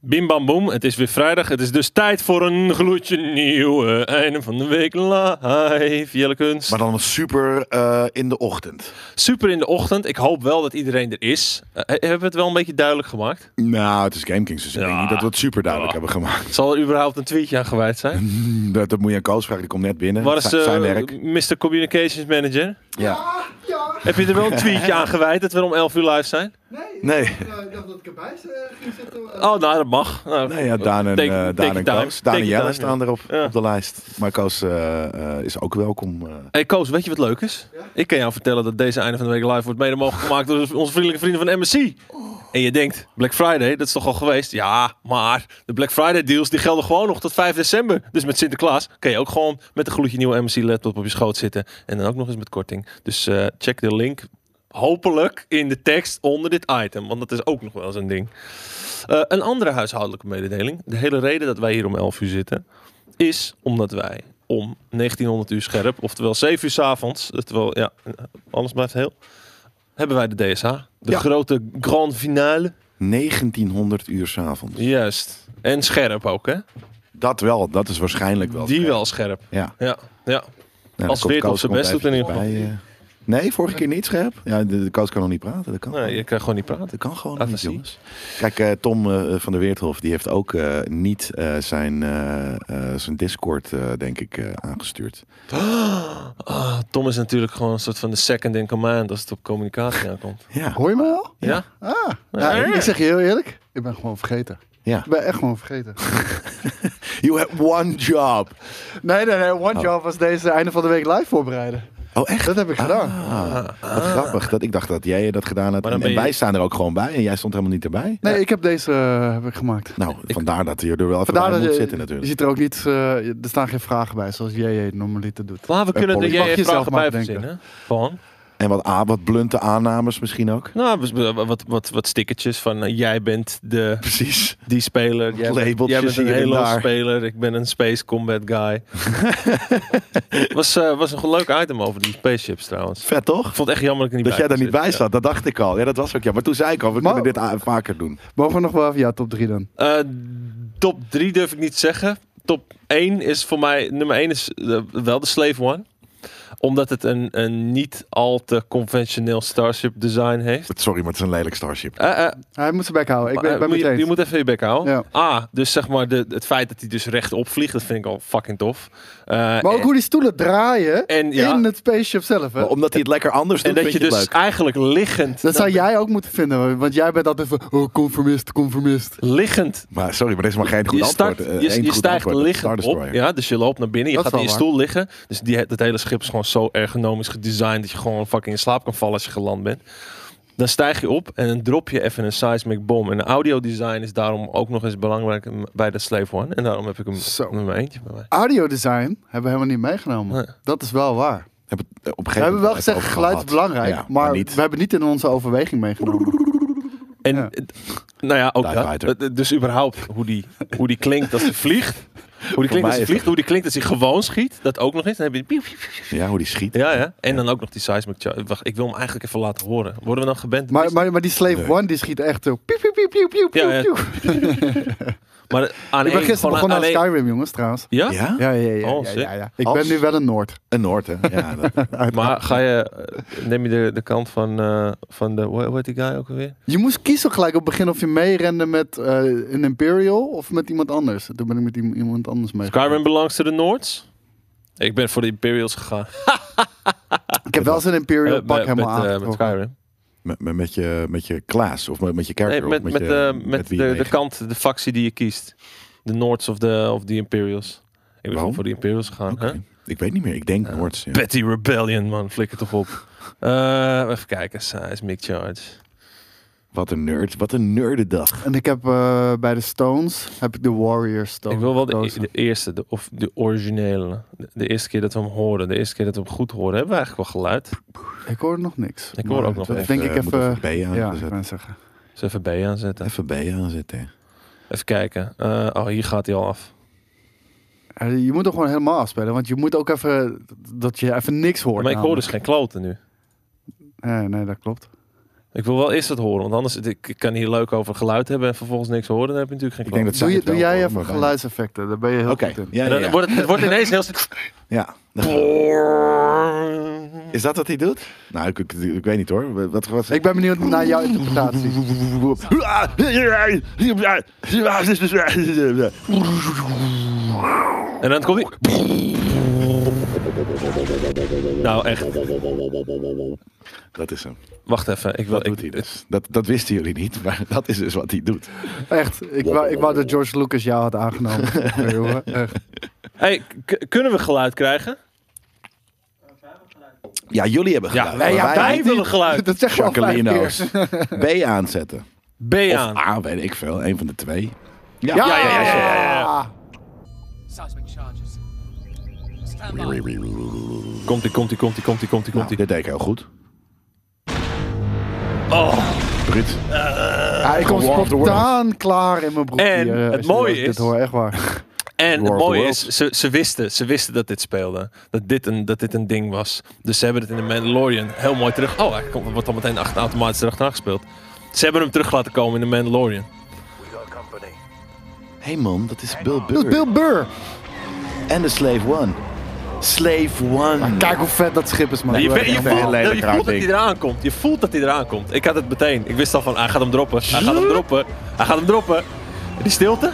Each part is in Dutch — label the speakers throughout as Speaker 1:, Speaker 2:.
Speaker 1: Bim bam boem, het is weer vrijdag. Het is dus tijd voor een gloedje nieuwe einde van de week live. Jelle Kunst.
Speaker 2: Maar dan super eh, in de ochtend.
Speaker 1: Super in de ochtend. Ik hoop wel dat iedereen er is. Eh, hebben we het wel een beetje duidelijk gemaakt?
Speaker 2: Nou, het is Game Kings, dus ik
Speaker 1: Ja.
Speaker 2: denk niet dat we het super duidelijk
Speaker 1: Ja.
Speaker 2: hebben gemaakt.
Speaker 1: Zal er überhaupt een tweetje aan gewijd zijn?
Speaker 2: Dat, dat moet je aan Koos vragen, die komt net binnen.
Speaker 1: Waar is
Speaker 2: Zijn- zijn
Speaker 1: eh,
Speaker 2: Mm, werk.
Speaker 1: Mr. Communications Manager?
Speaker 2: Ja.
Speaker 1: Heb je er wel een tweetje aan gewijd dat we om 11 uur live zijn?
Speaker 3: Nee,
Speaker 2: Nee.
Speaker 3: ik eh, dacht dat ik erbij eh, ging zitten. maar, eh,
Speaker 1: Oh, nou, dat mag. Nou,
Speaker 2: Nee, ja, Daan en,
Speaker 1: Take-
Speaker 2: eh,
Speaker 1: take
Speaker 2: Daan
Speaker 1: your
Speaker 2: en
Speaker 1: time.
Speaker 2: Koos. Daan
Speaker 1: Take
Speaker 2: en
Speaker 1: your
Speaker 2: Jelle
Speaker 1: time,
Speaker 2: staan erop
Speaker 1: Ja.
Speaker 2: op de lijst. Maar Koos eh, eh, is ook welkom. eh.
Speaker 1: Hey Koos, weet je wat leuk is?
Speaker 3: Ja?
Speaker 1: Ik kan jou vertellen dat deze einde van de week live wordt mede mogelijk gemaakt door onze vriendelijke vrienden van MSC. En je denkt, Black Friday, dat is toch al geweest? Ja, maar de Black Friday deals die gelden gewoon nog tot 5 december. Dus met Sinterklaas kan je ook gewoon met een gloedje nieuwe MSC laptop op je schoot zitten. En dan ook nog eens met korting. Dus eh, check de link hopelijk in de tekst onder dit item. Want dat is ook nog wel eens een ding. Eh, een andere huishoudelijke mededeling. De hele reden dat wij hier om 11 uur zitten is omdat wij om 1900 uur scherp, oftewel 7 uur 's avonds, terwijl ja, alles blijft heel, hebben wij de DSA. De
Speaker 2: Ja.
Speaker 1: grote grand finale.
Speaker 2: 1900 uur s'avonds.
Speaker 1: Juist. En scherp ook, hè?
Speaker 2: Dat wel, dat is waarschijnlijk wel.
Speaker 1: Die wel scherp.
Speaker 2: Ja.
Speaker 1: Ja, ja.
Speaker 2: Ja,
Speaker 1: Als
Speaker 2: dan komt
Speaker 1: Weert op
Speaker 2: Koos
Speaker 1: zijn
Speaker 2: komt
Speaker 1: best doet in
Speaker 2: eventjes
Speaker 1: ieder
Speaker 2: bij, eh. Nee, vorige keer niet scherp. Ja, de, de Koos kan nog niet praten. Dat kan
Speaker 1: Nee, je kan gewoon niet praten.
Speaker 2: Dat kan gewoon
Speaker 1: Laten
Speaker 2: niet,
Speaker 1: zien.
Speaker 2: jongens. Kijk, eh, Tom eh, van der Weerthof die heeft ook eh, niet eh, zijn, eh, eh, zijn Discord, eh, denk ik, eh, aangestuurd.
Speaker 1: Ah, Tom is natuurlijk gewoon een soort van de second in command als het op communicatie aankomt.
Speaker 2: Ja,
Speaker 3: Hoor je me wel?
Speaker 1: Ja?
Speaker 3: Ah, nou, ik- ik zeg je heel eerlijk, ik ben gewoon vergeten.
Speaker 2: ja.
Speaker 3: Ik ben echt gewoon vergeten.
Speaker 2: You have one job.
Speaker 3: Nee, nee, nee.
Speaker 1: Oh.
Speaker 3: One job was deze einde van de week live voorbereiden.
Speaker 2: Oh, echt?
Speaker 3: Dat heb ik gedaan.
Speaker 2: Ah, wat grappig. Dat, ik dacht dat jij dat gedaan had.
Speaker 1: Maar dan
Speaker 2: En,
Speaker 1: ben je-
Speaker 2: wij staan er ook gewoon bij. En jij stond helemaal niet erbij.
Speaker 3: Nee, ik heb deze eh, heb ik gemaakt.
Speaker 2: Nou, vandaar dat je er wel even
Speaker 3: Vandaar
Speaker 2: bij
Speaker 3: dat
Speaker 2: moet
Speaker 3: je,
Speaker 2: zitten
Speaker 3: je
Speaker 2: natuurlijk.
Speaker 3: ziet er ook niet, eh, er staan geen vragen bij, zoals jij normaliter doet.
Speaker 1: Maar we kunnen er
Speaker 2: Polly.
Speaker 3: Mag
Speaker 1: jij
Speaker 3: je zelf
Speaker 1: vragen
Speaker 3: maar
Speaker 1: bij
Speaker 3: bedenken.
Speaker 1: verzinnen. Van?
Speaker 2: En wat, a- wat blunte aannames misschien ook.
Speaker 1: Nou, bes- be- wat, wat, wat stickertjes van eh, jij bent de,
Speaker 2: Precies.
Speaker 1: die speler. Jij, bent-
Speaker 2: Labeltjes
Speaker 1: jij bent een
Speaker 2: hier en
Speaker 1: hele
Speaker 2: daar.
Speaker 1: speler. Ik ben een space combat guy. was, eh, was een leuk item over die spaceships trouwens.
Speaker 2: Vet toch?
Speaker 1: Ik vond het echt jammer dat ik er niet
Speaker 2: Dat jij daar niet bij
Speaker 1: zat.
Speaker 2: zat, dat dacht ik al. Ja, dat was ook ja. Maar toen zei ik al, we
Speaker 3: Maar-
Speaker 2: kunnen dit a- vaker doen.
Speaker 3: Mogen we nog wel even? Ja, top 3 dan.
Speaker 1: Eh, top 3 durf ik niet zeggen. Top 1 is voor mij, nummer 1 is eh, wel de Slave One. Omdat het een, een niet al te conventioneel Starship design heeft.
Speaker 2: Sorry, maar het is een lelijk Starship.
Speaker 1: Eh, eh,
Speaker 3: Hij moet zijn bek houden. Ik ben,
Speaker 1: Eh,
Speaker 3: ik ben
Speaker 1: moet
Speaker 3: het
Speaker 1: je,
Speaker 3: eens.
Speaker 1: je moet even je bek houden.
Speaker 3: Ja.
Speaker 1: Ah, dus zeg maar de, het feit dat hij dus rechtop vliegt, dat vind ik al fucking tof. Eh,
Speaker 3: Maar ook
Speaker 1: en-
Speaker 3: hoe die stoelen draaien
Speaker 1: en, ja,
Speaker 3: in het spaceship zelf. Hè?
Speaker 2: Maar omdat hij het lekker anders doet,
Speaker 1: en dat je
Speaker 2: vind je
Speaker 1: dus
Speaker 2: het leuk.
Speaker 1: eigenlijk liggend,
Speaker 3: Dat zou jij ook moeten vinden, want jij bent altijd van, oh, conformist, conformist.
Speaker 1: liggend.
Speaker 2: Maar sorry, maar dit is maar geen goed
Speaker 1: je start,
Speaker 2: antwoord. Eh,
Speaker 1: je,
Speaker 2: één
Speaker 1: je
Speaker 2: goed
Speaker 1: stijgt
Speaker 2: antwoord, dat is
Speaker 1: liggend
Speaker 2: Star
Speaker 1: op.
Speaker 2: Destroyer.
Speaker 1: Ja, dus je loopt naar binnen, je
Speaker 3: Dat is
Speaker 1: gaat in je
Speaker 3: wel
Speaker 1: stoel liggen. Dus die, dat hele schip is gewoon zo erg ergonomisch gedesigned dat je gewoon fucking in slaap kan vallen als je geland bent. Dan stijg je op en dan drop je even een seismic bomb. En audiodesign is daarom ook nog eens belangrijk bij de Slave One. En daarom heb ik hem
Speaker 3: Zo.
Speaker 1: nummer eentje bij mij.
Speaker 3: Audiodesign hebben we helemaal niet meegenomen.
Speaker 1: Nee.
Speaker 3: Dat is wel waar.
Speaker 2: Heb het, eh, op een
Speaker 3: We
Speaker 2: gegeven
Speaker 3: hebben wel
Speaker 2: moment even
Speaker 3: gezegd,
Speaker 2: over
Speaker 3: geluid is
Speaker 2: gehad.
Speaker 3: belangrijk,
Speaker 2: Ja,
Speaker 3: maar
Speaker 2: niet.
Speaker 3: we hebben niet in onze overweging meegenomen.
Speaker 1: En
Speaker 3: Ja.
Speaker 1: eh, nou ja, ook
Speaker 2: Die
Speaker 1: dat.
Speaker 2: fighter.
Speaker 1: Eh, Dus überhaupt hoe die, hoe die klinkt als hij vliegt. Hoe die
Speaker 2: mij
Speaker 1: klinkt als hij
Speaker 2: is
Speaker 1: vliegt, hoe die klinkt als hij gewoon schiet. Dat ook nog eens. Dan heb je die piep, piep, piep.
Speaker 2: Ja, hoe die schiet.
Speaker 1: Ja, ja. En dan ook nog die seismic charge. Wacht, ik wil hem eigenlijk even laten horen. Worden we dan geband?
Speaker 3: Maar, maar, maar die Slave
Speaker 2: Nee.
Speaker 3: One die schiet echt zo. Piep, piep, piep, piep, piep,
Speaker 1: Ja, ja.
Speaker 3: piep.
Speaker 1: Maar aan
Speaker 3: Ik ben
Speaker 1: één-
Speaker 3: gisteren
Speaker 1: gewoon
Speaker 3: begonnen aan
Speaker 1: één-
Speaker 3: Skyrim, jongens, trouwens.
Speaker 1: Ja?
Speaker 2: Ja?
Speaker 3: Ja, ja, ja.
Speaker 1: Oh,
Speaker 3: ja,
Speaker 1: sick.
Speaker 3: ja, ja. Ik
Speaker 2: Als-
Speaker 3: ben nu wel een Noord.
Speaker 2: Een Noord, hè? Ja, dat,
Speaker 1: Maar ga je, eh, neem je de, de kant van, eh, van de, hoe hoe heet die guy ook alweer?
Speaker 3: Je moest kiezen gelijk op het begin of je meerende met eh, een Imperial of met iemand anders. Toen ben ik met iem- iemand anders mee.
Speaker 1: Skyrim belongs to the Noords. Ik ben voor de Imperials gegaan.
Speaker 3: Ik heb wel zijn Imperial
Speaker 1: Eh,
Speaker 3: pak
Speaker 1: met,
Speaker 3: helemaal
Speaker 1: eh,
Speaker 3: aan.
Speaker 1: met Skyrim.
Speaker 2: met, met, met je, met je Klaas of met, met je
Speaker 1: Nee,
Speaker 2: character.
Speaker 1: met,
Speaker 2: of
Speaker 1: met,
Speaker 2: met, je,
Speaker 1: de, met
Speaker 2: wie
Speaker 1: de,
Speaker 2: je
Speaker 1: de
Speaker 2: meegaat.
Speaker 1: kant, de factie die je kiest. De Noords of the, of the Imperials. Ik ben gewoon
Speaker 2: Waarom?
Speaker 1: voor de Imperials gegaan.
Speaker 2: Oké.
Speaker 1: hè?
Speaker 2: Ik weet niet meer, ik denk Noords. ja.
Speaker 1: Petty Rebellion, man. Flikker toch op. Eh, even kijken. Seismic Charge.
Speaker 2: Wat een nerd, wat een nerdendag.
Speaker 3: En ik heb eh, bij de Stones heb ik de Warrior Stone.
Speaker 1: Ik wil wel de, e-
Speaker 3: gekozen.
Speaker 1: de eerste, de, of de originele. De, de eerste keer dat we hem horen. De eerste keer dat we hem goed horen. Hebben we eigenlijk wel geluid.
Speaker 3: Ik hoor nog niks.
Speaker 1: Ik hoor
Speaker 3: Maar
Speaker 1: ook nog
Speaker 3: dat
Speaker 1: even,
Speaker 3: Denk ik
Speaker 2: moet even
Speaker 3: even.
Speaker 2: B aan
Speaker 3: Ja, ik
Speaker 2: zetten.
Speaker 3: wou zeggen.
Speaker 1: Dus even B aanzetten.
Speaker 2: Even B aanzetten. hè.
Speaker 1: Even kijken. Eh, oh, hier gaat hij al af.
Speaker 3: Eh, Je moet hem gewoon helemaal afspelen, want je moet ook even dat je even niks hoort.
Speaker 1: Maar ik hoor dus
Speaker 3: namelijk.
Speaker 1: geen kloten nu.
Speaker 3: Nee, nee, dat klopt.
Speaker 1: Ik wil wel eerst dat horen, want anders ik, ik kan hier leuk over geluid hebben en vervolgens niks horen. Dan heb je natuurlijk geen
Speaker 2: Ik denk
Speaker 1: klap.
Speaker 2: dat zij
Speaker 3: Doe,
Speaker 2: het wel
Speaker 3: je, doe jij
Speaker 2: horen,
Speaker 3: even
Speaker 2: maar-
Speaker 3: geluidseffecten, daar ben je heel
Speaker 2: Oké,
Speaker 3: goed in.
Speaker 2: ja,
Speaker 1: En
Speaker 2: ja,
Speaker 1: dan
Speaker 2: ja.
Speaker 1: Wordt het, het wordt ineens heel snel.
Speaker 2: Ja, dan gaan we. Is dat wat hij doet? Nou, ik, ik, ik weet niet hoor. Wat, wat,
Speaker 3: Ik ben benieuwd naar jouw interpretatie.
Speaker 1: En dan komt hij. Nou, echt.
Speaker 2: Dat is hem.
Speaker 1: Wacht even. Ik wil,
Speaker 2: Dat doet hij
Speaker 1: ik,
Speaker 2: dus. Dat, dat wisten jullie niet, maar dat is dus wat hij doet.
Speaker 3: Echt, ik wou, ik wou dat George Lucas jou had aangenomen. Nee, jongen, echt.
Speaker 1: hey, k- kunnen we geluid krijgen?
Speaker 2: Ja, jullie hebben
Speaker 1: Ja,
Speaker 2: geluid.
Speaker 1: wij-
Speaker 2: maar
Speaker 1: ja, wij
Speaker 2: niet.
Speaker 1: willen geluid.
Speaker 3: Dat zeg je al vijf keer.
Speaker 2: Jacqueline's. B aanzetten.
Speaker 1: B
Speaker 2: Of
Speaker 1: aan.
Speaker 2: A, weet ik veel. Een van de twee. Ja,
Speaker 1: Ja, ja, ja, ja, ja,
Speaker 4: Seismic charges. Stand by.
Speaker 2: Nou,
Speaker 1: Komt ie, komt ie, komt ie, komt ie, komt ie, komt ie.
Speaker 2: dit deed ik heel goed.
Speaker 1: Oh,
Speaker 2: Brits.
Speaker 3: Ja, ik kom
Speaker 2: War of the
Speaker 3: spontaan klaar in mijn broek.
Speaker 1: En
Speaker 3: hier, eh,
Speaker 1: het
Speaker 3: als je
Speaker 1: mooie
Speaker 3: dit- Dit
Speaker 1: is-
Speaker 3: hoor, echt waar.
Speaker 1: en het
Speaker 2: War of
Speaker 1: mooie
Speaker 2: the
Speaker 1: is, ze, ze, wisten, ze wisten dat dit speelde. Dat dit, een, dat dit een ding was. Dus ze hebben het in de Mandalorian heel mooi terug. Oh, hij komt, wordt al meteen achter, automatisch erachteraan gespeeld. Ze hebben hem terug laten komen in de Mandalorian.
Speaker 2: Hé hey man, dat is Bill
Speaker 3: Dat is
Speaker 2: Burr.
Speaker 3: Bill Burr.
Speaker 2: En de Slave One. Slave One.
Speaker 3: Kijk hoe vet dat schip is, man.
Speaker 1: Je, weet- je
Speaker 3: Echt
Speaker 1: voelt,
Speaker 3: waar.
Speaker 2: lelijk
Speaker 1: je voelt
Speaker 2: raar
Speaker 1: dat hij
Speaker 2: ding.
Speaker 1: eraan komt. Je voelt dat hij eraan komt. Ik had het meteen. Ik wist al van, hij gaat hem droppen. Hij gaat hem droppen. Hij gaat hem droppen. En Die stilte?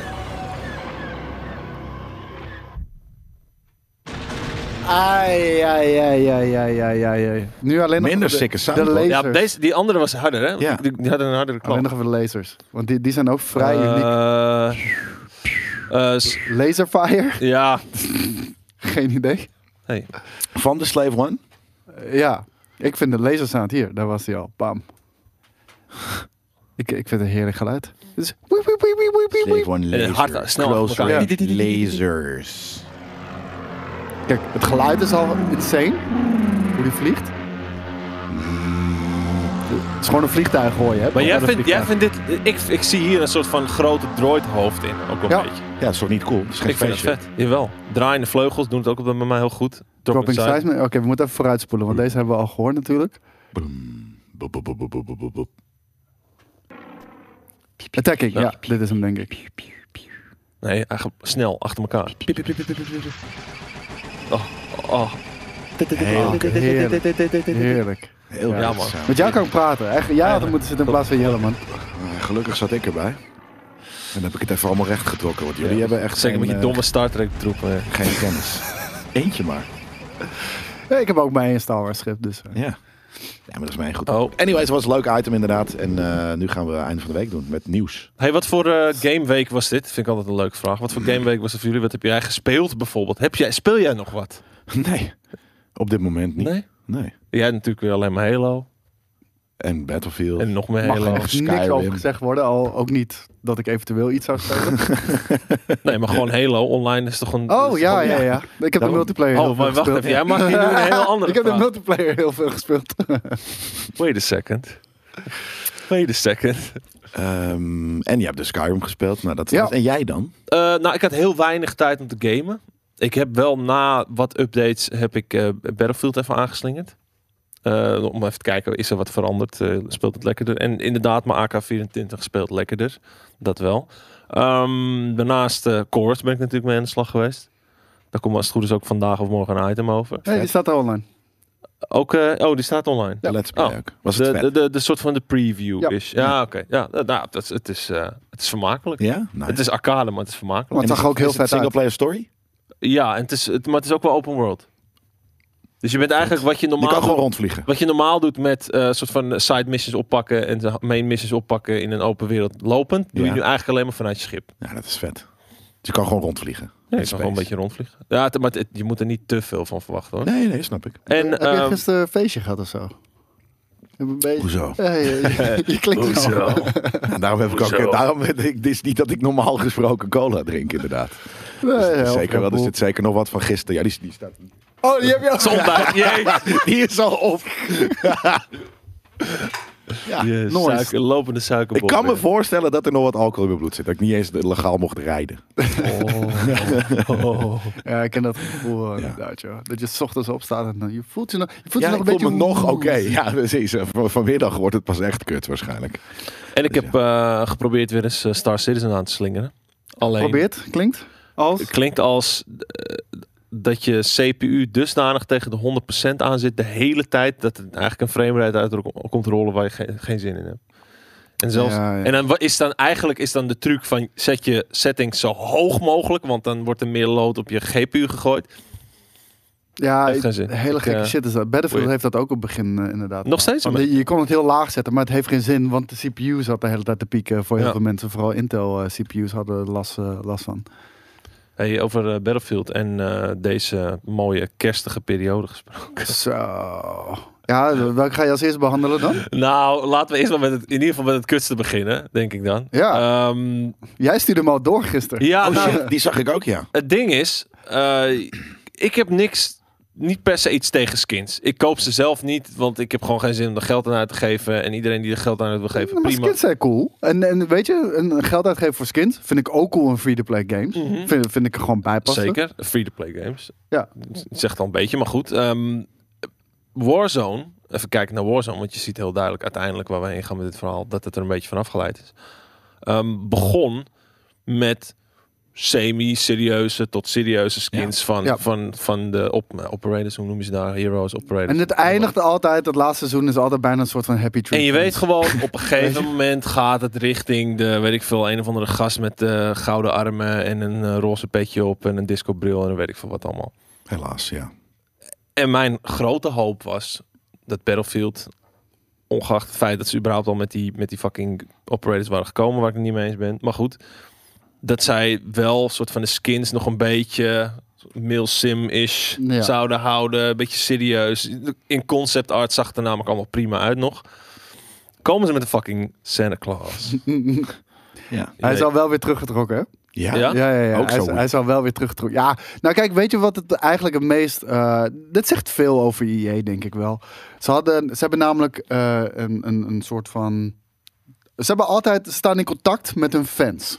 Speaker 3: Ai, ai, ai, ai, ai, ai, ai, ai. Nu alleen nog
Speaker 2: Minder
Speaker 3: voor de-
Speaker 2: sikke sound,
Speaker 3: De
Speaker 2: hoor.
Speaker 3: lasers.
Speaker 1: Ja, deze, die andere was harder, hè?
Speaker 2: Ja.
Speaker 1: Die, die hadden een hardere klap.
Speaker 3: Alleen nog even de lasers. Want die, die zijn ook vrij uniek.
Speaker 1: Eh, eh, s-
Speaker 3: Laserfire?
Speaker 1: ja.
Speaker 3: Geen idee.
Speaker 1: Hey.
Speaker 2: Van de Slave One?
Speaker 3: Eh, ja, ik vind de lasersound hier. Daar was hij al. Bam. ik, ik vind het een heerlijk geluid. Het is wiep, wiep, wiep, wiep, wiep, wiep.
Speaker 2: Slave One
Speaker 1: Eh,
Speaker 2: laser.
Speaker 1: hard, snel achter
Speaker 2: Closer
Speaker 1: elkaar.
Speaker 2: lasers.
Speaker 3: Kijk, het geluid is al insane. Hoe die vliegt. Het is gewoon een vliegtuig gooien, hè?
Speaker 1: Maar jij
Speaker 3: Gewoon een
Speaker 1: vindt, jij
Speaker 3: vliegtuig.
Speaker 1: vindt dit... Ik, ik zie hier een soort van grote droidhoofd in. Ook wel
Speaker 3: Ja.
Speaker 1: een beetje.
Speaker 2: Ja, dat is toch niet cool? Dat is geen
Speaker 1: Ik vind het
Speaker 2: feestje.
Speaker 1: vet. Jawel. Draaiende vleugels doen het ook bij mij heel goed.
Speaker 3: Dropping
Speaker 1: side.
Speaker 3: seismic. Oké, we moeten even vooruitspoelen, want deze hebben we al gehoord natuurlijk.
Speaker 2: Boep, boep, boep, boep, boep, boep, boep.
Speaker 3: Attacking, ja. Dit is hem, denk ik.
Speaker 1: Nee, eigenlijk snel, achter elkaar. Oh, oh.
Speaker 2: Heel,
Speaker 3: Heerlijk. Heerlijk.
Speaker 2: heel
Speaker 3: Ja,
Speaker 2: raar
Speaker 1: man.
Speaker 2: sound.
Speaker 3: Met jou kan ik praten. Echt, jij had er moeten zitten in plaats van Jelle, man.
Speaker 2: Eh, Gelukkig zat ik erbij. En dan heb ik het even allemaal recht getrokken. Want jullie
Speaker 1: Ja.
Speaker 2: hebben echt
Speaker 1: Zeker
Speaker 2: geen,
Speaker 1: met je
Speaker 2: eh,
Speaker 1: domme Star Trek eh. troepen. hè.
Speaker 2: geen kennis. Eentje maar.
Speaker 3: Ja, ik heb ook mijn een Star Wars schip, dus... eh.
Speaker 2: Ja. Ja, maar dat is mij goed.
Speaker 1: Oh.
Speaker 2: Anyways, het was een leuk item inderdaad. En eh, nu gaan we einde van de week doen met nieuws.
Speaker 1: Hey, wat voor eh, gameweek was dit? Vind ik altijd een leuke vraag. Wat voor gameweek was het voor jullie? Wat heb jij gespeeld bijvoorbeeld? Heb jij, speel jij nog wat?
Speaker 2: Nee. Op dit moment niet.
Speaker 1: Nee?
Speaker 2: Nee.
Speaker 1: Jij natuurlijk weer alleen maar Halo.
Speaker 2: En Battlefield.
Speaker 1: En nog meer
Speaker 3: Mag er
Speaker 1: Halo.
Speaker 3: echt niks
Speaker 2: Skyrim.
Speaker 3: over gezegd worden, al ook niet dat ik eventueel iets zou spelen.
Speaker 1: Nee, maar gewoon Halo. Online is toch een...
Speaker 3: Oh
Speaker 1: is
Speaker 3: ja,
Speaker 1: toch-
Speaker 3: ja, ja. Ik heb de
Speaker 2: Daarom-
Speaker 3: multiplayer heel
Speaker 1: Oh, maar
Speaker 3: veel
Speaker 1: wacht
Speaker 3: gespeeld.
Speaker 1: even. Jij mag hier nu een hele andere
Speaker 3: Ik heb de
Speaker 1: vraag.
Speaker 3: multiplayer heel veel gespeeld.
Speaker 1: Wait a second. Wait a second.
Speaker 2: Ehm, en je hebt de Skyrim gespeeld. Nou, dat
Speaker 3: Ja.
Speaker 2: En jij dan?
Speaker 1: Eh, nou, ik had heel weinig tijd om te gamen. Ik heb wel na wat updates heb ik eh, Battlefield even aangeslingerd. Eh, om even te kijken, is er wat veranderd? Eh, speelt het lekkerder? En inderdaad, mijn AK-24 speelt lekkerder. Dat wel. Ehm, daarnaast eh Chorus ben ik natuurlijk mee aan de slag geweest. Daar komt als het goed is ook vandaag of morgen een item over.
Speaker 3: Nee, die staat al online.
Speaker 1: Ook, eh, oh, die staat online.
Speaker 2: Ja. Let's play
Speaker 1: Oh.
Speaker 2: ook. Was het
Speaker 1: De,
Speaker 2: vet?
Speaker 1: de, de, de soort van de preview
Speaker 3: Ja.
Speaker 1: is. Ja, oké. Ja, nou, dat, is- het, is, eh, het is vermakelijk.
Speaker 2: Ja? Nou,
Speaker 1: Het is arcade, maar het is vermakelijk.
Speaker 3: Maar het zag ook heel vet uit.
Speaker 2: Single player story?
Speaker 1: Ja, en het is, het, maar het is ook wel open world. Dus je bent eigenlijk wat je
Speaker 2: Je
Speaker 1: normaal,
Speaker 2: kan gewoon
Speaker 1: doet-
Speaker 2: rondvliegen.
Speaker 1: wat je normaal doet met eh soort van side missions oppakken en de main missions oppakken in een open wereld lopend, doe je
Speaker 2: Ja.
Speaker 1: nu eigenlijk alleen maar vanuit je schip.
Speaker 2: Ja, dat is vet. Dus je kan gewoon rondvliegen.
Speaker 1: Ja, je
Speaker 2: In
Speaker 1: kan gewoon een
Speaker 2: space.
Speaker 1: beetje rondvliegen. Ja, het- maar het- je moet er niet te veel van verwachten hoor.
Speaker 2: Nee, nee, snap ik.
Speaker 1: En,
Speaker 3: Heb je
Speaker 1: ehm,
Speaker 3: gisteren een feestje gehad of zo? Een beetje-
Speaker 2: Hoezo?
Speaker 3: Ja, je, je, je klinkt zo.
Speaker 2: Ja, daarom heb ik
Speaker 1: Hoezo?
Speaker 2: ook. Daarom weet ik, het is niet dat ik normaal gesproken cola drink, inderdaad.
Speaker 3: Eh,
Speaker 2: Dus het is zeker wel. Er zit zeker nog wat van gisteren. Ja, die, die staat.
Speaker 3: Oh, die heb je ook.
Speaker 1: zondag, jee.
Speaker 2: Die is al op. Ja,
Speaker 1: Die, eh,
Speaker 3: nooit.
Speaker 1: suiker- lopende
Speaker 2: Ik
Speaker 1: suikerbom.
Speaker 2: kan me
Speaker 1: Ja.
Speaker 2: voorstellen dat er nog wat alcohol in mijn bloed zit. Dat ik niet eens legaal mocht rijden.
Speaker 1: Oh, oh.
Speaker 3: Ja, ik ken dat gevoel wel
Speaker 2: Ja.
Speaker 3: inderdaad, joh. Dat je 's ochtends opstaat en dan, je voelt je nog, je voelt
Speaker 2: Ja,
Speaker 3: je
Speaker 2: ik
Speaker 3: nog
Speaker 2: voel
Speaker 3: een beetje...
Speaker 2: me nog oké.
Speaker 3: moe.
Speaker 2: Ja, precies. Eh, van- Vanmiddag wordt het pas echt kut waarschijnlijk.
Speaker 1: En ik heb eh, geprobeerd weer eens eh, Star Citizen aan te slingeren. Alleen,
Speaker 3: Probeert, klinkt. Als...
Speaker 1: het klinkt als eh, dat je CPU dusdanig tegen de 100% aan zit de hele tijd. Dat het eigenlijk een framerate uit komt rollen waar je geen, geen zin in hebt. En zelfs...
Speaker 3: Ja, ja.
Speaker 1: En dan wa- is dan eigenlijk is dan de truc van zet je settings zo hoog mogelijk, want dan wordt er meer lood op je GPU gegooid.
Speaker 3: Ja,
Speaker 1: Heeft
Speaker 3: ik-
Speaker 1: geen zin.
Speaker 3: hele
Speaker 1: Ik,
Speaker 3: gekke
Speaker 1: eh,
Speaker 3: shit is dat. Battlefield
Speaker 1: oei.
Speaker 3: heeft dat ook op het begin eh, inderdaad.
Speaker 1: Nog steeds, Oh,
Speaker 3: Want
Speaker 1: maar-
Speaker 3: Je je kon het heel laag zetten, maar het heeft geen zin, want de CPU zat de hele tijd te pieken voor heel
Speaker 1: Ja.
Speaker 3: veel mensen. Vooral Intel eh, CPU's hadden er last, eh, last van.
Speaker 1: Hey, over eh, Battlefield en eh, deze mooie kerstige periode gesproken.
Speaker 3: Zo. Ja, welke ga je als eerst behandelen dan?
Speaker 1: nou, laten we eerst maar met het, in ieder geval met het kutste beginnen, denk ik dan.
Speaker 3: Ja.
Speaker 1: Ehm,
Speaker 3: Jij stuurde hem al door gisteren.
Speaker 1: ja
Speaker 2: Oh
Speaker 1: nou,
Speaker 2: shit, die zag ik ook, ja.
Speaker 1: het ding is, eh, ik heb niks, niet per se iets tegen skins. Ik koop ze zelf niet, want ik heb gewoon geen zin om er geld aan uit te geven. En iedereen die er geld aan uit wil geven,
Speaker 3: maar
Speaker 1: prima.
Speaker 3: skins zijn cool. En, en weet je, een geld uitgeven voor skins vind ik ook cool in free-to-play games. vind, vind ik er gewoon bij passen.
Speaker 1: Zeker, free-to-play games.
Speaker 3: Ja.
Speaker 1: Het Zegt al een beetje, maar goed. Ehm, Warzone, even kijken naar Warzone, want je ziet heel duidelijk uiteindelijk waar we heen gaan met dit verhaal, dat het er een beetje van afgeleid is. Ehm, begon met semi-serieuze tot serieuze skins Van,
Speaker 3: Ja.
Speaker 1: Van, van de op, eh, operators, hoe noem je ze daar? Heroes, operators.
Speaker 3: En het eindigt altijd, het laatste seizoen is altijd bijna een soort van happy tree.
Speaker 1: En je weet gewoon, op een
Speaker 3: Weet je?
Speaker 1: gegeven moment gaat het richting de, weet ik veel, een of andere gast met eh, gouden armen en een eh, roze petje op en een discobril en dan weet ik veel wat allemaal.
Speaker 2: Helaas, ja.
Speaker 1: En mijn grote hoop was dat Battlefield, ongeacht het feit dat ze überhaupt al met die, met die fucking operators waren gekomen, waar ik het niet mee eens ben, maar goed, dat zij wel soort van de skins nog een beetje milsim-ish
Speaker 3: Ja.
Speaker 1: zouden houden, een beetje serieus. In concept art zag het er namelijk allemaal prima uit nog. Komen ze met de fucking Santa Claus?
Speaker 2: Ja.
Speaker 3: Hij is al wel weer teruggetrokken, hè?
Speaker 2: Ja.
Speaker 1: Ja?
Speaker 3: Ja, ja, ja.
Speaker 2: Ook
Speaker 3: hij,
Speaker 2: zo
Speaker 3: is,
Speaker 2: goed.
Speaker 3: hij is al wel weer teruggetrokken. Ja, nou kijk, weet je wat het eigenlijk het meest... eh dit zegt veel over EA, denk ik wel. Ze, hadden, ze hebben namelijk eh, een, een, een soort van... Ze hebben altijd, ze staan in contact met hun fans.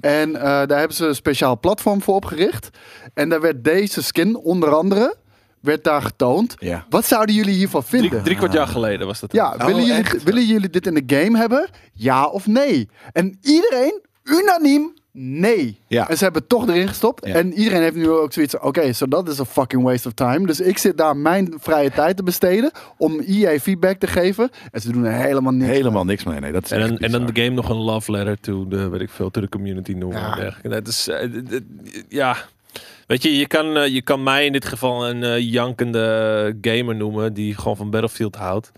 Speaker 3: En eh, daar hebben ze een speciaal platform voor opgericht. En daar werd deze skin, onder andere, werd daar getoond.
Speaker 2: Ja.
Speaker 3: Wat zouden jullie hiervan vinden?
Speaker 1: Drie, drie kwart jaar geleden was dat.
Speaker 3: Ja,
Speaker 2: Oh,
Speaker 3: willen, jullie,
Speaker 2: echt?
Speaker 3: willen jullie dit in de game hebben? Ja of nee? En iedereen unaniem nee.
Speaker 2: Ja.
Speaker 3: En ze hebben het toch erin gestopt.
Speaker 2: Ja.
Speaker 3: En iedereen heeft nu ook zoiets. van, Oké, so dat is een fucking waste of time. Dus ik zit daar mijn vrije tijd te besteden om EA feedback te geven. En ze doen er helemaal niks.
Speaker 2: Helemaal niks mee. Nee, dat is
Speaker 1: En
Speaker 2: echt
Speaker 1: dan, en dan
Speaker 2: bizar.
Speaker 1: de game nog een love letter to de, weet ik veel, to de community noemen en dergelijke. Dat is, eh, d- d- ja. Weet je, je kan, eh, je kan mij in dit geval een eh, jankende gamer noemen die gewoon van Battlefield houdt.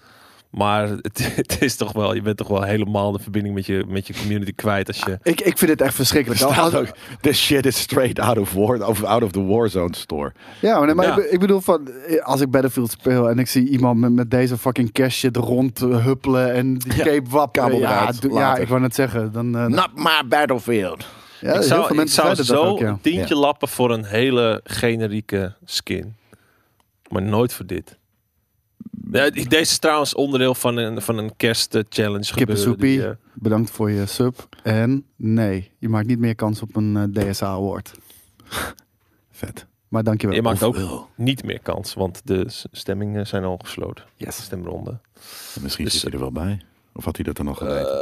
Speaker 1: Maar het, het is toch wel, je bent toch wel helemaal de verbinding met je, met je community kwijt als je...
Speaker 3: Ik, ik vind het echt
Speaker 2: Er
Speaker 3: verschrikkelijk.
Speaker 2: staat ook, this shit is straight out of, war, of out of the Warzone store.
Speaker 3: Ja, maar, nee, maar
Speaker 1: Ja.
Speaker 3: Ik, be- ik bedoel van, eh, als ik Battlefield speel en ik zie iemand met, met deze fucking cash shit rond eh, huppelen en die
Speaker 2: Ja,
Speaker 3: cape wapperen.
Speaker 2: kabel
Speaker 3: Ja,
Speaker 2: eruit,
Speaker 3: doe- ja,
Speaker 2: later. Nou,
Speaker 3: ik wou net zeggen. Dan, eh,
Speaker 2: Not my battlefield.
Speaker 1: ik
Speaker 3: ja, heel veel
Speaker 1: zou, ik
Speaker 3: mensen
Speaker 1: zou
Speaker 3: zeiden dat
Speaker 1: zo
Speaker 3: ook, ja.
Speaker 1: een tientje lappen voor een hele generieke skin. Maar nooit voor dit. Ja, deze is trouwens onderdeel van een, van een kerstchallenge gebeurde.
Speaker 3: Kippensoepie,
Speaker 1: die, eh,
Speaker 3: bedankt voor je sub. En nee, je maakt niet meer kans op een eh, DSA-award.
Speaker 2: Vet.
Speaker 3: Maar dankjewel.
Speaker 1: Je maakt ook
Speaker 2: Hoeveel?
Speaker 1: niet meer kans, want de s- stemmingen zijn al gesloten. De
Speaker 3: Yes.
Speaker 1: stemronde.
Speaker 2: Misschien
Speaker 1: Dus- Eh,
Speaker 2: zit hij er wel bij. Of had hij dat dan nog geweten?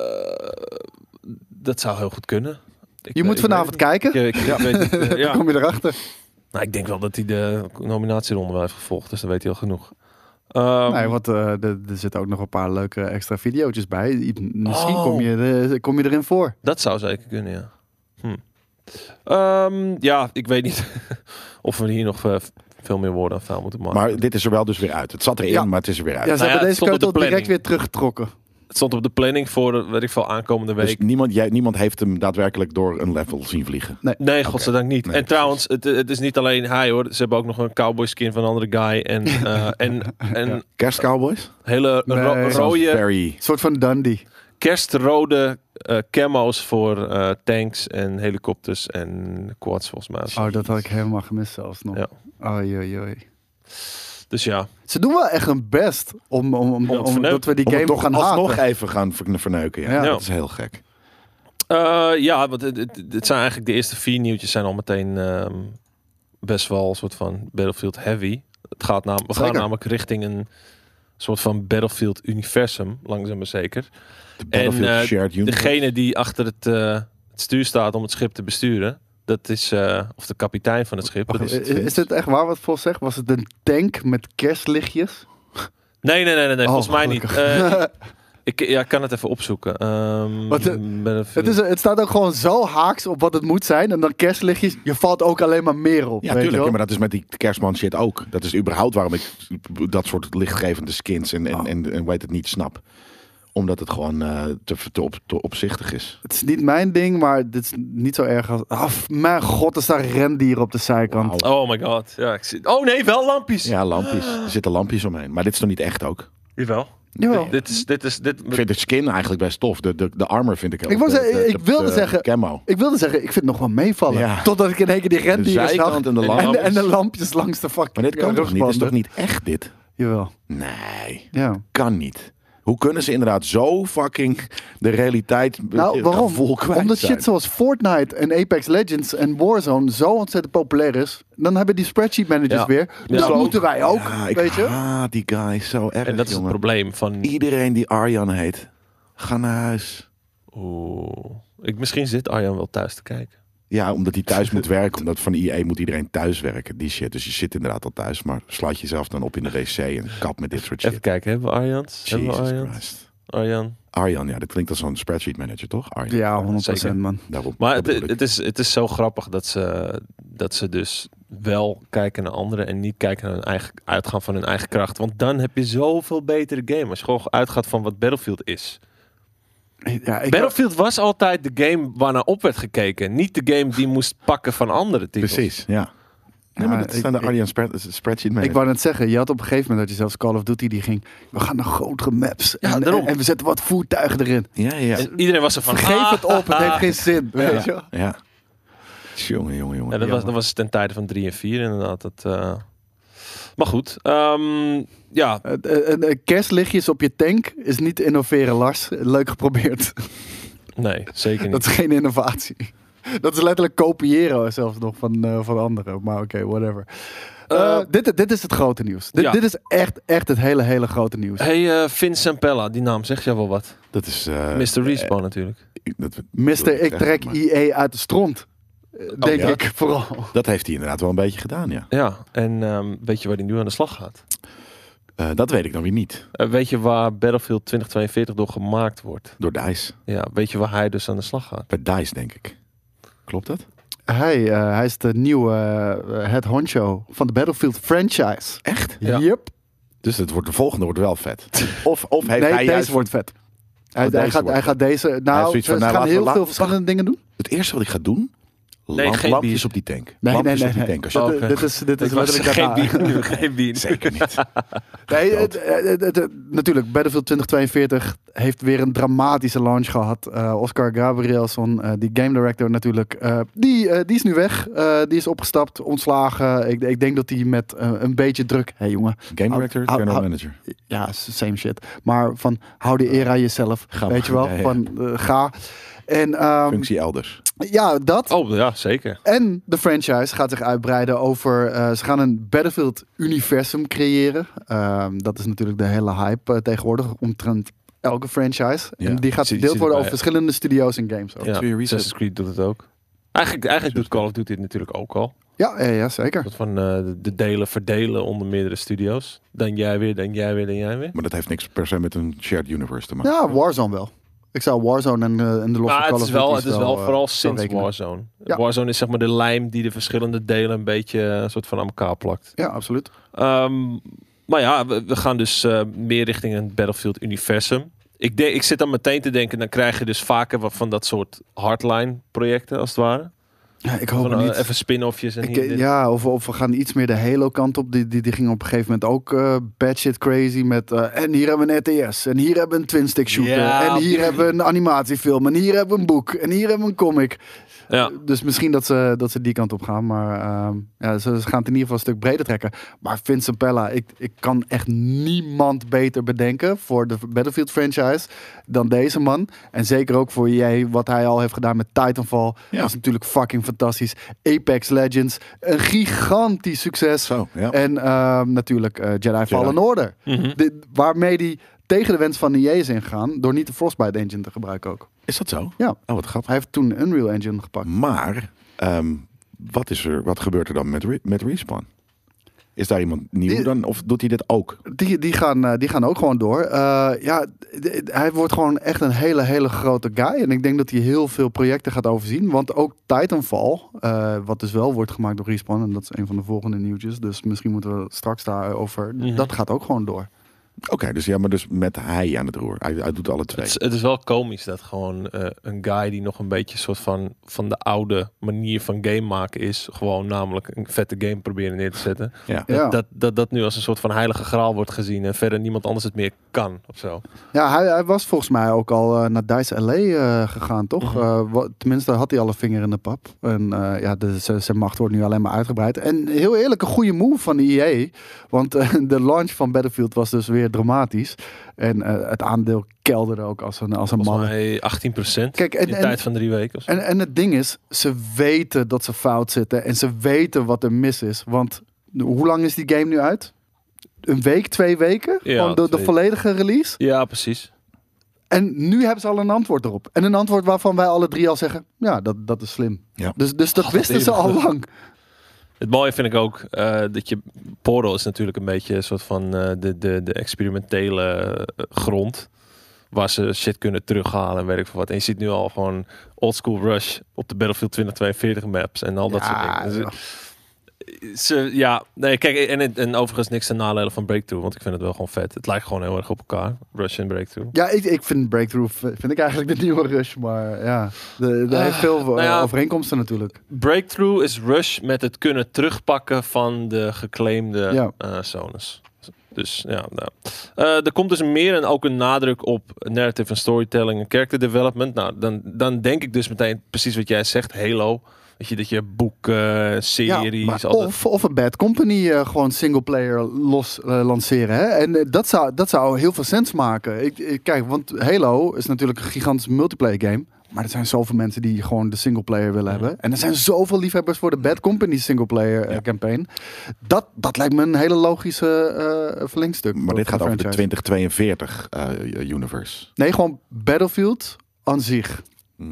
Speaker 1: Dat zou heel goed kunnen. Ik,
Speaker 3: Je
Speaker 1: eh,
Speaker 3: moet
Speaker 1: ik
Speaker 3: vanavond
Speaker 1: weet
Speaker 3: kijken.
Speaker 1: het niet. Ik, ik, ik weet het, eh,
Speaker 3: Dan
Speaker 1: ja.
Speaker 3: kom je erachter.
Speaker 1: nou, ik denk wel dat hij de nominatieronde wel heeft gevolgd, dus dan weet hij al genoeg. Ehm,
Speaker 3: Nee, want eh, er er zitten ook nog een paar leuke extra videootjes bij. I- Misschien
Speaker 1: Oh.
Speaker 3: kom, je, er- eh, kom je erin voor.
Speaker 1: Dat zou zeker kunnen, ja. Hm. Ehm, ja, ik weet niet of we hier nog eh, veel meer woorden aan vuil moeten maken.
Speaker 2: Maar dit is er wel dus weer uit. Het zat erin,
Speaker 3: Ja.
Speaker 2: maar het is er weer uit. Dus
Speaker 3: Ja, ze
Speaker 1: nou ja,
Speaker 3: hebben
Speaker 1: het
Speaker 3: deze
Speaker 1: stond op de
Speaker 3: keutel direct
Speaker 1: planning.
Speaker 3: weer teruggetrokken.
Speaker 1: Het stond op de planning voor, eh, weet ik veel, aankomende week.
Speaker 2: dus niemand, jij, niemand heeft hem daadwerkelijk door een level zien vliegen.
Speaker 1: Nee, godzijdank niet.
Speaker 2: Nee,
Speaker 1: en
Speaker 2: precies.
Speaker 1: trouwens, het, het is niet alleen hij hoor. Ze hebben ook nog een cowboy skin van een andere guy. En, eh, en, en
Speaker 2: Kerstcowboys?
Speaker 1: hele ro-
Speaker 3: Nee.
Speaker 1: rode,
Speaker 2: Very...
Speaker 3: Een soort van Dundee.
Speaker 1: kerstrode eh, camo's voor eh, tanks en helikopters en quads volgens mij.
Speaker 3: Ah. Oh, dat had ik helemaal gemist zelfs nog.
Speaker 1: Ja.
Speaker 3: Oei, oei, oei.
Speaker 1: Dus ja,
Speaker 3: Ze doen wel echt hun best om, om, om,
Speaker 1: het
Speaker 3: om-
Speaker 1: verneukt.
Speaker 3: dat we die
Speaker 2: Om het
Speaker 3: game
Speaker 2: toch
Speaker 3: gaan
Speaker 2: alsnog
Speaker 3: haten.
Speaker 2: even gaan ver- verneuken. Ja.
Speaker 3: Ja.
Speaker 2: Dat is heel gek.
Speaker 1: Eh, ja, want het, het, het zijn eigenlijk de eerste vier nieuwtjes zijn al meteen ehm, best wel een soort van Battlefield heavy. Het gaat nam, we gaan
Speaker 3: Zeker.
Speaker 1: namelijk richting een soort van Battlefield universum, langzaam maar zeker.
Speaker 2: De Battlefield
Speaker 1: eh,
Speaker 2: Shared Unit.
Speaker 1: Degene die achter het, eh, het stuur staat om het schip te besturen, dat is, eh, of de kapitein van het schip. Dat
Speaker 2: Wacht
Speaker 1: is,
Speaker 2: even.
Speaker 3: Is, is dit echt waar wat Vol zegt? Was het een tank met kerstlichtjes?
Speaker 1: nee, nee, nee, nee, nee,
Speaker 3: Oh,
Speaker 1: volgens mij niet.
Speaker 3: gelukkig.
Speaker 1: Eh, ik ja, ik kan het even opzoeken. Ehm,
Speaker 3: Wat, eh,
Speaker 1: Battlefield-
Speaker 3: Het, is, het staat ook gewoon zo haaks op wat het moet zijn. En dan kerstlichtjes, je valt ook alleen maar meer op.
Speaker 2: Ja,
Speaker 3: weet je
Speaker 2: tuurlijk.
Speaker 3: wel?
Speaker 2: Ja, maar dat is met die kerstman shit ook. Dat is überhaupt waarom ik dat soort lichtgevende skins en,
Speaker 3: Oh.
Speaker 2: en, en, en weet het niet snap. Omdat het gewoon eh, te, te, op, te opzichtig is.
Speaker 3: Het is niet mijn ding, maar dit is niet zo erg als... Ah, f- mijn god, er staan rendier op de zijkant.
Speaker 2: Wauw.
Speaker 1: Oh my god. Ja, ik zie... Oh nee, wel lampjes.
Speaker 2: Ja, lampjes. Er zitten lampjes omheen. Maar dit is toch niet echt ook?
Speaker 1: Jawel.
Speaker 3: Jawel.
Speaker 1: Dit is, dit is, dit,
Speaker 2: Ik vind de skin eigenlijk best tof. De, de, de armor vind ik heel
Speaker 3: Ik wou
Speaker 2: de-
Speaker 3: zeggen,
Speaker 2: de-
Speaker 3: ik
Speaker 2: de-
Speaker 3: wilde
Speaker 2: de
Speaker 3: zeggen-
Speaker 2: Camo.
Speaker 3: Ik wilde zeggen, ik vind het nog wel meevallen.
Speaker 2: Ja.
Speaker 3: Totdat ik in één keer die
Speaker 2: De
Speaker 3: rendieren zag.
Speaker 2: zijkant en de
Speaker 1: en-
Speaker 2: lamp.
Speaker 3: En, de- en de lampjes langs de fucking
Speaker 2: Maar dit kan
Speaker 3: eh,
Speaker 2: toch niet? Dit is toch
Speaker 3: rugspanden?
Speaker 2: niet echt dit?
Speaker 3: Jawel.
Speaker 2: Nee,
Speaker 3: Ja.
Speaker 2: kan niet. Hoe kunnen ze inderdaad zo fucking de realiteit
Speaker 3: Nou, waarom?
Speaker 2: vol kwijt
Speaker 3: Omdat
Speaker 2: zijn?
Speaker 3: shit zoals Fortnite en Apex Legends en Warzone zo ontzettend populair is. Dan hebben die spreadsheet managers
Speaker 1: Ja.
Speaker 3: weer.
Speaker 1: Ja.
Speaker 3: Dus Dat
Speaker 1: Zo.
Speaker 3: moeten wij ook,
Speaker 2: Nou, Ja, ik
Speaker 3: weet je?
Speaker 2: haat die guy zo erg,
Speaker 1: En dat is het
Speaker 2: jongen.
Speaker 1: probleem van.
Speaker 2: Iedereen die Arjan heet, ga naar huis.
Speaker 1: Oeh. Ik, misschien zit Arjan wel thuis te kijken.
Speaker 2: Ja, omdat hij thuis moet werken. Omdat van IE moet iedereen thuis werken. Die shit. Dus je zit inderdaad al thuis. Maar slaat jezelf dan op in de wc en kap met dit soort
Speaker 1: Even
Speaker 2: shit.
Speaker 1: kijken, hebben we Arjans? hebben we
Speaker 2: Jesus
Speaker 1: Arjans?
Speaker 2: Christ.
Speaker 1: Arjan.
Speaker 2: Arjan, ja, dat klinkt als zo'n spreadsheet manager, toch? Arjan.
Speaker 3: Ja, 100%
Speaker 1: Zeker.
Speaker 3: man.
Speaker 2: Daarom,
Speaker 1: Maar
Speaker 2: dat
Speaker 1: het,
Speaker 2: bedoel ik.
Speaker 1: het, is, het is zo grappig dat ze, dat ze dus wel kijken naar anderen en niet kijken naar hun eigen uitgaan van hun eigen kracht. Want dan heb je zoveel betere game als je gewoon uitgaat van wat Battlefield is.
Speaker 3: Ja, ik
Speaker 1: Battlefield was altijd de game waarnaar op werd gekeken. Niet de game die moest pakken van andere titels.
Speaker 2: Precies, ja. Nee, maar
Speaker 3: Ja,
Speaker 2: dat
Speaker 3: ik-
Speaker 2: zijn de
Speaker 3: ik-
Speaker 2: Arjan spread- spreadsheet manager.
Speaker 3: Ik wou net zeggen, je had op een gegeven moment dat je zelfs Call of Duty die ging. We gaan naar grotere maps.
Speaker 1: Ja,
Speaker 3: en,
Speaker 1: daarom.
Speaker 3: en- en we zetten wat voertuigen erin.
Speaker 2: Ja, ja.
Speaker 1: En iedereen was er van. "Ah."
Speaker 3: Geef het op, het heeft geen zin. Weet je? wel.
Speaker 2: Ja. Jongen, jongen, jongen.
Speaker 1: Ja, dat, was, dat was ten tijde van 3 en 4 inderdaad. Dat, eh. Maar goed, ehm, ja,
Speaker 3: Eh, eh, eh, kerstlichtjes op je tank is niet innoveren, Lars. Leuk geprobeerd.
Speaker 1: nee, zeker niet.
Speaker 3: Dat is geen innovatie. Dat is letterlijk kopiëren zelfs nog van, eh, van anderen. Maar oké, whatever. Eh,
Speaker 1: Eh,
Speaker 3: dit, dit is het grote nieuws. Dit,
Speaker 1: ja.
Speaker 3: dit is echt, echt het hele, hele grote nieuws.
Speaker 1: Hey, eh, Vince Sampella, die naam zegt jou wel wat.
Speaker 2: Dat is... eh,
Speaker 1: Mr. Respawn natuurlijk.
Speaker 2: ik- dat-
Speaker 3: Mister, ik trek
Speaker 2: maar-
Speaker 3: IE uit de stront. Eh,
Speaker 1: Oh,
Speaker 3: Denk
Speaker 2: ja?
Speaker 3: ik vooral.
Speaker 2: Dat heeft hij inderdaad wel een beetje gedaan, ja.
Speaker 1: Ja, en ehm, weet je waar die nu aan de slag gaat?
Speaker 2: Eh, dat weet ik dan weer niet.
Speaker 1: Eh, weet je waar Battlefield 2042 door gemaakt wordt?
Speaker 2: Door DICE.
Speaker 1: Ja, weet je waar hij dus aan de slag gaat?
Speaker 2: Bij DICE, denk ik. Klopt dat?
Speaker 3: Hij, eh, hij is de nieuwe eh, head honcho van de Battlefield franchise.
Speaker 2: Echt?
Speaker 1: Ja.
Speaker 3: Yep.
Speaker 2: Dus het wordt, de volgende wordt wel vet. Of, of heeft
Speaker 3: nee,
Speaker 2: hij
Speaker 3: deze
Speaker 2: juist...
Speaker 3: wordt vet. Hij,
Speaker 2: Oh,
Speaker 3: hij
Speaker 2: deze
Speaker 3: gaat,
Speaker 2: wordt
Speaker 3: hij gaat deze... Nou,
Speaker 2: zoiets van, nou,
Speaker 3: ze gaan
Speaker 2: laten we-
Speaker 3: heel
Speaker 2: laten
Speaker 3: veel
Speaker 2: we-
Speaker 3: verschillende dingen doen.
Speaker 2: Het eerste wat ik ga doen...
Speaker 1: Nee,
Speaker 2: lamp-
Speaker 1: geen
Speaker 2: lampjes
Speaker 1: bier.
Speaker 2: op die tank.
Speaker 3: Nee,
Speaker 2: lampjes
Speaker 3: nee,
Speaker 2: op
Speaker 3: nee,
Speaker 2: die
Speaker 3: nee.
Speaker 2: tank. Als je
Speaker 3: Dit,
Speaker 1: Oh,
Speaker 2: dat-
Speaker 1: oké.
Speaker 3: dit is, dit is
Speaker 1: Ik was-
Speaker 3: letterlijk
Speaker 1: geen
Speaker 3: daarna.
Speaker 1: bier, nu, geen bier.
Speaker 2: Zeker niet.
Speaker 3: Nee, het- het- het- het- natuurlijk, Battlefield 2042 heeft weer een dramatische launch gehad. Eh, Oscar Gabrielson, eh, die game director natuurlijk, eh, die, eh, die is nu weg. Eh, die is opgestapt, ontslagen. Ik, ik denk dat hij met eh, een beetje druk... Hé hey, jongen,
Speaker 2: Game director,
Speaker 3: Houd-
Speaker 2: general
Speaker 3: houd-
Speaker 2: manager.
Speaker 3: ja, s- same shit. Maar van, hou de eer aan jezelf.
Speaker 2: Ga
Speaker 3: weet
Speaker 2: maar.
Speaker 3: je wel,
Speaker 2: Ja, ja.
Speaker 3: van eh, ga. En ehm,
Speaker 2: Functie elders.
Speaker 3: ja, dat.
Speaker 1: Oh ja, zeker.
Speaker 3: En de franchise gaat zich uitbreiden over. eh, ze gaan een Battlefield-universum creëren. Ehm, dat is natuurlijk de hele hype eh, tegenwoordig omtrent elke franchise.
Speaker 2: Ja,
Speaker 3: En die
Speaker 1: zie-
Speaker 3: gaat verdeeld
Speaker 1: zie
Speaker 3: worden over
Speaker 1: erbij.
Speaker 3: verschillende studio's en games. Ook.
Speaker 1: Ja,
Speaker 2: Doe je research.
Speaker 1: Assassin's Creed doet het ook. Eigenlijk, eigenlijk doet Call of Duty het natuurlijk ook al.
Speaker 3: Ja, ja, ja, zeker.
Speaker 1: Dat van eh, de- de delen verdelen onder meerdere studio's. Dan jij weer, dan jij weer, dan jij weer.
Speaker 2: Maar dat heeft niks per se met een shared universe te maken.
Speaker 3: Ja, Warzone wel. Ik zou Warzone en, eh, en de losse
Speaker 1: Maar
Speaker 3: Call
Speaker 1: Nou, het
Speaker 3: of
Speaker 1: is wel,
Speaker 3: Duty's
Speaker 1: het is wel
Speaker 3: eh,
Speaker 1: vooral
Speaker 3: zou
Speaker 1: sinds
Speaker 3: rekenen.
Speaker 1: Warzone.
Speaker 3: Ja.
Speaker 1: Warzone is zeg maar de lijm die de verschillende delen een beetje eh, een soort van aan elkaar plakt.
Speaker 3: Ja, absoluut.
Speaker 1: Ehm, maar ja, we, we gaan dus eh, meer richting een Battlefield universum. Ik, denk, ik zit dan meteen te denken, dan krijg je dus vaker wat van dat soort hardline projecten als het ware.
Speaker 3: Ja, ik hoop
Speaker 1: Van,
Speaker 3: het
Speaker 1: eh,
Speaker 3: niet.
Speaker 1: even spin-offjes en
Speaker 3: Ik,
Speaker 1: hier, dit.
Speaker 3: ja, of, of we gaan iets meer de Halo kant op. Die, die, die ging op een gegeven moment ook eh bad shit crazy met... eh, en hier hebben we een RTS. En hier hebben we een twin-stick shooter.
Speaker 1: Ja,
Speaker 3: en
Speaker 1: op
Speaker 3: hier
Speaker 1: die
Speaker 3: hebben we een animatiefilm. En hier hebben we een boek. En hier hebben we een comic.
Speaker 1: Ja.
Speaker 3: Dus misschien dat ze, dat ze die kant op gaan. Maar ehm, ja, ze, ze gaan het in ieder geval een stuk breder trekken. Maar Vincent Pella, ik, ik kan echt niemand beter bedenken voor de Battlefield franchise dan deze man. En zeker ook voor jij, wat hij al heeft gedaan met Titanfall.
Speaker 2: Ja.
Speaker 3: Dat is natuurlijk fucking fantastisch. Apex Legends, een gigantisch succes.
Speaker 2: Zo, ja. Mhm.
Speaker 3: En ehm, natuurlijk eh, Jedi, Fallen Order. Dit- waarmee die tegen de wens van EA is ingegaan door niet de Frostbite Engine te gebruiken ook.
Speaker 2: Is dat zo?
Speaker 3: Ja.
Speaker 2: Oh, wat grappig.
Speaker 3: Hij heeft toen een Unreal Engine gepakt.
Speaker 2: Maar ehm, wat, is er, wat gebeurt er dan met, Re- met Respawn? Is daar iemand nieuw
Speaker 3: Die-
Speaker 2: dan? Of doet hij dit ook?
Speaker 3: Die, die, gaan, eh, die gaan ook gewoon door. Eh, ja, d- d- hij wordt gewoon echt een hele, hele grote guy. En ik denk dat hij heel veel projecten gaat overzien. Want ook Titanfall, eh, wat dus wel wordt gemaakt door Respawn. En dat is een van de volgende nieuwtjes. Dus misschien moeten we straks daarover. Dat gaat ook gewoon door.
Speaker 2: Oké, dus ja, maar dus met hij aan het roer. Hij, hij doet alle twee.
Speaker 1: Het is, het is wel komisch dat gewoon eh, een guy die nog een beetje soort van van de oude manier van game maken is, gewoon namelijk een vette game proberen neer te zetten.
Speaker 2: Ja.
Speaker 3: Ja.
Speaker 1: Dat, dat dat nu als een soort van heilige graal wordt gezien en verder niemand anders het meer kan of zo.
Speaker 3: Ja, hij, hij was volgens mij ook al eh, naar DICE LA eh, gegaan, toch?
Speaker 1: Mhm.
Speaker 3: Eh, wa- tenminste, had hij al een vinger in de pap. En eh, ja, de, z- zijn macht wordt nu alleen maar uitgebreid. En heel eerlijk, een goede move van EA. Want eh, de launch van Battlefield was dus weer dramatisch. En eh, het aandeel kelderde ook als een, als een
Speaker 1: Volgens
Speaker 3: malle.
Speaker 1: mij 18
Speaker 3: Kijk, en-
Speaker 1: in
Speaker 3: en-
Speaker 1: tijd van drie weken. Of zo.
Speaker 3: En, en het ding is, ze weten dat ze fout zitten. En ze weten wat er mis is. Want hoe lang is die game nu uit? Een week, twee weken?
Speaker 1: Ja,
Speaker 3: Gewoon de, de
Speaker 1: twee.
Speaker 3: volledige release?
Speaker 1: ja, precies.
Speaker 3: En nu hebben ze al een antwoord erop. En een antwoord waarvan wij alle drie al zeggen: ja, dat, dat is slim.
Speaker 2: Ja.
Speaker 3: Dus, dus dat wisten ze
Speaker 1: eeuwig.
Speaker 3: al lang.
Speaker 1: Het mooie vind ik ook eh, dat je Portal is natuurlijk een beetje een soort van eh, de, de, de experimentele eh, grond. Waar ze shit kunnen terughalen en weet ik veel wat. En je ziet nu al gewoon old school rush op de Battlefield 2042 maps en al dat soort dingen. Dus, eh, ze, ja, nee, kijk, en, en, en overigens niks ten nadele van Breakthrough, want ik vind het wel gewoon vet. Het lijkt gewoon heel erg op elkaar, Rush en Breakthrough.
Speaker 3: Ja, ik, ik vind Breakthrough v- vind ik eigenlijk de nieuwe Rush. Maar ja, de- daar heeft veel eh,
Speaker 1: ja.
Speaker 3: overeenkomsten natuurlijk.
Speaker 1: Breakthrough is Rush met het kunnen terugpakken van de geclaimde
Speaker 3: Ja.
Speaker 1: eh, zones. Dus ja, nou. Eh, er komt dus meer en ook een nadruk op narrative en storytelling en character development. Nou, dan, dan denk ik dus meteen precies wat jij zegt, Halo. Weet je, dat je boeken, series,
Speaker 3: maar
Speaker 1: al dat-
Speaker 3: of, of een Bad Company eh, gewoon singleplayer los eh, lanceren. Hè? En eh, dat, zou, dat zou heel veel sens maken. Ik, ik- kijk, want Halo is natuurlijk een gigantisch multiplayer game. Maar er zijn zoveel mensen die gewoon de singleplayer willen hebben. En er zijn zoveel liefhebbers voor de Bad Company singleplayer eh, campaign. Dat, dat lijkt me een hele logische eh, verlengstuk.
Speaker 2: Maar
Speaker 3: voor-
Speaker 2: dit
Speaker 3: voor
Speaker 2: gaat over de
Speaker 3: franchise.
Speaker 2: 2042 eh, universe.
Speaker 3: Nee, gewoon Battlefield aan zich.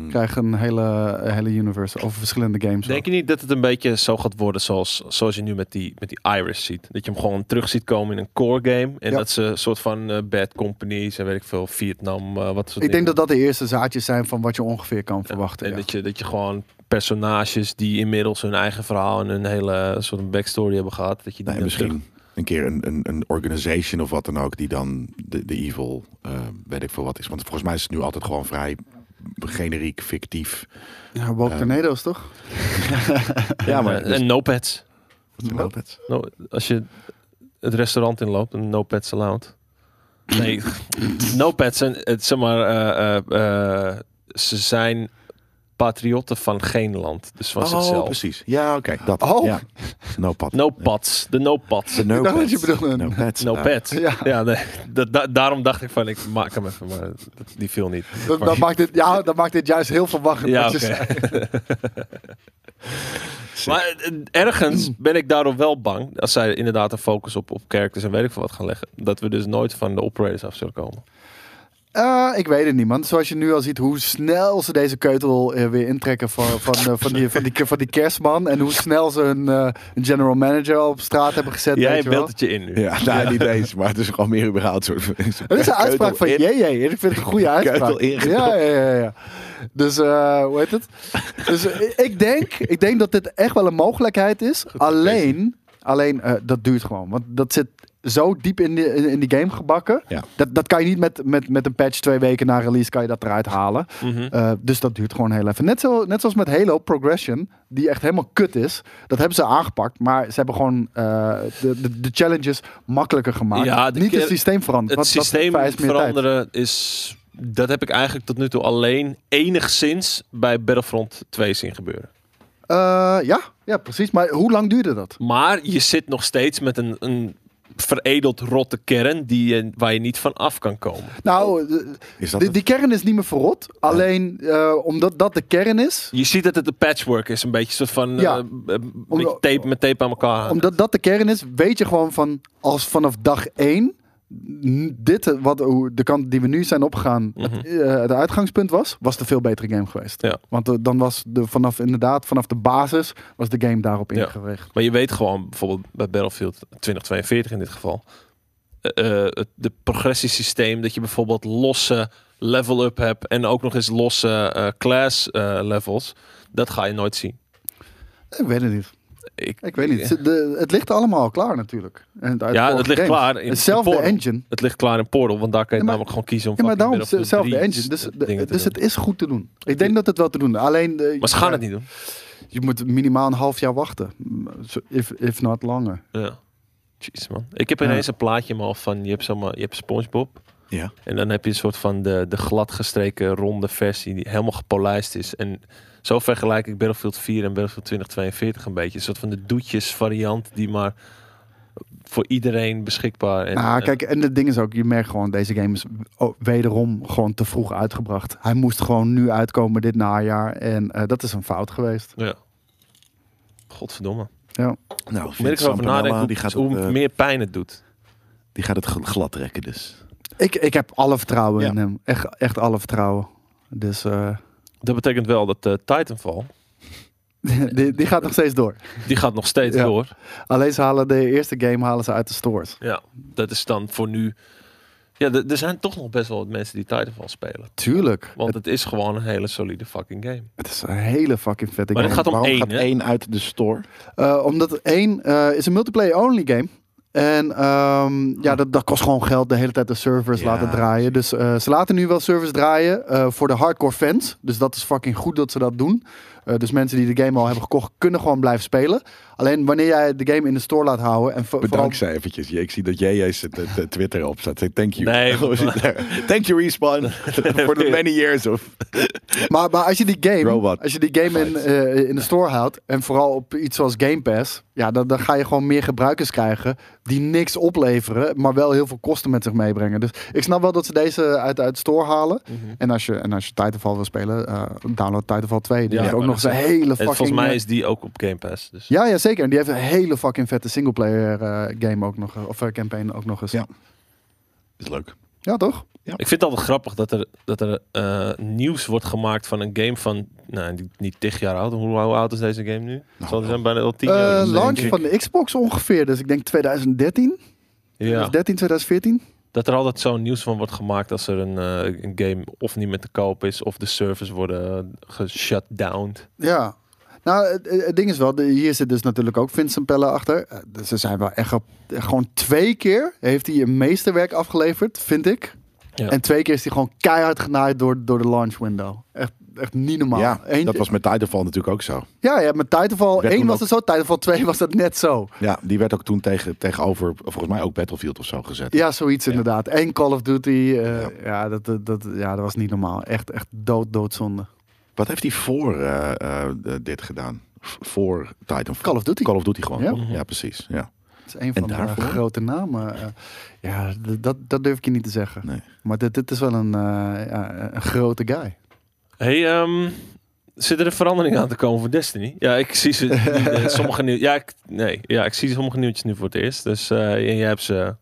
Speaker 3: Krijgt een hele, een hele universe over verschillende games.
Speaker 1: Denk je niet dat het een beetje zo gaat worden zoals, zoals je nu met die, met die Iris ziet? Dat je hem gewoon terug ziet komen in een core game. En
Speaker 3: Ja.
Speaker 1: dat ze een soort van eh, bad companies en weet ik veel, Vietnam, eh, wat soort
Speaker 3: ik denk
Speaker 1: dingen.
Speaker 3: dat dat de eerste zaadjes zijn van wat je ongeveer kan verwachten.
Speaker 1: En
Speaker 3: ja.
Speaker 1: dat, je, dat je gewoon personages die inmiddels hun eigen verhaal en hun hele soort backstory hebben gehad. Dat je die
Speaker 2: Nou, en
Speaker 1: dan
Speaker 2: misschien
Speaker 1: terug-
Speaker 2: een keer een, een, een organization of wat dan ook, die dan de, de evil, eh, weet ik veel wat is. Want volgens mij is het nu altijd gewoon vrij generiek, fictief.
Speaker 3: Ja, Woke
Speaker 2: Eh,
Speaker 3: Tornado's, toch?
Speaker 2: Ja, maar
Speaker 1: En, eh,
Speaker 2: dus-
Speaker 1: en notepads.
Speaker 2: Wat zijn
Speaker 3: Wat?
Speaker 2: dat?
Speaker 1: No, als je het restaurant inloopt, een notepads allowed. Nee, notepads zijn, het, zeg maar, eh, eh, eh, ze zijn patriotten van geen land. Dus van
Speaker 2: Oh,
Speaker 1: zichzelf.
Speaker 2: precies. Ja, oké. dat.
Speaker 3: Oh.
Speaker 2: Ja. No pad.
Speaker 1: No pads, de no pads.
Speaker 2: De no
Speaker 3: Ik dacht dat je
Speaker 2: pads.
Speaker 3: bedoelde-
Speaker 2: No pads.
Speaker 1: No
Speaker 2: Ah,
Speaker 1: pads.
Speaker 3: Ja.
Speaker 1: Ja, nee, dat, da- daarom dacht ik van, ik maak hem even, maar dat- die viel niet.
Speaker 3: Dat, dat maakt dit, ja, dat maakt dit juist heel verwachtend.
Speaker 1: Ja,
Speaker 3: wat je
Speaker 1: oké.
Speaker 3: zei.
Speaker 1: Maar eh, ergens ben ik daardoor wel bang, als zij inderdaad een focus op, op characters en weet ik veel wat gaan leggen, dat we dus nooit van de operators af zullen komen.
Speaker 3: Eh, ik weet het niet, man. Zoals je nu al ziet hoe snel ze deze keutel eh, weer intrekken van, van, eh, van, die, van, die, van die kerstman. En hoe snel ze een eh, een general manager al op straat hebben gezet.
Speaker 1: Jij
Speaker 3: weet je wel.
Speaker 1: beeldt het je in nu.
Speaker 2: Ja, nou, niet eens, maar het is gewoon meer überhaupt soort van...
Speaker 3: Dat is een uitspraak van
Speaker 2: Keutel in.
Speaker 3: JJ. En ik vind het een goede uitspraak.
Speaker 2: Keutel ingedopt.
Speaker 3: Ja, ja, ja, ja. Dus eh, hoe heet het? Dus eh, ik denk, ik denk dat dit echt wel een mogelijkheid is. Alleen, alleen eh, dat duurt gewoon. Want dat zit zo diep in die, in die game gebakken.
Speaker 2: Ja.
Speaker 3: Dat, dat kan je niet met, met, met een patch twee weken na release kan je dat eruit halen.
Speaker 1: Mhm.
Speaker 3: Eh, dus dat duurt gewoon heel even. Net, zo, net zoals met Halo Progression, die echt helemaal kut is. Dat hebben ze aangepakt, maar ze hebben gewoon eh, de, de, de challenges makkelijker gemaakt.
Speaker 1: Ja, de
Speaker 3: Niet het
Speaker 1: ke-
Speaker 3: systeem veranderd.
Speaker 1: Het
Speaker 3: want dat
Speaker 1: systeem
Speaker 3: vereist meer tijd.
Speaker 1: veranderen is dat heb ik eigenlijk tot nu toe alleen enigszins bij Battlefront 2 zien gebeuren.
Speaker 3: Eh, ja, ja, precies. Maar hoe lang duurde dat?
Speaker 1: Maar je zit nog steeds met een, een veredeld rotte kern die je, waar je niet van af kan komen.
Speaker 3: Nou, eh,
Speaker 2: Is dat
Speaker 3: die,
Speaker 2: het?
Speaker 3: die kern is niet meer verrot. Alleen eh, omdat dat de kern is,
Speaker 1: Je ziet dat het een patchwork is, een beetje soort van eh,
Speaker 3: Ja.
Speaker 1: een beetje tape met tape aan elkaar. hangen.
Speaker 3: Omdat dat de kern is, weet je gewoon van als vanaf dag 1 dit, eh, wat, hoe de kant die we nu zijn opgegaan, het, eh, het uitgangspunt was, was de veel betere game geweest.
Speaker 1: Mhm. Ja.
Speaker 3: Want eh, dan was de, vanaf inderdaad, vanaf de basis, was de game daarop
Speaker 1: Ja.
Speaker 3: ingericht.
Speaker 1: Maar je weet gewoon, bijvoorbeeld bij Battlefield 2042 in dit geval, eh, eh, het de progressiesysteem dat je bijvoorbeeld losse level-up hebt en ook nog eens losse eh, class eh, levels, dat ga je nooit zien.
Speaker 3: Ik weet het niet.
Speaker 1: Ik,
Speaker 3: Ik weet niet. Ze- de- het ligt allemaal al klaar natuurlijk. En het uit
Speaker 1: Ja,
Speaker 3: vorige
Speaker 1: het ligt
Speaker 3: games.
Speaker 1: klaar in-
Speaker 3: Hetzelfde
Speaker 1: in Portal.
Speaker 3: engine.
Speaker 1: Het ligt klaar in Portal, want daar kan je
Speaker 3: Ja, maar-
Speaker 1: namelijk gewoon kiezen om
Speaker 3: Ja, maar
Speaker 1: fucking
Speaker 3: daarom
Speaker 1: Battlefield
Speaker 3: hetzelfde
Speaker 1: 3
Speaker 3: engine. Dus,
Speaker 1: dingen te
Speaker 3: dus
Speaker 1: doen.
Speaker 3: het is goed te doen. Ik denk dat het wel te doen. Alleen, eh,
Speaker 1: Maar ze gaan het niet doen.
Speaker 3: Je moet minimaal een half jaar wachten. Zo- If, if not langer.
Speaker 1: Ja. Jeez, man. Ik heb ineens een plaatje in mijn hoofd van, je hebt, zomaar, je hebt Spongebob.
Speaker 2: Ja. Nou,
Speaker 1: En dan heb je een soort van de, de gladgestreken ronde versie die helemaal gepolijst is. En zo vergelijk ik Battlefield 4 en Battlefield 2042 een beetje. Een soort van de doetjes variant die maar voor iedereen beschikbaar en, eh,
Speaker 3: Nou,
Speaker 1: en-
Speaker 3: kijk, en het ding is ook, je merkt gewoon, deze game is o- wederom gewoon te vroeg uitgebracht. Hij moest gewoon nu uitkomen dit najaar. En eh, dat is een fout geweest.
Speaker 1: ja. Godverdomme.
Speaker 3: Ja.
Speaker 2: Nou,
Speaker 1: Hoe meer
Speaker 2: Vincent
Speaker 1: ik erover
Speaker 2: Sampanella,
Speaker 1: nadenk, hoe,
Speaker 2: die gaat, het,
Speaker 1: hoe
Speaker 2: eh,
Speaker 1: meer pijn het doet.
Speaker 2: die gaat het gl- glad trekken dus.
Speaker 3: Ik, ik heb alle vertrouwen
Speaker 2: Ja.
Speaker 3: in hem. Echt, echt alle vertrouwen. Dus eh,
Speaker 1: Dat betekent wel dat eh, Titanfall,
Speaker 3: die, die gaat nog steeds door.
Speaker 1: die gaat nog steeds
Speaker 3: Ja.
Speaker 1: door.
Speaker 3: Alleen ze halen de eerste game halen ze uit de stores.
Speaker 1: Ja, dat is dan voor nu... Ja, d- er zijn toch nog best wel wat mensen die Titanfall spelen.
Speaker 3: Tuurlijk.
Speaker 1: Want
Speaker 3: Het,
Speaker 1: het is gewoon een hele solide fucking game.
Speaker 3: het is een hele fucking vette
Speaker 1: Maar
Speaker 3: game.
Speaker 1: het gaat om
Speaker 2: Waarom
Speaker 1: één,
Speaker 2: gaat
Speaker 1: hè?
Speaker 2: één uit de store?
Speaker 3: Eh, omdat één eh, is een multiplayer-only game. En ehm, ja, dat, dat kost gewoon geld de hele tijd de servers
Speaker 2: Hm. Ja,
Speaker 3: laten draaien. Dus eh, ze laten nu wel servers draaien eh, voor de hardcore fans. Dus dat is fucking goed dat ze dat doen. Eh, dus mensen die de game al hebben gekocht, kunnen gewoon blijven spelen. Alleen wanneer jij de game in de store laat houden. En vo- vooral,
Speaker 2: Bedankt ze eventjes. Ik zie dat JJ's het- het- het Twitter op staat. Hey, Thank you.
Speaker 1: Nee,
Speaker 2: Thank you, Respawn. For the many years of...
Speaker 3: maar, maar als je die game,
Speaker 2: Robot.
Speaker 3: als je die game in, eh, in de store houdt. En vooral op iets zoals Game Pass. Ja, dan, dan ga je gewoon meer gebruikers krijgen. Die niks opleveren. Maar wel heel veel kosten met zich meebrengen. Dus ik snap wel dat ze deze uit, uit de store halen.
Speaker 1: Mhm.
Speaker 3: En als je, en als je Titanfall wil spelen, eh, download Titanfall 2. Die
Speaker 1: Ja,
Speaker 3: heeft ook
Speaker 1: maar
Speaker 3: nog eens een hele
Speaker 1: En
Speaker 3: fucking...
Speaker 1: volgens mij
Speaker 3: eh,
Speaker 1: is die ook op Game Pass. Dus.
Speaker 3: Ja, ja, zeker. En die heeft een hele fucking vette singleplayer eh, game ook nog. eh, Of eh, campaign ook nog eens.
Speaker 2: Ja. Is leuk.
Speaker 3: Ja, toch?
Speaker 1: Ik vind het altijd grappig dat er, dat er eh, nieuws wordt gemaakt van een game van... Nou, die- niet tig jaar oud. Hoe, hoe oud is deze game nu? Zal die zijn bijna al tien
Speaker 3: Eh,
Speaker 1: jaar oud, denk
Speaker 3: launch
Speaker 1: ik.
Speaker 3: van de Xbox ongeveer. Dus ik denk Dus 2013.
Speaker 1: Ja,
Speaker 3: 2013, 2014.
Speaker 1: dat er altijd zo'n nieuws van wordt gemaakt als er een, eh, een game of niet meer te koop is... of de servers worden eh, geshut downed.
Speaker 3: Ja. Nou, het, het- het ding is wel, de- hier zit dus natuurlijk ook Vincent Pelle achter. Eh, dus Ze zijn wel echt op, gewoon twee keer heeft hij een meesterwerk afgeleverd, vind ik.
Speaker 1: Ja.
Speaker 3: En twee keer is hij gewoon keihard genaaid door, door de launch window. Echt, echt niet normaal.
Speaker 2: ja,
Speaker 3: Eén-
Speaker 2: dat was met Titanfall natuurlijk ook zo.
Speaker 3: ja, ja, met Titanfall
Speaker 2: Werd
Speaker 3: 1
Speaker 2: toen
Speaker 3: was
Speaker 2: ook-
Speaker 3: het zo, Titanfall 2 was dat net zo.
Speaker 2: Ja, die werd ook toen tegen, tegenover, volgens mij ook Battlefield of zo gezet.
Speaker 3: Ja, zoiets inderdaad. En Call of Duty, eh, ja. dat, dat, dat- ja, dat was niet normaal. Echt, echt dood, doodzonde.
Speaker 2: Wat heeft hij voor eh, eh, eh, dit gedaan? V- voor Titanfall?
Speaker 3: Call of Duty.
Speaker 2: Call of Duty gewoon.
Speaker 3: Ja.
Speaker 2: toch? ja precies. Ja.
Speaker 3: Het is een
Speaker 2: En
Speaker 3: van de eh,
Speaker 2: daarvoor?
Speaker 3: grote namen. eh. ja, d- dat, dat durf ik je niet te zeggen.
Speaker 2: Nee.
Speaker 3: Maar dit, dit is wel een, eh, ja, een grote guy.
Speaker 1: hey, ehm, zit er een verandering aan te komen voor Destiny? Ja, ik zie ze, eh, sommige nieuw, ja, ik, nee, ja, ik zie sommige nieuwtjes nu voor het eerst. Dus eh, en jij hebt ze...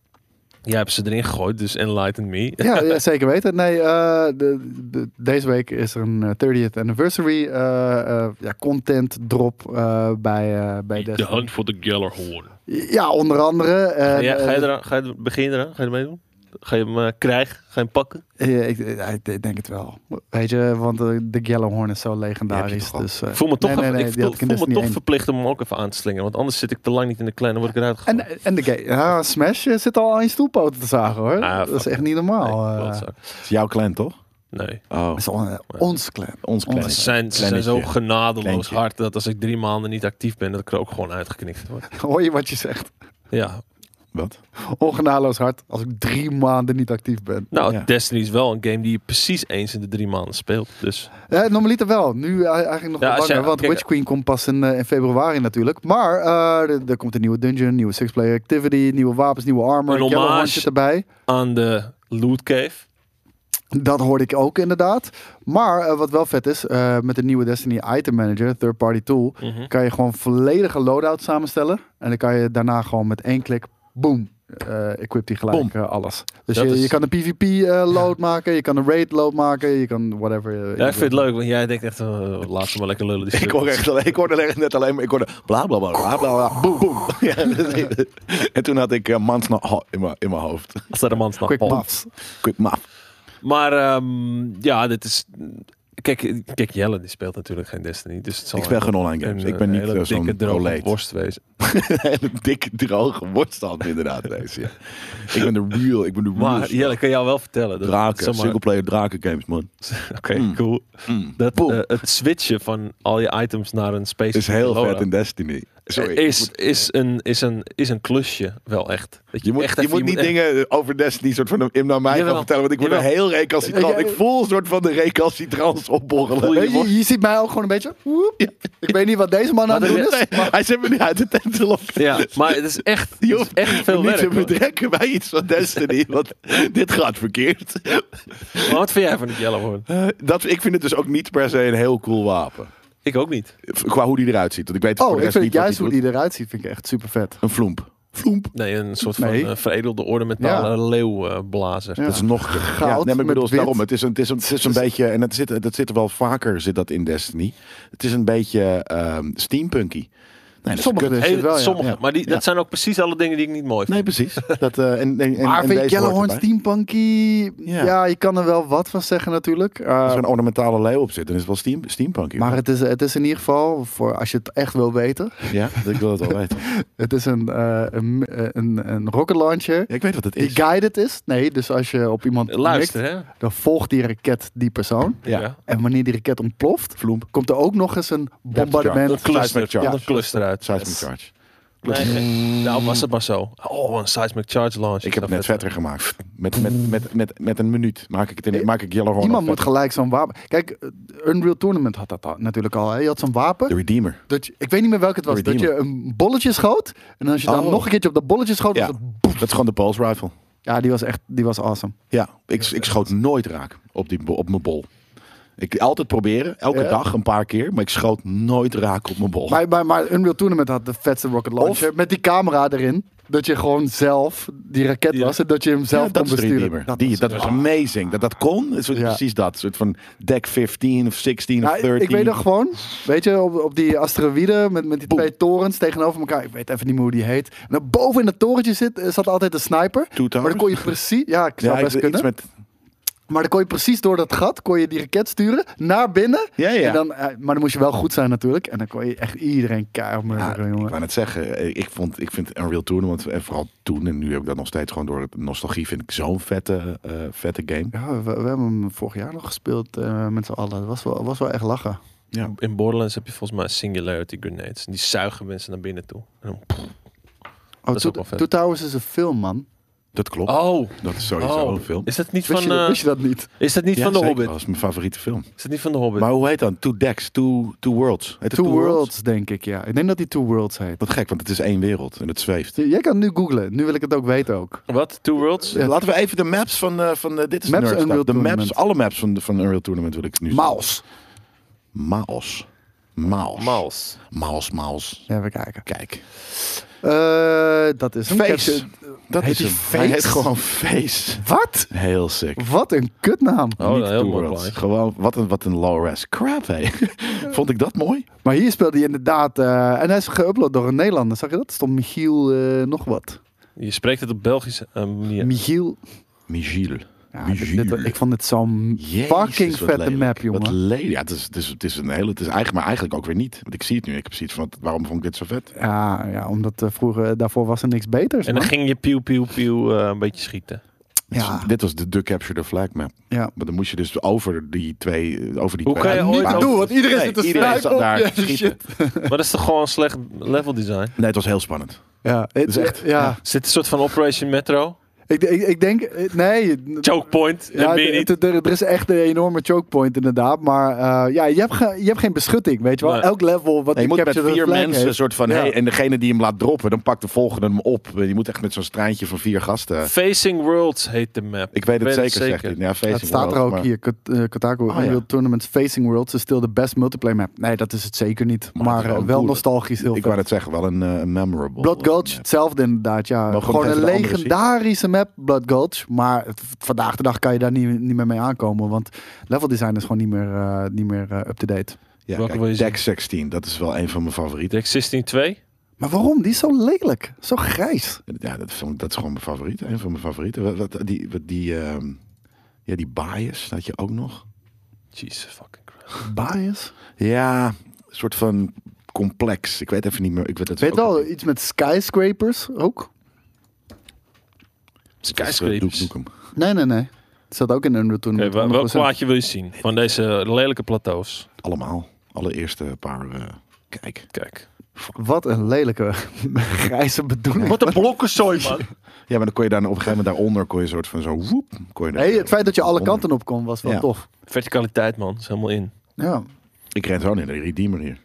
Speaker 1: Jij hebt ze erin gegooid, dus enlighten me.
Speaker 3: Ja, ja, zeker weten. Nee, eh, de, de- deze week is er een eh, 30th anniversary eh, eh, ja, content drop eh, bij, eh, bij
Speaker 1: De
Speaker 3: Destiny.
Speaker 1: hand voor de Gellerhorn.
Speaker 3: Ja, onder andere.
Speaker 1: Ga
Speaker 3: En,
Speaker 1: je, ga je
Speaker 3: eh,
Speaker 1: eraan, ga je, er- begin je eraan? Ga je ermee doen? Ga je hem eh, krijgen? Ga je hem pakken?
Speaker 3: eh, ik, eh, ik denk het wel. Weet je, want eh, de Gellowhorn is zo
Speaker 2: Die heb
Speaker 3: legendarisch.
Speaker 2: je toch al?
Speaker 3: Dus, eh,
Speaker 1: Ik voel me toch,
Speaker 3: nee, nee,
Speaker 1: even-
Speaker 3: nee,
Speaker 1: ik
Speaker 3: die
Speaker 1: voel,
Speaker 3: had ik in
Speaker 1: voel me
Speaker 3: Destiny
Speaker 1: toch
Speaker 3: 1.
Speaker 1: verplicht om hem ook even aan te slingeren. Want anders zit ik te lang niet in de klein en word ik eruit gegooid.
Speaker 3: En, en de game. Ja, Smash eh, zit al aan je stoelpoten te zagen hoor.
Speaker 1: Ah,
Speaker 3: dat is
Speaker 1: fuck.
Speaker 3: echt niet normaal.
Speaker 1: nee,
Speaker 3: eh.
Speaker 1: klootzak.
Speaker 2: Het is jouw clan, toch?
Speaker 1: nee.
Speaker 2: Oh,
Speaker 3: Dat is on- ons clan.
Speaker 2: ons clan.
Speaker 3: Ze
Speaker 1: Ze zijn, ze zijn
Speaker 2: Kleinetje.
Speaker 1: zo genadeloos
Speaker 2: Kleintje.
Speaker 1: hard dat als ik drie maanden niet actief ben, dat ik er ook gewoon uitgeknikt word.
Speaker 3: Hoor je wat je zegt?
Speaker 1: Ja.
Speaker 2: Wat?
Speaker 3: Ongenadeloos hard als ik drie maanden niet actief ben.
Speaker 1: Nou,
Speaker 2: Ja.
Speaker 1: Destiny is wel een game die je precies eens in de drie maanden speelt. Dus
Speaker 3: Eh, normaliter wel. Nu eh, eigenlijk nog
Speaker 1: Ja,
Speaker 3: wat
Speaker 1: als
Speaker 3: langer.
Speaker 1: je-
Speaker 3: want
Speaker 1: kijk-
Speaker 3: Witch Queen komt pas in, eh, in februari natuurlijk. Maar eh, er, er komt een nieuwe dungeon, nieuwe six-player activity, nieuwe wapens, nieuwe armor.
Speaker 1: Een
Speaker 3: Yellow
Speaker 1: hommage.
Speaker 3: Hand zit erbij.
Speaker 1: aan de Loot Cave.
Speaker 3: Dat hoorde ik ook inderdaad. Maar eh, wat wel vet is, eh, met de nieuwe Destiny Item Manager, third party tool,
Speaker 2: Mhm.
Speaker 3: kan je gewoon volledige loadout samenstellen. En dan kan je daarna gewoon met één klik, boom, eh equip die gelijk eh, alles. Dus
Speaker 1: Dat
Speaker 3: je,
Speaker 1: is-
Speaker 3: je kan een PvP eh, load maken, je kan een raid load maken, je kan whatever. eh, je
Speaker 1: Ja, ik
Speaker 3: wilt.
Speaker 1: vind het leuk, want jij denkt echt, eh, laat ze maar lekker lullen. Dus Die
Speaker 2: Ik hoorde, echt, alleen- ik hoorde alleen- net alleen maar, ik hoorde bla bla bla bla bla, bla boem boem. Ja, dus- en toen had ik uh, mans nog ho- in mijn in mijn hoofd.
Speaker 1: Als daar een man snapt.
Speaker 3: Quick
Speaker 1: Oh.
Speaker 3: buffs.
Speaker 2: Quick maf.
Speaker 1: Maar ehm, ja, dit is... Kijk, kijk, Jelle die speelt natuurlijk geen Destiny. Dus het zal
Speaker 2: Ik speel geen online
Speaker 1: een,
Speaker 2: games.
Speaker 1: eh,
Speaker 2: Ik ben niet
Speaker 1: hele
Speaker 2: eh,
Speaker 1: dikke
Speaker 2: zo'n
Speaker 1: droge
Speaker 2: proleet.
Speaker 1: worst wezen.
Speaker 2: Hele dikke droge worststand inderdaad deze. Ja. Ik ben de real, ik ben de real.
Speaker 1: Maar Jelle, ik kan jou wel vertellen. Dat,
Speaker 2: draken, Mm.
Speaker 1: zeg maar-
Speaker 2: singleplayer draken games man.
Speaker 1: Oké, cool. Dat,
Speaker 2: Boom.
Speaker 1: eh, het switchen van al je items naar een space
Speaker 2: Is heel vet in Destiny. Sorry. ik
Speaker 1: Eh, is,
Speaker 2: moet-
Speaker 1: is, een, is, een, is een klusje wel echt. Dat
Speaker 2: je moet,
Speaker 1: echt
Speaker 2: je
Speaker 1: even-
Speaker 2: moet niet
Speaker 1: echt-
Speaker 2: dingen eh, over Destiny soort van hem naar mij gaan
Speaker 1: Jawel.
Speaker 2: vertellen, want ik word er
Speaker 1: Jawel.
Speaker 2: heel recalcitrant.
Speaker 3: Ja, ja.
Speaker 2: Ik voel een soort van de recalcitrance opborrelen.
Speaker 1: Voel
Speaker 3: Weet je, je ziet mij ook gewoon een beetje. woep. Ik weet niet wat deze man aan het doen is.
Speaker 2: Nee, hij zit me niet uit de tent te lokken.
Speaker 1: Ja, maar het is echt, het
Speaker 2: Je
Speaker 1: is
Speaker 2: hoeft
Speaker 1: echt veel
Speaker 2: me niet
Speaker 1: werk.
Speaker 2: te
Speaker 1: hoor.
Speaker 2: betrekken bij iets van Destiny, want dit gaat verkeerd.
Speaker 1: Maar wat vind jij van het Jelle hoor?
Speaker 2: Eh, dat, ik vind het dus ook niet per se een heel cool wapen.
Speaker 1: Ik ook niet.
Speaker 2: Qua hoe die eruit ziet. Want ik weet voor
Speaker 3: Oh,
Speaker 2: de
Speaker 3: ik
Speaker 2: rest
Speaker 3: vind
Speaker 2: niet wat
Speaker 3: juist hoe
Speaker 2: doet.
Speaker 3: die eruit ziet, vind ik echt super vet.
Speaker 2: Een vloemp. Vloemp.
Speaker 1: Nee, een soort van
Speaker 3: Nee.
Speaker 1: eh, veredelde ornamentale
Speaker 3: Ja.
Speaker 1: leeuwblazer.
Speaker 3: Ja.
Speaker 2: Dat is nog
Speaker 3: Goud
Speaker 2: Ja, nee, maar
Speaker 3: met
Speaker 2: ik bedoel, het is
Speaker 3: wit.
Speaker 2: daarom. Het is een, het is een, het is een beetje, en dat zit, dat zit er wel vaker zit dat in Destiny. Het is een beetje ehm, steampunky. Nee, dat is
Speaker 3: Sommige dus.
Speaker 2: kut.
Speaker 3: is het wel, ja.
Speaker 1: sommige,
Speaker 2: Ja.
Speaker 1: maar die, dat
Speaker 2: Ja. zijn
Speaker 1: zijn ook precies alle dingen die ik niet mooi vind.
Speaker 2: Nee, precies. Dat, eh, en, en, en,
Speaker 3: maar
Speaker 2: en
Speaker 3: vind ik
Speaker 2: deze hoort
Speaker 3: Yellowhorn
Speaker 2: erbij.
Speaker 3: Steampunky... Ja.
Speaker 2: Ja.
Speaker 3: je kan er wel wat van zeggen natuurlijk. Eh,
Speaker 2: Als er een ornamentale leeuw op zit, dan is het wel steam, steampunky.
Speaker 3: maar het is, het is in ieder geval, voor als je het echt wil weten...
Speaker 2: Ja, ik wil het wel weten.
Speaker 3: Het is een, eh, een, een, een rocket launcher
Speaker 2: Ja, ik weet wat het
Speaker 3: die
Speaker 2: is.
Speaker 3: guided is. Nee, dus als je op iemand
Speaker 1: Eh, Luister,
Speaker 3: mikt,
Speaker 1: hè?
Speaker 3: dan volgt die raket die persoon.
Speaker 2: Ja.
Speaker 3: En wanneer die raket ontploft,
Speaker 2: Vloemp.
Speaker 3: komt er ook nog eens een bombardement.
Speaker 2: Seismic
Speaker 1: Cluster,
Speaker 2: charge.
Speaker 1: ja. een cluster uit.
Speaker 2: Seismic charge.
Speaker 1: Nee, nee. nou was het maar zo. Oh, een seismic charge launch.
Speaker 2: Ik heb het
Speaker 1: Zou vet
Speaker 2: net vetter gemaakt. Met, met, met, met, met een minuut maak ik, het in, maak ik Yellowhorn
Speaker 3: Eh, Iemand
Speaker 2: nog
Speaker 3: moet gelijk zo'n wapen... Kijk, eh, Unreal Tournament had dat al, natuurlijk al. Hè? Je had zo'n wapen.
Speaker 2: De Redeemer.
Speaker 3: Dat je- ik weet niet meer welke het was. Dat je
Speaker 2: Redeemer.
Speaker 3: een bolletje schoot. En als je dan
Speaker 2: Oh.
Speaker 3: nog een keertje op dat bolletje schoot. was
Speaker 2: Ja,
Speaker 3: het-
Speaker 2: dat is gewoon de Pulse Rifle.
Speaker 3: ja die was echt die was awesome.
Speaker 2: Ja, ik, ik schoot nooit raak op, die, bo- op mijn bol. Ik altijd proberen, elke
Speaker 3: Ja.
Speaker 2: dag een paar keer, maar ik schoot nooit raak op mijn bol.
Speaker 3: Maar, maar, maar Unreal Tournament had de vetste rocket launcher. met die camera erin. Dat je gewoon zelf die raket
Speaker 1: Ja.
Speaker 3: was. En dat je hem
Speaker 2: Ja,
Speaker 3: zelf
Speaker 2: dat
Speaker 3: kon
Speaker 2: is de
Speaker 3: besturen.
Speaker 2: Redeemer. die, dat was amazing. Dat dat kon, is
Speaker 3: Ja.
Speaker 2: precies dat. Een soort van deck 15 of 16 of
Speaker 3: Ja,
Speaker 2: 13.
Speaker 3: ik weet nog gewoon, weet je, op, op die asteroïde met, met die
Speaker 2: Boom.
Speaker 3: twee torens tegenover elkaar. Ik weet even niet meer hoe die heet. En dan boven in dat torentje zit, eh, zat altijd een sniper.
Speaker 2: Two
Speaker 3: Maar dan kon je precies, ja, ik zou
Speaker 2: ja,
Speaker 3: best
Speaker 2: iets
Speaker 3: kunnen.
Speaker 2: met,
Speaker 3: Maar dan kon je precies door dat gat, kon je die raket sturen naar binnen.
Speaker 2: Ja, ja.
Speaker 3: En dan, eh, maar dan moest je wel goed zijn natuurlijk. En dan kon je echt iedereen keihard
Speaker 2: Ja,
Speaker 3: murderen,
Speaker 2: ik
Speaker 3: jongen.
Speaker 2: wou net zeggen, eh, ik, vond, ik vind Unreal Tournament, en vooral toen en nu heb ik dat nog steeds gewoon door de nostalgie, vind ik zo'n vette, eh, vette game.
Speaker 3: Ja, we, we hebben hem vorig jaar nog gespeeld eh, met z'n allen. Dat was wel, was wel echt lachen. Oh,
Speaker 1: In Borderlands heb je volgens mij singularity grenades. En die zuigen mensen naar binnen toe. En dan-
Speaker 3: Oh,
Speaker 1: is
Speaker 3: Two,
Speaker 1: ook wel vet.
Speaker 3: Two Towers is een film, man.
Speaker 2: Dat klopt.
Speaker 1: Oh,
Speaker 2: Dat is sowieso
Speaker 1: Oh.
Speaker 2: een film.
Speaker 1: Is dat niet
Speaker 3: Wist,
Speaker 1: van,
Speaker 3: je,
Speaker 1: eh,
Speaker 3: wist je dat niet?
Speaker 1: is dat niet
Speaker 2: Ja,
Speaker 1: van de
Speaker 2: zeker.
Speaker 1: Hobbit?
Speaker 2: Dat is mijn favoriete film.
Speaker 1: Is dat niet van de Hobbit?
Speaker 2: Maar hoe heet dan? Two Decks, Two, two Worlds. Heet het
Speaker 3: Two worlds, denk ik, ja. Ik denk dat die Two Worlds heet.
Speaker 2: Wat gek, want het is één wereld en het zweeft.
Speaker 3: Jij kan nu googlen. Nu wil ik het ook weten ook.
Speaker 1: Wat? Two Worlds?
Speaker 2: Dus Laten we even de maps van, eh, van eh, dit is
Speaker 3: Maps
Speaker 2: nerd stuff.
Speaker 3: Unreal
Speaker 2: De maps,
Speaker 3: Tournament.
Speaker 2: alle maps van, van Unreal Tournament wil ik nu
Speaker 3: Maus.
Speaker 2: Maals. Maals.
Speaker 1: Maals.
Speaker 2: Maals, Maals.
Speaker 3: Even kijken.
Speaker 2: Kijk.
Speaker 3: Eh, dat is hem.
Speaker 2: Face.
Speaker 3: Kijk, eh,
Speaker 2: Dat
Speaker 3: heet
Speaker 2: is
Speaker 3: die
Speaker 2: hem. Hij heet
Speaker 3: Face?
Speaker 2: gewoon Face.
Speaker 3: Wat?
Speaker 2: Heel sick.
Speaker 3: Wat een kutnaam.
Speaker 1: Oh,
Speaker 2: Niet
Speaker 1: nou, heel
Speaker 2: Two
Speaker 1: mooi
Speaker 2: Worlds.
Speaker 1: plaatje.
Speaker 2: Gewoon, wat een, wat een low-res crap, hé. Vond ik dat mooi?
Speaker 3: Maar hier speelde hij inderdaad... eh, en hij is geüpload door een Nederlander. Zag je dat? Stond Michiel eh, nog wat.
Speaker 1: Je spreekt het op Belgische eh, manier.
Speaker 3: Michiel.
Speaker 2: Michiel.
Speaker 3: Ja, dit-
Speaker 2: Michiel.
Speaker 3: dit- ik vond dit zo'n
Speaker 2: Jezus,
Speaker 3: fucking
Speaker 2: wat
Speaker 3: vette
Speaker 2: lelijk.
Speaker 3: map,
Speaker 2: Wat
Speaker 3: jongen.
Speaker 2: lelijk. Ja, het is, het, is, het is een hele. Het is eigenlijk, maar eigenlijk ook weer niet. Want ik zie het nu. Ik heb zoiets van: waarom vond ik dit zo vet?
Speaker 3: Ja, ja, omdat eh, vroeger, daarvoor was er niks beters.
Speaker 1: En dan
Speaker 3: man.
Speaker 1: ging je pieuw, pieuw, pieuw eh, een beetje schieten.
Speaker 3: Ja.
Speaker 2: Dit was de, de Capture the Flag map.
Speaker 3: Ja.
Speaker 2: Maar dan moest je dus over die twee... eh, Over die
Speaker 1: Hoe
Speaker 2: twee
Speaker 1: kan je ooit
Speaker 3: Niet
Speaker 1: over-
Speaker 3: doen, want iedereen
Speaker 2: Nee,
Speaker 3: zit te
Speaker 2: iedereen
Speaker 3: snuiven
Speaker 2: zat
Speaker 3: op
Speaker 2: daar
Speaker 3: je.
Speaker 2: te schieten.
Speaker 3: Shit.
Speaker 1: Maar dat is toch gewoon slecht level design?
Speaker 2: Nee, het was heel spannend.
Speaker 3: Ja, het is echt. Ja,
Speaker 1: Zit een soort van Operation Metro?
Speaker 3: ik, ik, ik denk. eh, Nee.
Speaker 1: Choke point?
Speaker 3: Ja,
Speaker 1: en weer niet.
Speaker 3: het- het- er, er is echt een enorme chokepoint inderdaad. Maar eh, ja, je, hebt ge- je hebt geen beschutting, weet je wel.
Speaker 1: Nee.
Speaker 3: Elk level
Speaker 2: Nee, je
Speaker 3: wat die
Speaker 2: moet met
Speaker 3: Capture the
Speaker 2: vier
Speaker 3: Flag
Speaker 2: mensen een
Speaker 3: heeft-
Speaker 2: soort van...
Speaker 3: Ja.
Speaker 2: Hey, en degene die hem laat droppen, dan pakt de volgende hem op. Je moet echt met zo'n straantje van vier gasten...
Speaker 1: Facing Worlds heet de map.
Speaker 2: Ik weet het zeker, zegt hij. Ja,
Speaker 3: Ja,
Speaker 2: Facing
Speaker 3: het staat er
Speaker 2: World,
Speaker 3: ook
Speaker 2: maar- Oh,
Speaker 3: hier. Kat- eh, Kotaku
Speaker 2: ja.
Speaker 3: Unreal Tournament Facing Worlds is still the best multiplayer map. Nee, dat is het zeker niet.
Speaker 2: Maar
Speaker 3: Maar,
Speaker 2: het is
Speaker 3: eh,
Speaker 2: wel
Speaker 3: wel
Speaker 2: cool.
Speaker 3: nostalgisch heel
Speaker 2: Ik
Speaker 3: vet.
Speaker 2: wou het zeggen, wel een eh, een memorable.
Speaker 3: Blood Gulch,
Speaker 2: eh,
Speaker 3: hetzelfde inderdaad, ja.
Speaker 2: Mogen we
Speaker 3: Gewoon
Speaker 2: nog
Speaker 3: een
Speaker 2: even de andere zien?
Speaker 3: legendarische map, Blood Gulch. Maar het- vandaag de dag kan je daar niet, niet meer mee aankomen. Want level design is gewoon niet meer, eh, niet meer eh, up-to-date.
Speaker 2: Ja,
Speaker 1: Welke
Speaker 2: kijk,
Speaker 1: wil je
Speaker 2: Deck 16, dat is wel een van mijn favorieten.
Speaker 1: Deck 16-2?
Speaker 3: Maar waarom? Die is zo lelijk. Zo grijs.
Speaker 2: Ja, dat, vond ik- dat is gewoon mijn favoriet. Een van mijn favorieten. Wat, wat- die, wat, die, ehm, ja, die bias had je ook nog.
Speaker 1: Jesus fucking Christ.
Speaker 3: Bias.
Speaker 2: Ja, een soort van complex. Ik weet even niet meer. Ik weet, dat
Speaker 3: Ik
Speaker 2: is
Speaker 3: weet
Speaker 2: ook
Speaker 3: wel,
Speaker 2: een-
Speaker 3: iets met skyscrapers ook.
Speaker 2: dat is, eh,
Speaker 1: Skyscrapers.
Speaker 2: Duke Nukem.
Speaker 3: Nee, nee, nee. Het zat ook in Unreal
Speaker 1: Oké,
Speaker 3: Tournament.
Speaker 1: wel- welk
Speaker 3: 100%.
Speaker 1: plaatje wil je zien? Van deze lelijke plateaus.
Speaker 2: Allemaal. Allereerste paar. eh, kijk.
Speaker 1: Kijk.
Speaker 3: Wat een lelijke grijze bedoeling.
Speaker 1: Wat een blokkenzooi, man.
Speaker 2: Ja, maar dan kon je daar op een gegeven moment daaronder kon je een soort van zo woep. Kon je daar-
Speaker 3: Nee, het feit dat je alle
Speaker 2: onder.
Speaker 3: kanten op kon was wel
Speaker 2: Ja.
Speaker 3: tof.
Speaker 1: Verticaliteit, man. Is helemaal in.
Speaker 3: Ja.
Speaker 2: Ik ren zo naar de Redeemer hier.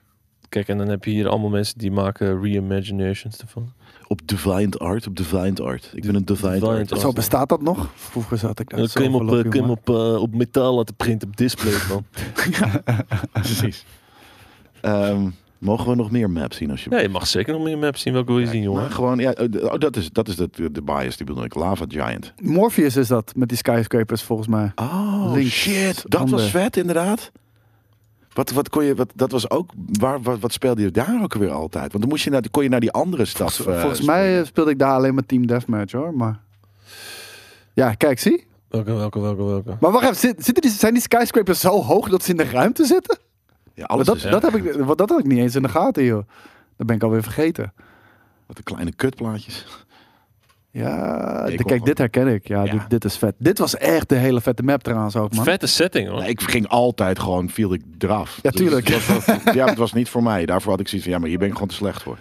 Speaker 1: Kijk, en dan heb je hier allemaal mensen die maken reimaginations ervan.
Speaker 2: Op Defiant Art, op Defiant Art. Ik ben een Defiant
Speaker 1: Defiant
Speaker 2: Art.
Speaker 1: Art.
Speaker 3: Zo bestaat dat nog? Vroeger zat ik daar
Speaker 1: Dan
Speaker 3: zo
Speaker 1: kun je hem op,
Speaker 3: verloren,
Speaker 1: eh, kun je hem
Speaker 3: jongen.
Speaker 1: op, eh, op metaal laten printen op display, man.
Speaker 2: Precies. Ehm, mogen we nog meer maps zien als je
Speaker 1: ja, je mag zeker nog meer maps zien. Welke wil je zien,
Speaker 2: Maar
Speaker 1: jongen?
Speaker 2: gewoon, ja, oh, dat is, dat is de, de bias die bedoel ik. Lava Giant.
Speaker 3: Morpheus is dat, met die skyscrapers volgens mij.
Speaker 2: Oh,
Speaker 3: Links,
Speaker 2: shit. Dat
Speaker 3: handen.
Speaker 2: was vet, inderdaad. Wat, wat kon je, wat, dat was ook, waar, wat, wat speelde je daar ook weer altijd? Want dan moest je naar, die- kon je naar die andere stad. eh,
Speaker 3: volgens mij eh, speelde ik daar alleen maar Team Deathmatch hoor, maar... Ja, kijk, zie.
Speaker 1: Welke, welke, welke, welke?
Speaker 3: Maar wacht even, zit- zitten die, zijn die skyscrapers zo hoog dat ze in de ruimte zitten?
Speaker 2: Ja, alles
Speaker 3: dat,
Speaker 2: is-
Speaker 3: dat, heb ik, wat, dat had ik niet eens in de gaten, joh. Dat ben ik alweer vergeten.
Speaker 2: Wat de kleine kutplaatjes.
Speaker 3: Ja,
Speaker 2: Ik
Speaker 3: de-
Speaker 2: hoor
Speaker 3: kijk, dit herken ik. Ja,
Speaker 2: Ja.
Speaker 3: Dit, dit is vet. Dit was echt de hele vette map trouwens ook, man.
Speaker 1: Vette setting, hoor.
Speaker 2: Nee, ik ging altijd gewoon, viel ik eraf.
Speaker 3: Ja,
Speaker 2: Dus
Speaker 3: tuurlijk.
Speaker 2: het was wel- ja, het was niet voor mij. Daarvoor had ik zoiets van, ja, maar hier ben ik gewoon te slecht voor.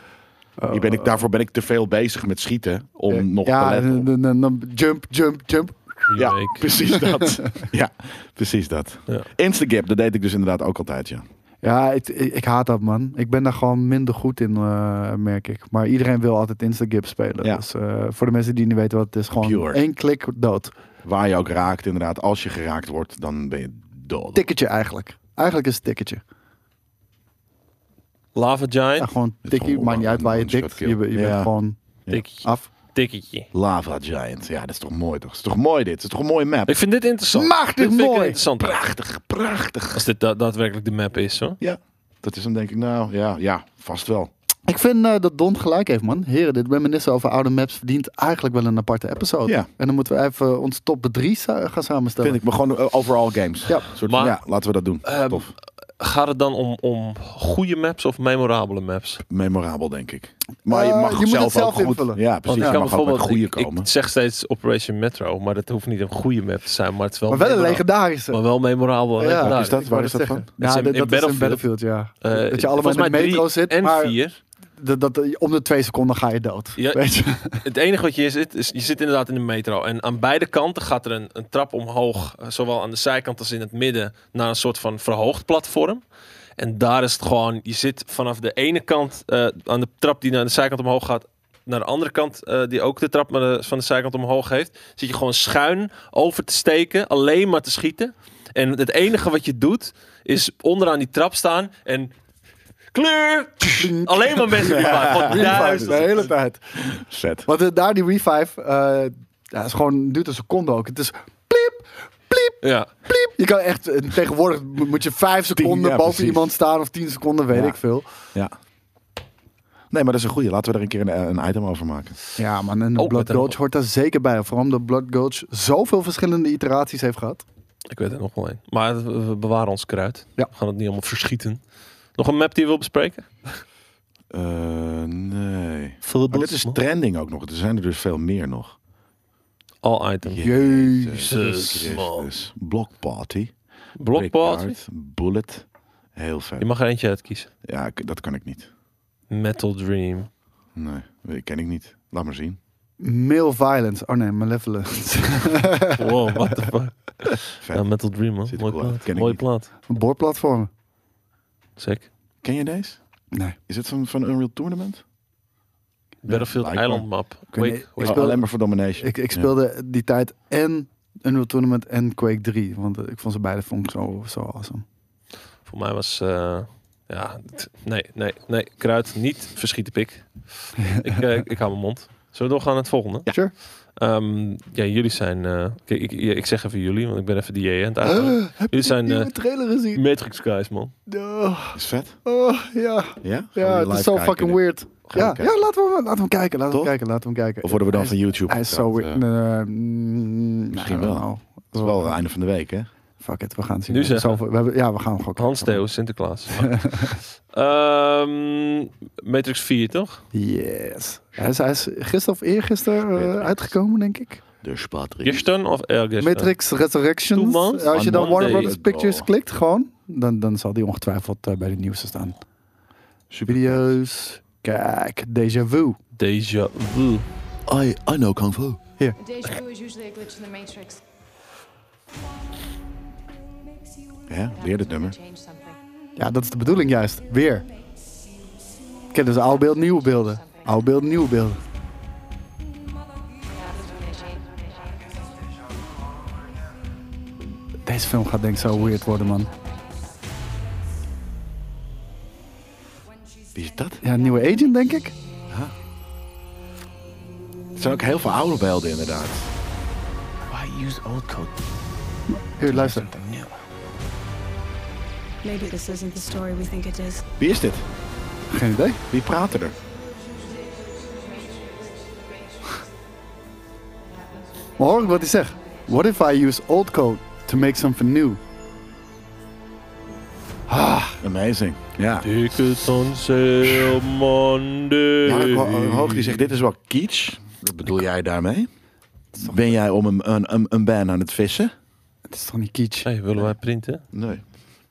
Speaker 2: Hier ben ik, daarvoor ben ik te veel bezig met schieten om nog te
Speaker 3: Oh, ja,
Speaker 2: letten. op-
Speaker 3: en- en- en dan jump, jump, jump.
Speaker 2: Ja,
Speaker 1: Remake.
Speaker 2: precies dat. ja, precies dat.
Speaker 1: Ja.
Speaker 2: Instagap, dat deed ik dus inderdaad ook altijd, ja.
Speaker 3: Ja, ik, ik, ik haat dat, man. Ik ben daar gewoon minder goed in, eh, merk ik. Maar iedereen wil altijd Instagip spelen.
Speaker 2: Ja.
Speaker 3: Dus eh, voor de mensen die niet weten wat het is, gewoon
Speaker 2: Pure.
Speaker 3: één klik dood.
Speaker 2: Waar je ook raakt, inderdaad. Als je geraakt wordt, dan ben je dood.
Speaker 3: Ticketje eigenlijk. Eigenlijk is het ticketje.
Speaker 1: Lava Giant.
Speaker 3: Ja, gewoon
Speaker 2: is
Speaker 3: tikkie,
Speaker 2: gewoon
Speaker 3: maakt niet uit waar je
Speaker 2: one-shot
Speaker 3: tikt.
Speaker 2: kill.
Speaker 3: Je, be- je
Speaker 2: Ja.
Speaker 3: bent gewoon
Speaker 1: Tikketje.
Speaker 3: af.
Speaker 1: Tikketje.
Speaker 2: Lava Giant. Ja, dat is toch mooi, toch? Het is toch mooi, dit? Het is toch een mooie map?
Speaker 1: Ik vind dit interessant.
Speaker 3: Machtig
Speaker 1: dit vind ik
Speaker 3: mooi.
Speaker 1: een interessant.
Speaker 2: Prachtig, prachtig.
Speaker 1: Als dit da- daadwerkelijk de map is, hoor.
Speaker 2: Ja, dat is hem denk ik. Nou, ja, ja vast wel.
Speaker 3: Ik vind eh, dat Don gelijk heeft, man. Heren, dit reminiscen over oude maps verdient eigenlijk wel een aparte episode.
Speaker 2: Ja.
Speaker 3: En dan moeten we even onze top 3 gaan samenstellen.
Speaker 2: Vind ik, maar gewoon eh, overall games.
Speaker 3: Ja.
Speaker 2: Een soort
Speaker 1: Maar-
Speaker 2: van, ja, laten we dat doen.
Speaker 1: Ehm,
Speaker 2: Tof.
Speaker 1: Gaat het dan om, om goede maps of memorabele maps?
Speaker 2: Memorabel, denk ik. Maar je
Speaker 3: Eh,
Speaker 2: mag
Speaker 3: je
Speaker 2: ook
Speaker 3: moet
Speaker 2: zelf,
Speaker 3: het zelf
Speaker 2: ook goed...
Speaker 3: invullen.
Speaker 2: Ja,
Speaker 1: Want
Speaker 2: precies.
Speaker 1: ik
Speaker 2: je
Speaker 1: kan
Speaker 2: mag ook met
Speaker 1: bijvoorbeeld,
Speaker 2: goede
Speaker 1: ik,
Speaker 2: komen.
Speaker 1: ik zeg steeds Operation Metro, maar dat hoeft niet een goede map te zijn, maar het is wel,
Speaker 3: maar wel een
Speaker 1: memorabel.
Speaker 3: legendarische.
Speaker 1: Maar wel memorabel.
Speaker 3: Ja.
Speaker 1: legendarisch.
Speaker 2: Waar is dat,
Speaker 3: Ik
Speaker 2: waar
Speaker 3: wou
Speaker 2: is
Speaker 3: dat
Speaker 2: dat van?
Speaker 3: zeggen. Ja,
Speaker 1: Dat is in-
Speaker 3: dat
Speaker 1: in
Speaker 3: dat is in
Speaker 1: Battlefield.
Speaker 3: Battlefield, ja.
Speaker 1: Eh,
Speaker 3: dat je allemaal
Speaker 1: volgens
Speaker 3: in de
Speaker 1: mij
Speaker 3: metro
Speaker 1: drie
Speaker 3: zit,
Speaker 1: En
Speaker 3: maar
Speaker 1: vier.
Speaker 3: dat, dat, om de twee seconden ga je dood.
Speaker 1: Ja.
Speaker 3: Weet je?
Speaker 1: Het enige wat je zit, is je zit inderdaad in de metro. En aan beide kanten gaat er een, een trap omhoog, eh, zowel aan de zijkant als in het midden, naar een soort van verhoogd platform. En daar is het gewoon, je zit vanaf de ene kant eh, aan de trap die naar de zijkant omhoog gaat, naar de andere kant, eh, die ook de trap naar de- van de zijkant omhoog heeft, zit je gewoon schuin over te steken, alleen maar te schieten. En het enige wat je doet, is onderaan die trap staan en kleur! Alleen maar mensen die waren. Van
Speaker 3: Revive de
Speaker 1: duizend.
Speaker 3: hele tijd.
Speaker 2: Zet.
Speaker 3: Want eh, daar die revive, eh ja, is gewoon, duurt een seconde ook. Het is pliep, pliep,
Speaker 1: Ja.
Speaker 3: pliep. Je kan echt, eh, tegenwoordig mo- moet je vijf seconden
Speaker 2: ja,
Speaker 3: boven
Speaker 2: precies.
Speaker 3: iemand staan of tien seconden, weet
Speaker 2: Ja.
Speaker 3: ik veel.
Speaker 2: Ja. Nee, maar dat is een goeie. Laten we er een keer een, een item over maken.
Speaker 3: Ja man, en de
Speaker 1: Ook Oh, met
Speaker 3: Blood
Speaker 1: een-
Speaker 3: Gulch hoort daar zeker bij. Vooral omdat Blood Gulch zoveel verschillende iteraties heeft gehad.
Speaker 1: Ik weet er nog wel een. Maar we we bewaren ons kruid.
Speaker 3: Ja.
Speaker 1: We gaan het niet allemaal verschieten. Nog een map die je wil bespreken?
Speaker 2: Eh, nee.
Speaker 1: Full Oh,
Speaker 2: Maar dit is trending ook nog. Dus, Er zijn er dus veel meer nog.
Speaker 1: all item.
Speaker 2: Jezus.
Speaker 1: Christus.
Speaker 2: dus Block Party.
Speaker 1: Block party.
Speaker 2: Brickyard, Bullet. Heel vet.
Speaker 1: Je mag er eentje uitkiezen.
Speaker 2: Ja, ik- dat kan ik niet.
Speaker 1: Metal Dream.
Speaker 2: Nee, dat ken ik niet. Laat maar zien.
Speaker 3: Male violence. Oh nee, malevolence.
Speaker 1: Wow, what the fuck.
Speaker 2: Vet.
Speaker 1: Ja, Metal Dream, man.
Speaker 2: Ziet er
Speaker 1: Mooi
Speaker 2: cool uit.
Speaker 1: plaat.
Speaker 2: Ken ik
Speaker 1: Mooie
Speaker 2: niet.
Speaker 1: plaat.
Speaker 3: Boorplatform.
Speaker 1: Zeker.
Speaker 2: Ken je deze?
Speaker 3: Nee.
Speaker 2: Is het van, van Unreal Tournament?
Speaker 1: Battlefield
Speaker 2: blijkbaar.
Speaker 1: Island Map.
Speaker 3: weet
Speaker 1: Wake,
Speaker 3: niet-
Speaker 2: Ik
Speaker 3: Ik
Speaker 1: wake.
Speaker 3: speel-
Speaker 2: Oh, alleen maar voor Domination.
Speaker 3: Ik, ik
Speaker 2: Ja.
Speaker 3: speelde die tijd en Unreal Tournament en Quake 3. Want eh, ik vond ze beide vond ik zo, zo awesome.
Speaker 1: Voor mij was... eh, ja, t- nee, nee, nee. Kruid, niet verschieten pik. ik, eh, ik hou mijn mond. Zullen we doorgaan naar het volgende?
Speaker 2: Ja.
Speaker 3: Sure.
Speaker 1: Ehm, ja, jullie zijn... eh, kijk, ik, ik, ik zeg even jullie, want ik ben even die J aan het uithalen. Jullie zijn
Speaker 3: nieuwe
Speaker 1: eh,
Speaker 3: trailer gezien?
Speaker 1: Matrix guys, man.
Speaker 3: Oh,
Speaker 2: Is vet?
Speaker 3: oh, ja,
Speaker 2: Ja? Mm. Gaan we
Speaker 3: ja
Speaker 2: die
Speaker 3: het
Speaker 2: live
Speaker 3: is zo
Speaker 2: kijken?
Speaker 3: fucking weird.
Speaker 2: Gaan we
Speaker 3: Ja,
Speaker 2: kijken.
Speaker 3: ja laten, we, laten we hem kijken, laten we
Speaker 2: Toch?
Speaker 3: hem kijken, laten we hem kijken.
Speaker 2: Of worden we dan
Speaker 3: Hij
Speaker 2: van YouTube?
Speaker 3: Hij is zo
Speaker 2: geteld?
Speaker 3: weird.
Speaker 2: Eh,
Speaker 3: Eh, mm,
Speaker 2: Misschien
Speaker 3: I don't
Speaker 2: wel.
Speaker 3: know.
Speaker 2: Dat is wel het einde van de week, hè?
Speaker 3: Oh, Fuck it, we gaan het zien.
Speaker 1: Nu
Speaker 3: We hebben
Speaker 1: zeggen.
Speaker 3: zoveel- we hebben, ja, we gaan hem gewoon
Speaker 1: Hans
Speaker 3: kijken.
Speaker 1: Theo, Sinterklaas. Ehm, Matrix 4, toch?
Speaker 3: Yes. Hij is, hij is gisteren of eergisteren eh,
Speaker 2: Matrix.
Speaker 3: uitgekomen, denk ik.
Speaker 2: Dus Patrick.
Speaker 1: Gisteren of ergens?
Speaker 3: Matrix Resurrections.
Speaker 1: Two months?
Speaker 3: Ja, als je
Speaker 2: On
Speaker 3: dan Warner
Speaker 1: Monday.
Speaker 3: Brothers Pictures
Speaker 2: Bro.
Speaker 3: klikt, gewoon, dan, dan zal die ongetwijfeld eh, bij de nieuwste staan.
Speaker 2: Super.
Speaker 3: Video's. Kijk, déjà vu.
Speaker 1: Deja vu.
Speaker 2: I, I know Kung Fu.
Speaker 5: Deja vu is usually a glitch in the matrix.
Speaker 2: Ja, weer dit nummer.
Speaker 5: Change something.
Speaker 3: Ja, dat is de bedoeling juist. Weer. Kennen ze oude beeld, nieuwe beelden. Oude beeld, nieuwe beelden. Deze film gaat denk ik zo weird worden, man.
Speaker 2: Wie is dat?
Speaker 3: Ja, een nieuwe agent, denk ik.
Speaker 2: Het zijn ook heel veel oude beelden, inderdaad.
Speaker 6: Why use old code?
Speaker 3: Hier, luister.
Speaker 6: Something new.
Speaker 7: Maybe this isn't the story we think it is.
Speaker 2: Wie is dit?
Speaker 3: Geen idee.
Speaker 2: Wie praat er?
Speaker 3: Maar hoor ik wat hij zegt. What if I use old code to make something new?
Speaker 2: Amazing. Ja.
Speaker 1: Tickets on sale Monday.
Speaker 2: Maar Ho- Hoog die zegt, dit is wel kitsch. Wat bedoel jij daarmee? Ben jij om een, een, een, een ban aan het vissen?
Speaker 3: Het is toch niet kitsch?
Speaker 1: Hey, willen wij printen?
Speaker 2: Nee.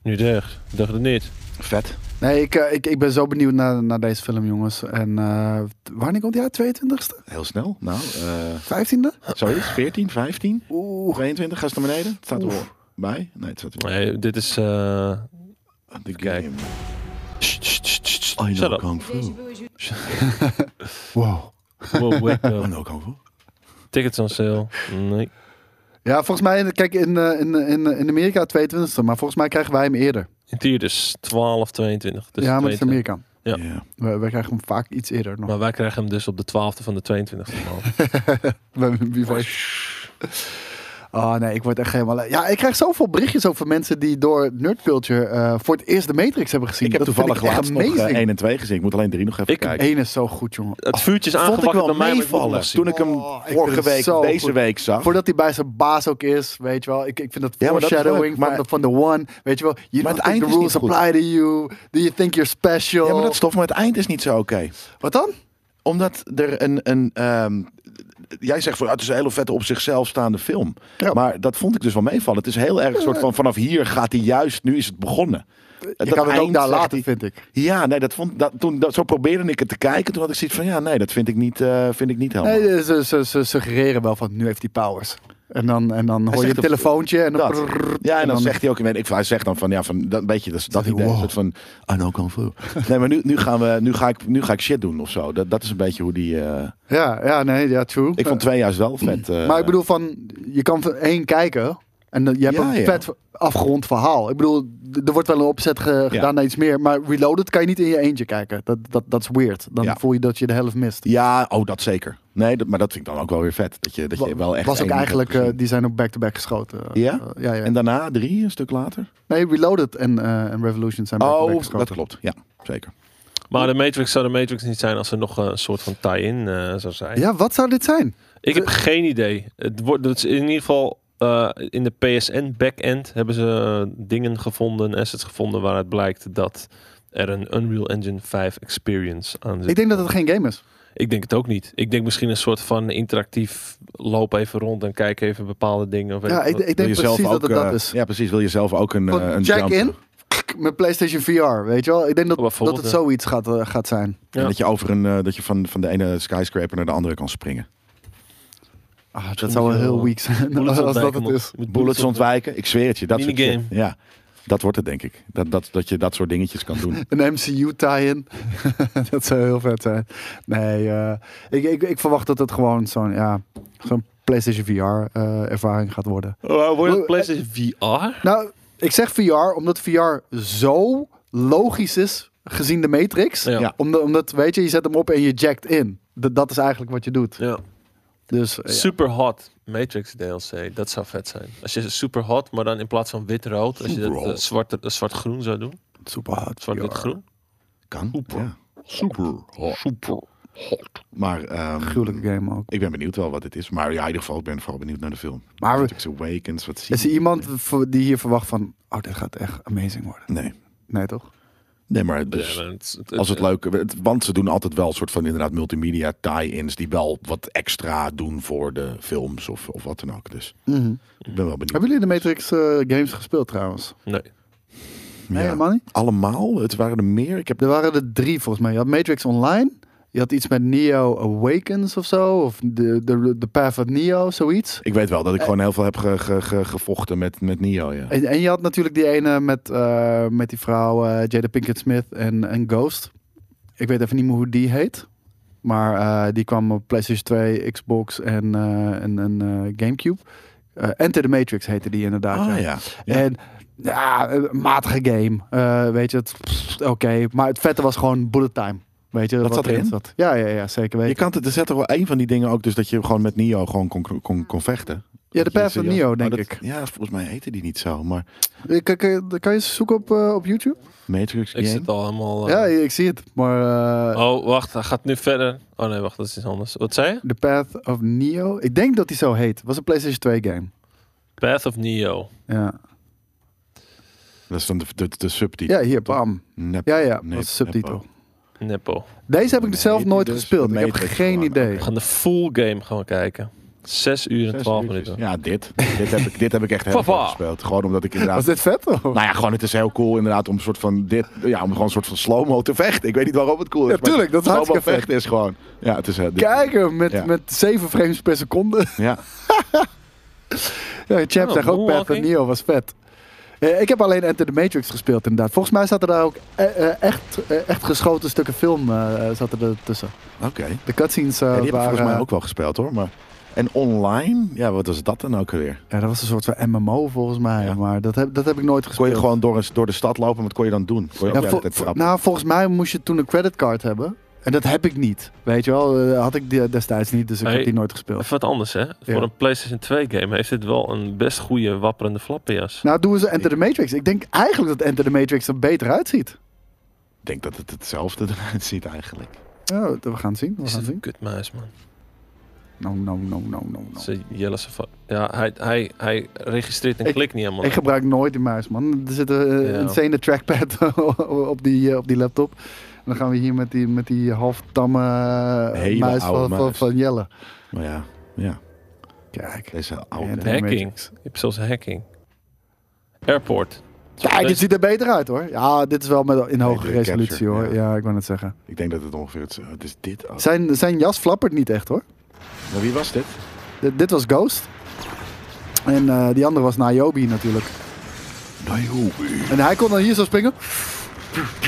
Speaker 1: Niet echt. Ik dacht het niet.
Speaker 2: Vet.
Speaker 3: Nee, ik, eh, ik, ik ben zo benieuwd naar, naar deze film, jongens. En eh wanneer komt die uit? 22e?
Speaker 2: Heel snel. Nou, eh
Speaker 3: 15e?
Speaker 2: zoiets. 14, 15,
Speaker 3: Oeh.
Speaker 2: 22. Ga eens naar beneden. Het staat er
Speaker 3: Oef.
Speaker 2: bij. Nee, het staat er
Speaker 1: Nee, dit is... eh,
Speaker 2: De
Speaker 1: Kijk.
Speaker 2: Ah, game.
Speaker 1: Sst, sst, sst, sst.
Speaker 2: I
Speaker 1: Shut
Speaker 2: know
Speaker 1: up.
Speaker 2: Kung Fu.
Speaker 5: Deja
Speaker 2: I
Speaker 5: vu is usually
Speaker 3: Wow.
Speaker 1: Wow, wake up.
Speaker 2: know Kung Fu.
Speaker 1: Tickets on sale. Nee.
Speaker 3: Ja, volgens mij, kijk, in, eh, in, in, in Amerika 22e, maar volgens mij krijgen wij hem eerder.
Speaker 1: In tier dus 12, 22. Dus
Speaker 3: ja, maar het
Speaker 1: 22.
Speaker 3: is Amerika.
Speaker 1: Ja.
Speaker 2: Ja.
Speaker 3: We, we krijgen hem vaak iets eerder nog.
Speaker 1: Maar wij krijgen hem dus op de 12e van de 22e. man.
Speaker 3: Bij- Wie weet. Oh nee, ik word echt helemaal... Ja, ik krijg zoveel berichtjes over mensen die door Nerd Culture eh, voor het eerst de Matrix hebben gezien.
Speaker 2: Ik heb
Speaker 3: Dat
Speaker 2: toevallig
Speaker 3: vind ik echt
Speaker 2: laatst nog eh,
Speaker 3: amazing.
Speaker 2: 1 en 2 gezien. Ik moet alleen 3 nog even
Speaker 1: Ik-
Speaker 2: kijken.
Speaker 3: Eén is zo goed, jongen.
Speaker 1: Het vuurtje is aangewakkerd bij mij. maar ik moet hem nog zien.
Speaker 2: Toen ik hem
Speaker 3: Oh, ik vind
Speaker 2: vorige
Speaker 3: het
Speaker 2: week,
Speaker 3: zo
Speaker 2: deze
Speaker 3: goed.
Speaker 2: week zag.
Speaker 3: Voordat hij bij zijn baas ook is, weet je wel. Ik, ik vind dat
Speaker 2: Ja, maar dat is leuk,
Speaker 3: foreshadowing
Speaker 2: maar-
Speaker 3: van, de, van de one. Weet je wel, you
Speaker 2: Maar het
Speaker 3: don't think
Speaker 2: eind
Speaker 3: the
Speaker 2: is niet
Speaker 3: rules apply to you. Do you think you're special?
Speaker 2: ja, maar dat stof, maar het eind is niet zo oké.
Speaker 3: Wat dan?
Speaker 2: Omdat er een. een ehm, jij zegt van ah, het is een hele vette op zichzelf staande film.
Speaker 3: Ja.
Speaker 2: Maar dat vond ik dus wel meevallen. Het is heel erg een soort van vanaf hier gaat hij juist, nu is het begonnen.
Speaker 3: Je kan het ook daar laten,
Speaker 2: laten.
Speaker 3: vind ik.
Speaker 2: Ja, nee, dat vond, dat, toen, dat, zo probeerde ik het te kijken. Toen had ik zoiets van, ja, nee, dat vind ik niet, eh, vind ik niet helemaal.
Speaker 3: Nee, ze, ze, ze suggereren wel van, nu heeft hij powers. En dan, en dan hoor je
Speaker 2: zegt
Speaker 3: een
Speaker 2: dat-
Speaker 3: telefoontje en dan...
Speaker 2: Dat. Ja, en dan, zegt hij ook, weet ik, hij zegt dan van, ja, van dat een beetje dat, dat
Speaker 3: hij,
Speaker 2: idee een
Speaker 3: wow.
Speaker 2: soort van, I know kung fu. Nee, maar nu, nu gaan we, nu ga ik, nu ga ik shit doen of zo. Dat, dat is een beetje hoe die. eh,
Speaker 3: Ja, ja, nee, ja, true.
Speaker 2: ik vond twee juist wel vet. eh,
Speaker 3: maar ik bedoel van, je kan van één kijken en dan- je hebt
Speaker 2: Ja,
Speaker 3: een
Speaker 2: ja.
Speaker 3: vet afgerond verhaal. Ik bedoel, d- er wordt wel een opzet ge- gedaan naar iets meer, maar Reloaded kan je niet in je eentje kijken. Dat, dat, dat is weird. Dan
Speaker 2: Ja.
Speaker 3: voel je dat je de helft mist.
Speaker 2: Ja, oh, dat zeker. Nee, dat, maar dat vind ik dan ook wel weer vet. Dat je, dat je wel echt.
Speaker 3: was ook
Speaker 2: één
Speaker 3: eigenlijk,
Speaker 2: hebt
Speaker 3: eh,
Speaker 2: gezien.
Speaker 3: die zijn op back-to-back geschoten.
Speaker 2: Ja?
Speaker 3: Eh, ja, ja.
Speaker 2: En daarna drie, een stuk later.
Speaker 3: nee, Reloaded en, eh, en Revolution zijn back-to-back
Speaker 2: Oh,
Speaker 3: geschoten.
Speaker 2: dat klopt. Ja, zeker.
Speaker 1: Maar de Matrix zou de Matrix niet zijn als er nog eh, een soort van tie-in eh, zou zijn.
Speaker 3: Ja, wat zou dit zijn?
Speaker 1: Ik heb geen idee. Het wordt dat is in ieder geval eh, in de PSN backend hebben ze eh, dingen gevonden, assets gevonden waaruit blijkt dat er een Unreal Engine 5 experience aan zit.
Speaker 3: Ik denk dat het geen game is.
Speaker 1: Ik denk het ook niet. Ik denk misschien een soort van interactief loop even rond en kijk even bepaalde dingen. Of weet
Speaker 3: Ja,
Speaker 1: ik
Speaker 3: ik,
Speaker 1: wat.
Speaker 3: ik denk
Speaker 2: Wil je zelf
Speaker 3: precies dat het
Speaker 2: ook,
Speaker 3: dat
Speaker 2: eh,
Speaker 3: is.
Speaker 2: Ja, precies. Wil je zelf ook een,
Speaker 3: Gewoon
Speaker 2: eh, een Oh,
Speaker 3: jack
Speaker 2: jump?
Speaker 3: in, klik, met PlayStation VR, weet je wel? Ik denk dat, dat
Speaker 1: bijvoorbeeld,
Speaker 3: het zoiets gaat, eh, gaat zijn.
Speaker 2: En
Speaker 1: Ja.
Speaker 2: Dat je, over een, eh, dat je van, van de ene skyscraper naar de andere kan springen.
Speaker 3: Ah, dat
Speaker 1: moet
Speaker 3: zou wel
Speaker 1: je wel
Speaker 2: eh,
Speaker 3: heel weak zijn
Speaker 1: Bullets
Speaker 3: als dat
Speaker 1: ontwijken,
Speaker 3: het
Speaker 1: man.
Speaker 3: is.
Speaker 1: Je moet
Speaker 2: Bullets
Speaker 1: ontwijken.
Speaker 2: ontwijken, ik zweer het je. Dat soort
Speaker 1: Minigame.
Speaker 2: shit. Ja, dat wordt het denk ik. Dat, dat, dat je dat soort dingetjes kan doen.
Speaker 3: Een MCU tie-in. dat zou heel vet zijn. Nee, eh, ik, ik, ik verwacht dat het gewoon zo'n ja, zo'n PlayStation VR eh, ervaring gaat worden.
Speaker 1: Oh, wordt het
Speaker 3: Oh,
Speaker 1: PlayStation VR?
Speaker 3: Nou, ik zeg VR omdat VR zo logisch is gezien de Matrix.
Speaker 1: Ja. Ja.
Speaker 3: Omdat, omdat, weet je, je zet hem op en je jackt in. Dat, dat is eigenlijk wat je doet.
Speaker 1: Ja.
Speaker 3: Dus eh, ja.
Speaker 1: Super hot Matrix DLC. Dat zou vet zijn. Als je super hot, maar dan in plaats van wit-rood, als je dat eh,
Speaker 2: Superhot.
Speaker 1: zwart, eh, zwart-groen zou doen.
Speaker 3: super hard.
Speaker 1: Zwart-wit-groen.
Speaker 2: Kan.
Speaker 1: Super.
Speaker 2: Ja. Super. hot. Maar ehm,
Speaker 3: Gruwelijke game ook.
Speaker 2: ik ben benieuwd wel wat het is. Maar ja, in ieder geval, ik ben vooral benieuwd naar de film.
Speaker 3: Maar we-
Speaker 2: Matrix Awakens, wat zie
Speaker 3: Is er iemand voor- die hier verwacht van, oh, dit gaat echt amazing worden?
Speaker 2: Nee.
Speaker 3: Nee, toch?
Speaker 2: Nee, maar dus...
Speaker 1: Ja, maar het- het- eh,
Speaker 2: Als het leuk, het- want ze doen altijd wel een soort van inderdaad multimedia tie-ins die wel wat extra doen voor de films of, of wat dan ook. Dus ik ben wel benieuwd.
Speaker 3: Hebben jullie de Matrix eh, games gespeeld trouwens?
Speaker 1: Nee.
Speaker 3: Nee,
Speaker 2: Ja.
Speaker 3: helemaal niet?
Speaker 2: Allemaal? Het waren er meer. Ik heb
Speaker 3: Er waren er drie volgens mij. Je had Matrix Online. Je had iets met Neo Awakens of zo. Of de, de, de Path of Neo, zoiets.
Speaker 2: Ik weet wel
Speaker 3: Eh,
Speaker 2: dat ik gewoon heel veel heb ge- ge- ge- gevochten met, met Nio, ja.
Speaker 3: En, en je had natuurlijk die ene met, eh, met die vrouw eh, Jada Pinkett Smith en, en Ghost. Ik weet even niet meer hoe die heet. Maar eh, die kwam op PlayStation 2, Xbox en, eh, en, en eh, Gamecube. Eh Enter the Matrix heette die inderdaad.
Speaker 2: Ah
Speaker 3: ja.
Speaker 2: ja.
Speaker 3: En ja, een matige game. Eh, weet je, het- pff, oké. Maar het vette was gewoon bullet time. Weet je,
Speaker 2: Dat
Speaker 3: wat
Speaker 2: zat erin?
Speaker 3: Zat. Ja, ja, ja,
Speaker 2: Je
Speaker 3: zeker weten.
Speaker 2: kan het, er zit toch wel een van die dingen ook, dus dat je gewoon met Nio gewoon kon, kon, kon vechten.
Speaker 3: Ja, de
Speaker 2: Dat je
Speaker 3: Path of
Speaker 2: serieus-
Speaker 3: Neo,
Speaker 2: maar
Speaker 3: denk
Speaker 2: dat-
Speaker 3: ik.
Speaker 2: Ja, volgens mij heette die niet zo, maar
Speaker 3: Eh, Kan, kan, kan je ze zoeken op, eh, op YouTube?
Speaker 2: Matrix
Speaker 1: Ik
Speaker 2: Game.
Speaker 1: zit al helemaal... eh,
Speaker 3: Ja, ik zie het. Maar eh,
Speaker 1: Oh, wacht. Hij gaat nu verder. Oh nee, wacht. Dat is iets anders. Wat zei je?
Speaker 3: The Path of Neo. Ik denk dat die zo heet. Was een PlayStation 2 game.
Speaker 1: Path of Neo.
Speaker 3: Ja,
Speaker 2: Dat is dan de, de, de subtitel.
Speaker 3: ja hier, bam.
Speaker 2: Nep-
Speaker 3: Ja, ja,
Speaker 2: nep-
Speaker 3: dat is zelftitel.
Speaker 2: nepo.
Speaker 1: Neppo.
Speaker 3: Deze heb ik
Speaker 2: Nee,
Speaker 3: zelf
Speaker 2: die
Speaker 3: nooit
Speaker 2: dus
Speaker 3: gespeeld.
Speaker 2: de
Speaker 3: Ik heb
Speaker 2: Matrix
Speaker 3: geen
Speaker 2: gewoon.
Speaker 3: idee.
Speaker 1: We gaan de full game gaan kijken. 6 uur en
Speaker 2: Zes
Speaker 1: 12
Speaker 2: uurtjes.
Speaker 1: minuten.
Speaker 2: Ja, dit. dit, heb ik, dit heb ik echt heel veel
Speaker 1: Papa.
Speaker 2: gespeeld. Gewoon omdat ik inderdaad...
Speaker 3: Was dit vet? Of?
Speaker 2: Nou ja, gewoon het is heel cool inderdaad om een soort van dit, ja, om gewoon een soort van slow-mo te vechten. Ik weet niet waarom het cool is.
Speaker 3: Ja,
Speaker 2: maar
Speaker 3: tuurlijk, dat is
Speaker 2: slow-mo
Speaker 3: hartstikke vet.
Speaker 2: vechten is gewoon. Ja, het is. eh, dit-
Speaker 3: Kijk hem, met,
Speaker 2: Ja.
Speaker 3: met 7 frames per seconde.
Speaker 2: Ja.
Speaker 3: Ja, Champ
Speaker 1: Oh,
Speaker 3: zegt ook Path of
Speaker 1: Moonwalking.
Speaker 3: Neo was vet. Eh, ik heb alleen Enter the Matrix gespeeld inderdaad. Volgens mij zaten daar ook eh, eh, echt, eh, echt geschoten stukken film eh, zaten er tussen.
Speaker 2: Oké. Ja,
Speaker 3: De cutscenes eh,
Speaker 2: die heb ik
Speaker 3: waren...
Speaker 2: volgens mij ook wel gespeeld hoor. Maar... En online, ja, wat was dat dan ook weer?
Speaker 3: Ja, dat was een soort van MMO volgens mij.
Speaker 2: Ja.
Speaker 3: Maar dat heb, dat heb ik nooit
Speaker 2: Kon
Speaker 3: gespeeld.
Speaker 2: je gewoon door, een, door de stad lopen, maar wat kon je dan doen? Kon je
Speaker 3: Ja,
Speaker 2: ook de
Speaker 3: vol-
Speaker 2: hele tijd
Speaker 3: vol-
Speaker 2: trappen?
Speaker 3: nou, volgens mij moest je toen een creditcard hebben. En dat heb ik niet. Weet je wel, Eh, had ik die destijds niet, dus ik
Speaker 1: Hey.
Speaker 3: heb die nooit gespeeld.
Speaker 1: Even wat anders, hè? Voor een PlayStation 2 game heeft dit wel een best goede wapperende flappenjas.
Speaker 3: Nou, doen ze Enter the Matrix. Ik denk eigenlijk dat Enter the Matrix er beter uitziet.
Speaker 2: Ik denk dat het hetzelfde eruit ziet eigenlijk.
Speaker 3: Ja, we gaan het zien. We
Speaker 1: is
Speaker 3: gaan het
Speaker 1: het een
Speaker 3: zien.
Speaker 1: kutmuis, man.
Speaker 3: No, no, no, no, no, no.
Speaker 1: Ze Jelle zijn va- Ja, hij, hij, hij registreert een
Speaker 3: Ik-
Speaker 1: klik niet helemaal.
Speaker 3: Ik gebruik nooit die muis, man. Er zit een eh,
Speaker 1: Ja.
Speaker 3: insane trackpad op die, eh, op die laptop. En dan gaan we hier met die, met die halftamme eh,
Speaker 2: Hele
Speaker 3: muis
Speaker 2: oude
Speaker 3: van, Van,
Speaker 2: muis.
Speaker 3: van Jelle.
Speaker 2: Maar ja, ja.
Speaker 3: Kijk.
Speaker 2: Deze
Speaker 3: Ja,
Speaker 2: oude.
Speaker 3: de
Speaker 1: Hacking.
Speaker 3: Matrix.
Speaker 1: Je hebt zelfs hacking. Airport.
Speaker 3: Kijk, dit ziet er beter uit hoor. Ja, dit is wel met, in hoge
Speaker 2: Betere
Speaker 3: resolutie
Speaker 2: dus- capture,
Speaker 3: hoor.
Speaker 2: ja.
Speaker 3: Ja. ik wou het zeggen.
Speaker 2: Ik denk dat het ongeveer het, het is dit ook.
Speaker 3: Zijn, zijn jas flappert niet echt hoor.
Speaker 2: Maar wie was dit?
Speaker 3: Dit, dit was Ghost. En eh, die andere was Niobe natuurlijk.
Speaker 2: Nairobi.
Speaker 3: En hij kon dan hier zo springen.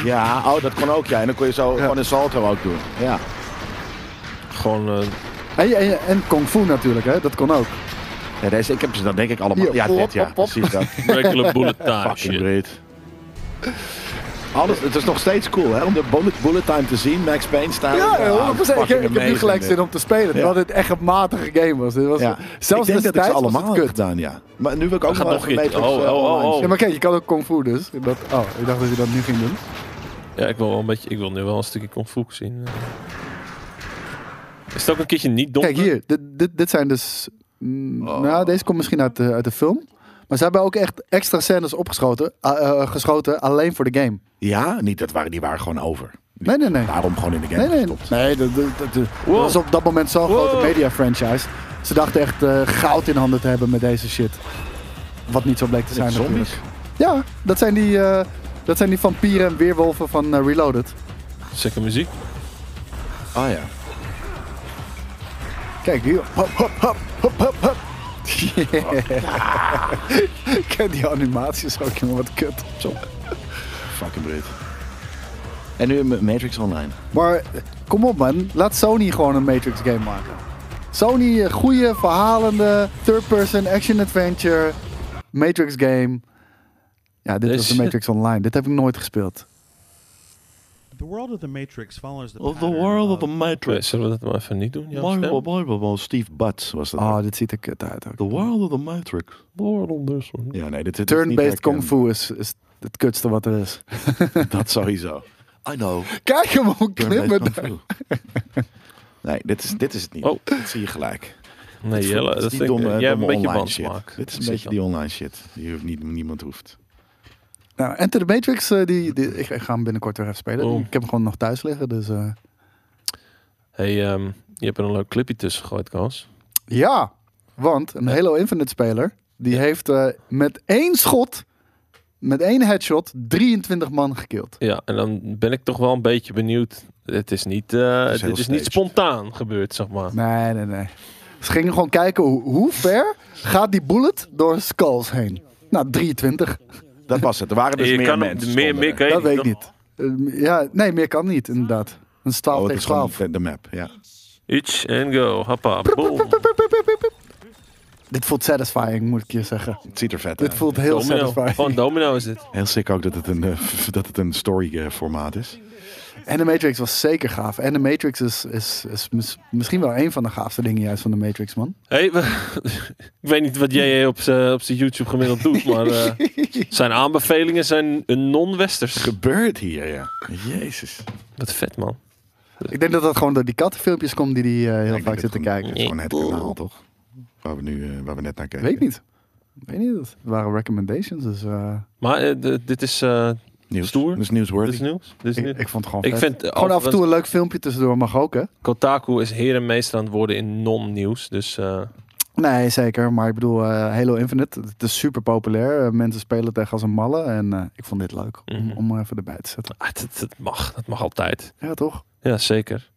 Speaker 2: Ja, oh, dat kon ook ja. En dan kon je zo gewoon een salto ook doen. Ja.
Speaker 1: Gewoon eh,
Speaker 3: En, en, en Kung Fu natuurlijk, hè? dat kon ook.
Speaker 2: Ja, deze, ik heb ze dan denk ik allemaal.
Speaker 3: Hier,
Speaker 2: ja,
Speaker 3: pop,
Speaker 2: dit ja,
Speaker 3: pop, pop.
Speaker 2: precies dat.
Speaker 1: regular bullet time
Speaker 2: Fucking
Speaker 1: shit.
Speaker 2: breed. Alles, het is nog steeds cool hè, om de bullet, bullet time te zien. Max Payne staan.
Speaker 3: Ja, 100%. Ik,
Speaker 2: fucking
Speaker 3: heb- ik heb nu
Speaker 2: amazing,
Speaker 3: gelijk
Speaker 2: dit.
Speaker 3: zin om te spelen. Terwijl
Speaker 2: Ja.
Speaker 3: dit echt een matige game was. Dit was
Speaker 2: Ja. ik denk
Speaker 3: Zelfs
Speaker 2: dat ik ze
Speaker 3: destijds was
Speaker 2: allemaal
Speaker 3: het
Speaker 2: heb
Speaker 3: kut.
Speaker 2: gedaan, ja. Maar nu wil ik ook
Speaker 1: gaat
Speaker 2: nog
Speaker 1: nog
Speaker 2: even
Speaker 1: iets.
Speaker 2: Matrix,
Speaker 1: Oh,
Speaker 2: eh,
Speaker 1: oh, oh,
Speaker 2: online
Speaker 1: oh.
Speaker 2: zien.
Speaker 3: Ja, maar kijk, je kan ook Kung Fu dus. Dat, oh, ik dacht dat je dat nu ging doen.
Speaker 1: Ja, ik wil wel een beetje. Ik wil nu wel een stukje kung fu zien. Is het ook een keertje niet dom?
Speaker 3: Kijk hier, dit, dit, dit zijn dus... mm, Nou, deze komt misschien uit de, uit de film. Maar ze hebben ook echt extra scènes opgeschoten, ah, eh, geschoten alleen voor de game.
Speaker 2: Ja, niet, dat waren, die waren gewoon over.
Speaker 3: Nee, nee, nee.
Speaker 2: Daarom gewoon in de game
Speaker 3: Nee, nee.
Speaker 2: gestopt.
Speaker 3: Nee, dat, dat, dat- dat was op dat moment zo'n
Speaker 1: Wow.
Speaker 3: grote media franchise. Ze dachten echt eh, goud in handen te hebben met deze shit. Wat niet zo bleek te zijn
Speaker 2: Met zombies.
Speaker 3: natuurlijk. Ja, dat zijn die, eh, dat zijn die vampieren en weerwolven van eh, Reloaded.
Speaker 1: Zeker muziek.
Speaker 2: Ah ja.
Speaker 3: Kijk hier. Hop, hop, hop, hop, hop, hop. Yeah. Ik ken die animaties ook, jongen. Wat kut.
Speaker 2: Zo. Fucking Brit. En nu met Matrix Online.
Speaker 3: Maar eh, kom op man, laat Sony gewoon een Matrix game maken. Sony, eh, goede, verhalende, third-person, action-adventure, Matrix game. Ja, dit
Speaker 1: Deze
Speaker 3: was de
Speaker 1: shit.
Speaker 3: Matrix Online. Dit heb ik nooit gespeeld.
Speaker 8: The world of the Matrix follows the
Speaker 2: Of the
Speaker 8: pattern
Speaker 2: world of the
Speaker 1: Oké,
Speaker 2: Matrix.
Speaker 1: Eh, Zullen we dat maar even niet doen? Jouw stem?
Speaker 2: Steve Butts was dat.
Speaker 3: Oh, dit ziet er kut uit ook.
Speaker 2: the world of the Matrix. Ja, nee, dit, dit is niet
Speaker 3: Turn-based kung
Speaker 2: herkenbaar.
Speaker 3: fu is, is het kutste wat er is.
Speaker 2: Dat sowieso. I know.
Speaker 3: Kijk hem ook
Speaker 2: Turn-based
Speaker 3: klimmen.
Speaker 2: kung fu. Nee, dit is, dit is het niet.
Speaker 1: Oh.
Speaker 2: Dat zie je gelijk.
Speaker 1: Nee,
Speaker 2: Dit is-
Speaker 1: Jelle,
Speaker 2: dit is
Speaker 1: dat
Speaker 2: die
Speaker 1: vind ik-
Speaker 2: domme-
Speaker 1: jij hebt
Speaker 2: domme
Speaker 1: een beetje
Speaker 2: online
Speaker 1: bandsmaak.
Speaker 2: shit. Dit is
Speaker 1: Dat
Speaker 2: een
Speaker 1: zie
Speaker 2: beetje
Speaker 1: ik
Speaker 2: die online shit. Die hoeft niet, niemand hoeft.
Speaker 3: Nou, Enter the Matrix, eh, die, die, ik, ik ga hem binnenkort weer even spelen.
Speaker 1: Oh.
Speaker 3: Ik heb hem gewoon nog thuis liggen, dus... eh,
Speaker 1: al. Hey, ehm, je hebt er een leuk clipje tussen gegooid, Koos.
Speaker 3: Ja, want een Halo Infinite speler die heeft eh, met één schot, met één headshot, 23 man gekild.
Speaker 1: Ja, en dan ben ik toch wel een beetje benieuwd. Het is niet, eh,
Speaker 2: is heel
Speaker 1: dit is niet
Speaker 2: staged.
Speaker 1: spontaan gebeurd, zeg maar.
Speaker 3: Nee, nee, nee. Ze gingen gewoon kijken hoe, hoe ver gaat die bullet door skulls heen. Nou, 23.
Speaker 2: Dat was het. Er waren dus
Speaker 1: je
Speaker 2: meer
Speaker 1: kan hem-
Speaker 2: mensen.
Speaker 1: meer,
Speaker 2: stonden
Speaker 1: meer
Speaker 2: er.
Speaker 1: kan je
Speaker 3: dat weet ik
Speaker 1: nog.
Speaker 3: niet. Eh, ja, nee, meer kan niet, inderdaad. Een 12
Speaker 2: Oh, het
Speaker 3: tegen
Speaker 2: is gewoon
Speaker 3: 12.
Speaker 2: de, de map. Ja.
Speaker 1: Iets en go. Hoppa, boom.
Speaker 3: Dit voelt satisfying, moet ik je zeggen.
Speaker 2: Het ziet er vet
Speaker 3: Dit
Speaker 2: uit.
Speaker 3: voelt heel
Speaker 1: Domino. Gewoon
Speaker 3: satisfying.
Speaker 1: domino is dit.
Speaker 2: Heel sick ook dat het een, eh, dat het een story eh, formaat is.
Speaker 3: En de Matrix was zeker gaaf. En de Matrix is, is, is mis- misschien wel een van de gaafste dingen juist van de Matrix, man.
Speaker 1: Hey, we- ik weet niet wat jij op zijn op zijn YouTube gemiddeld doet, maar eh, zijn aanbevelingen zijn een non-westers.
Speaker 2: Gebeurt hier, ja. Jezus.
Speaker 1: Wat vet, man.
Speaker 3: Ik denk dat dat gewoon door die kattenfilmpjes komt die die eh, heel
Speaker 2: Ik denk dat
Speaker 3: vaak
Speaker 2: het
Speaker 3: zit te
Speaker 2: gewoon-
Speaker 3: kijken.
Speaker 2: Het is gewoon het kanaal, toch? Waar we, nu, eh, waar we net naar keken.
Speaker 3: Weet ik niet. Weet niet. Dat waren recommendations. Dus eh,
Speaker 1: Maar eh, d- dit is, eh
Speaker 2: Nieuws.
Speaker 1: Stoer.
Speaker 2: Dat is
Speaker 1: dit
Speaker 2: nieuwsworthy.
Speaker 1: is nieuws. Dit is
Speaker 3: ik,
Speaker 1: nieuws.
Speaker 3: ik vond het gewoon
Speaker 1: Ik
Speaker 3: vet.
Speaker 1: vind, eh,
Speaker 3: gewoon af en
Speaker 1: want
Speaker 3: toe een leuk filmpje tussendoor mag ook, hè?
Speaker 1: Kotaku is heer en meester aan het worden in non-nieuws. Dus eh,
Speaker 3: Nee, zeker. Maar ik bedoel, eh, Halo Infinite, het is super populair. Eh, mensen spelen het echt als een malle. En eh, ik vond dit leuk om,
Speaker 1: Mhm.
Speaker 3: om er even erbij te zetten.
Speaker 1: ah, dat, dat mag. Dat mag altijd.
Speaker 3: Ja, toch?
Speaker 1: Ja, zeker.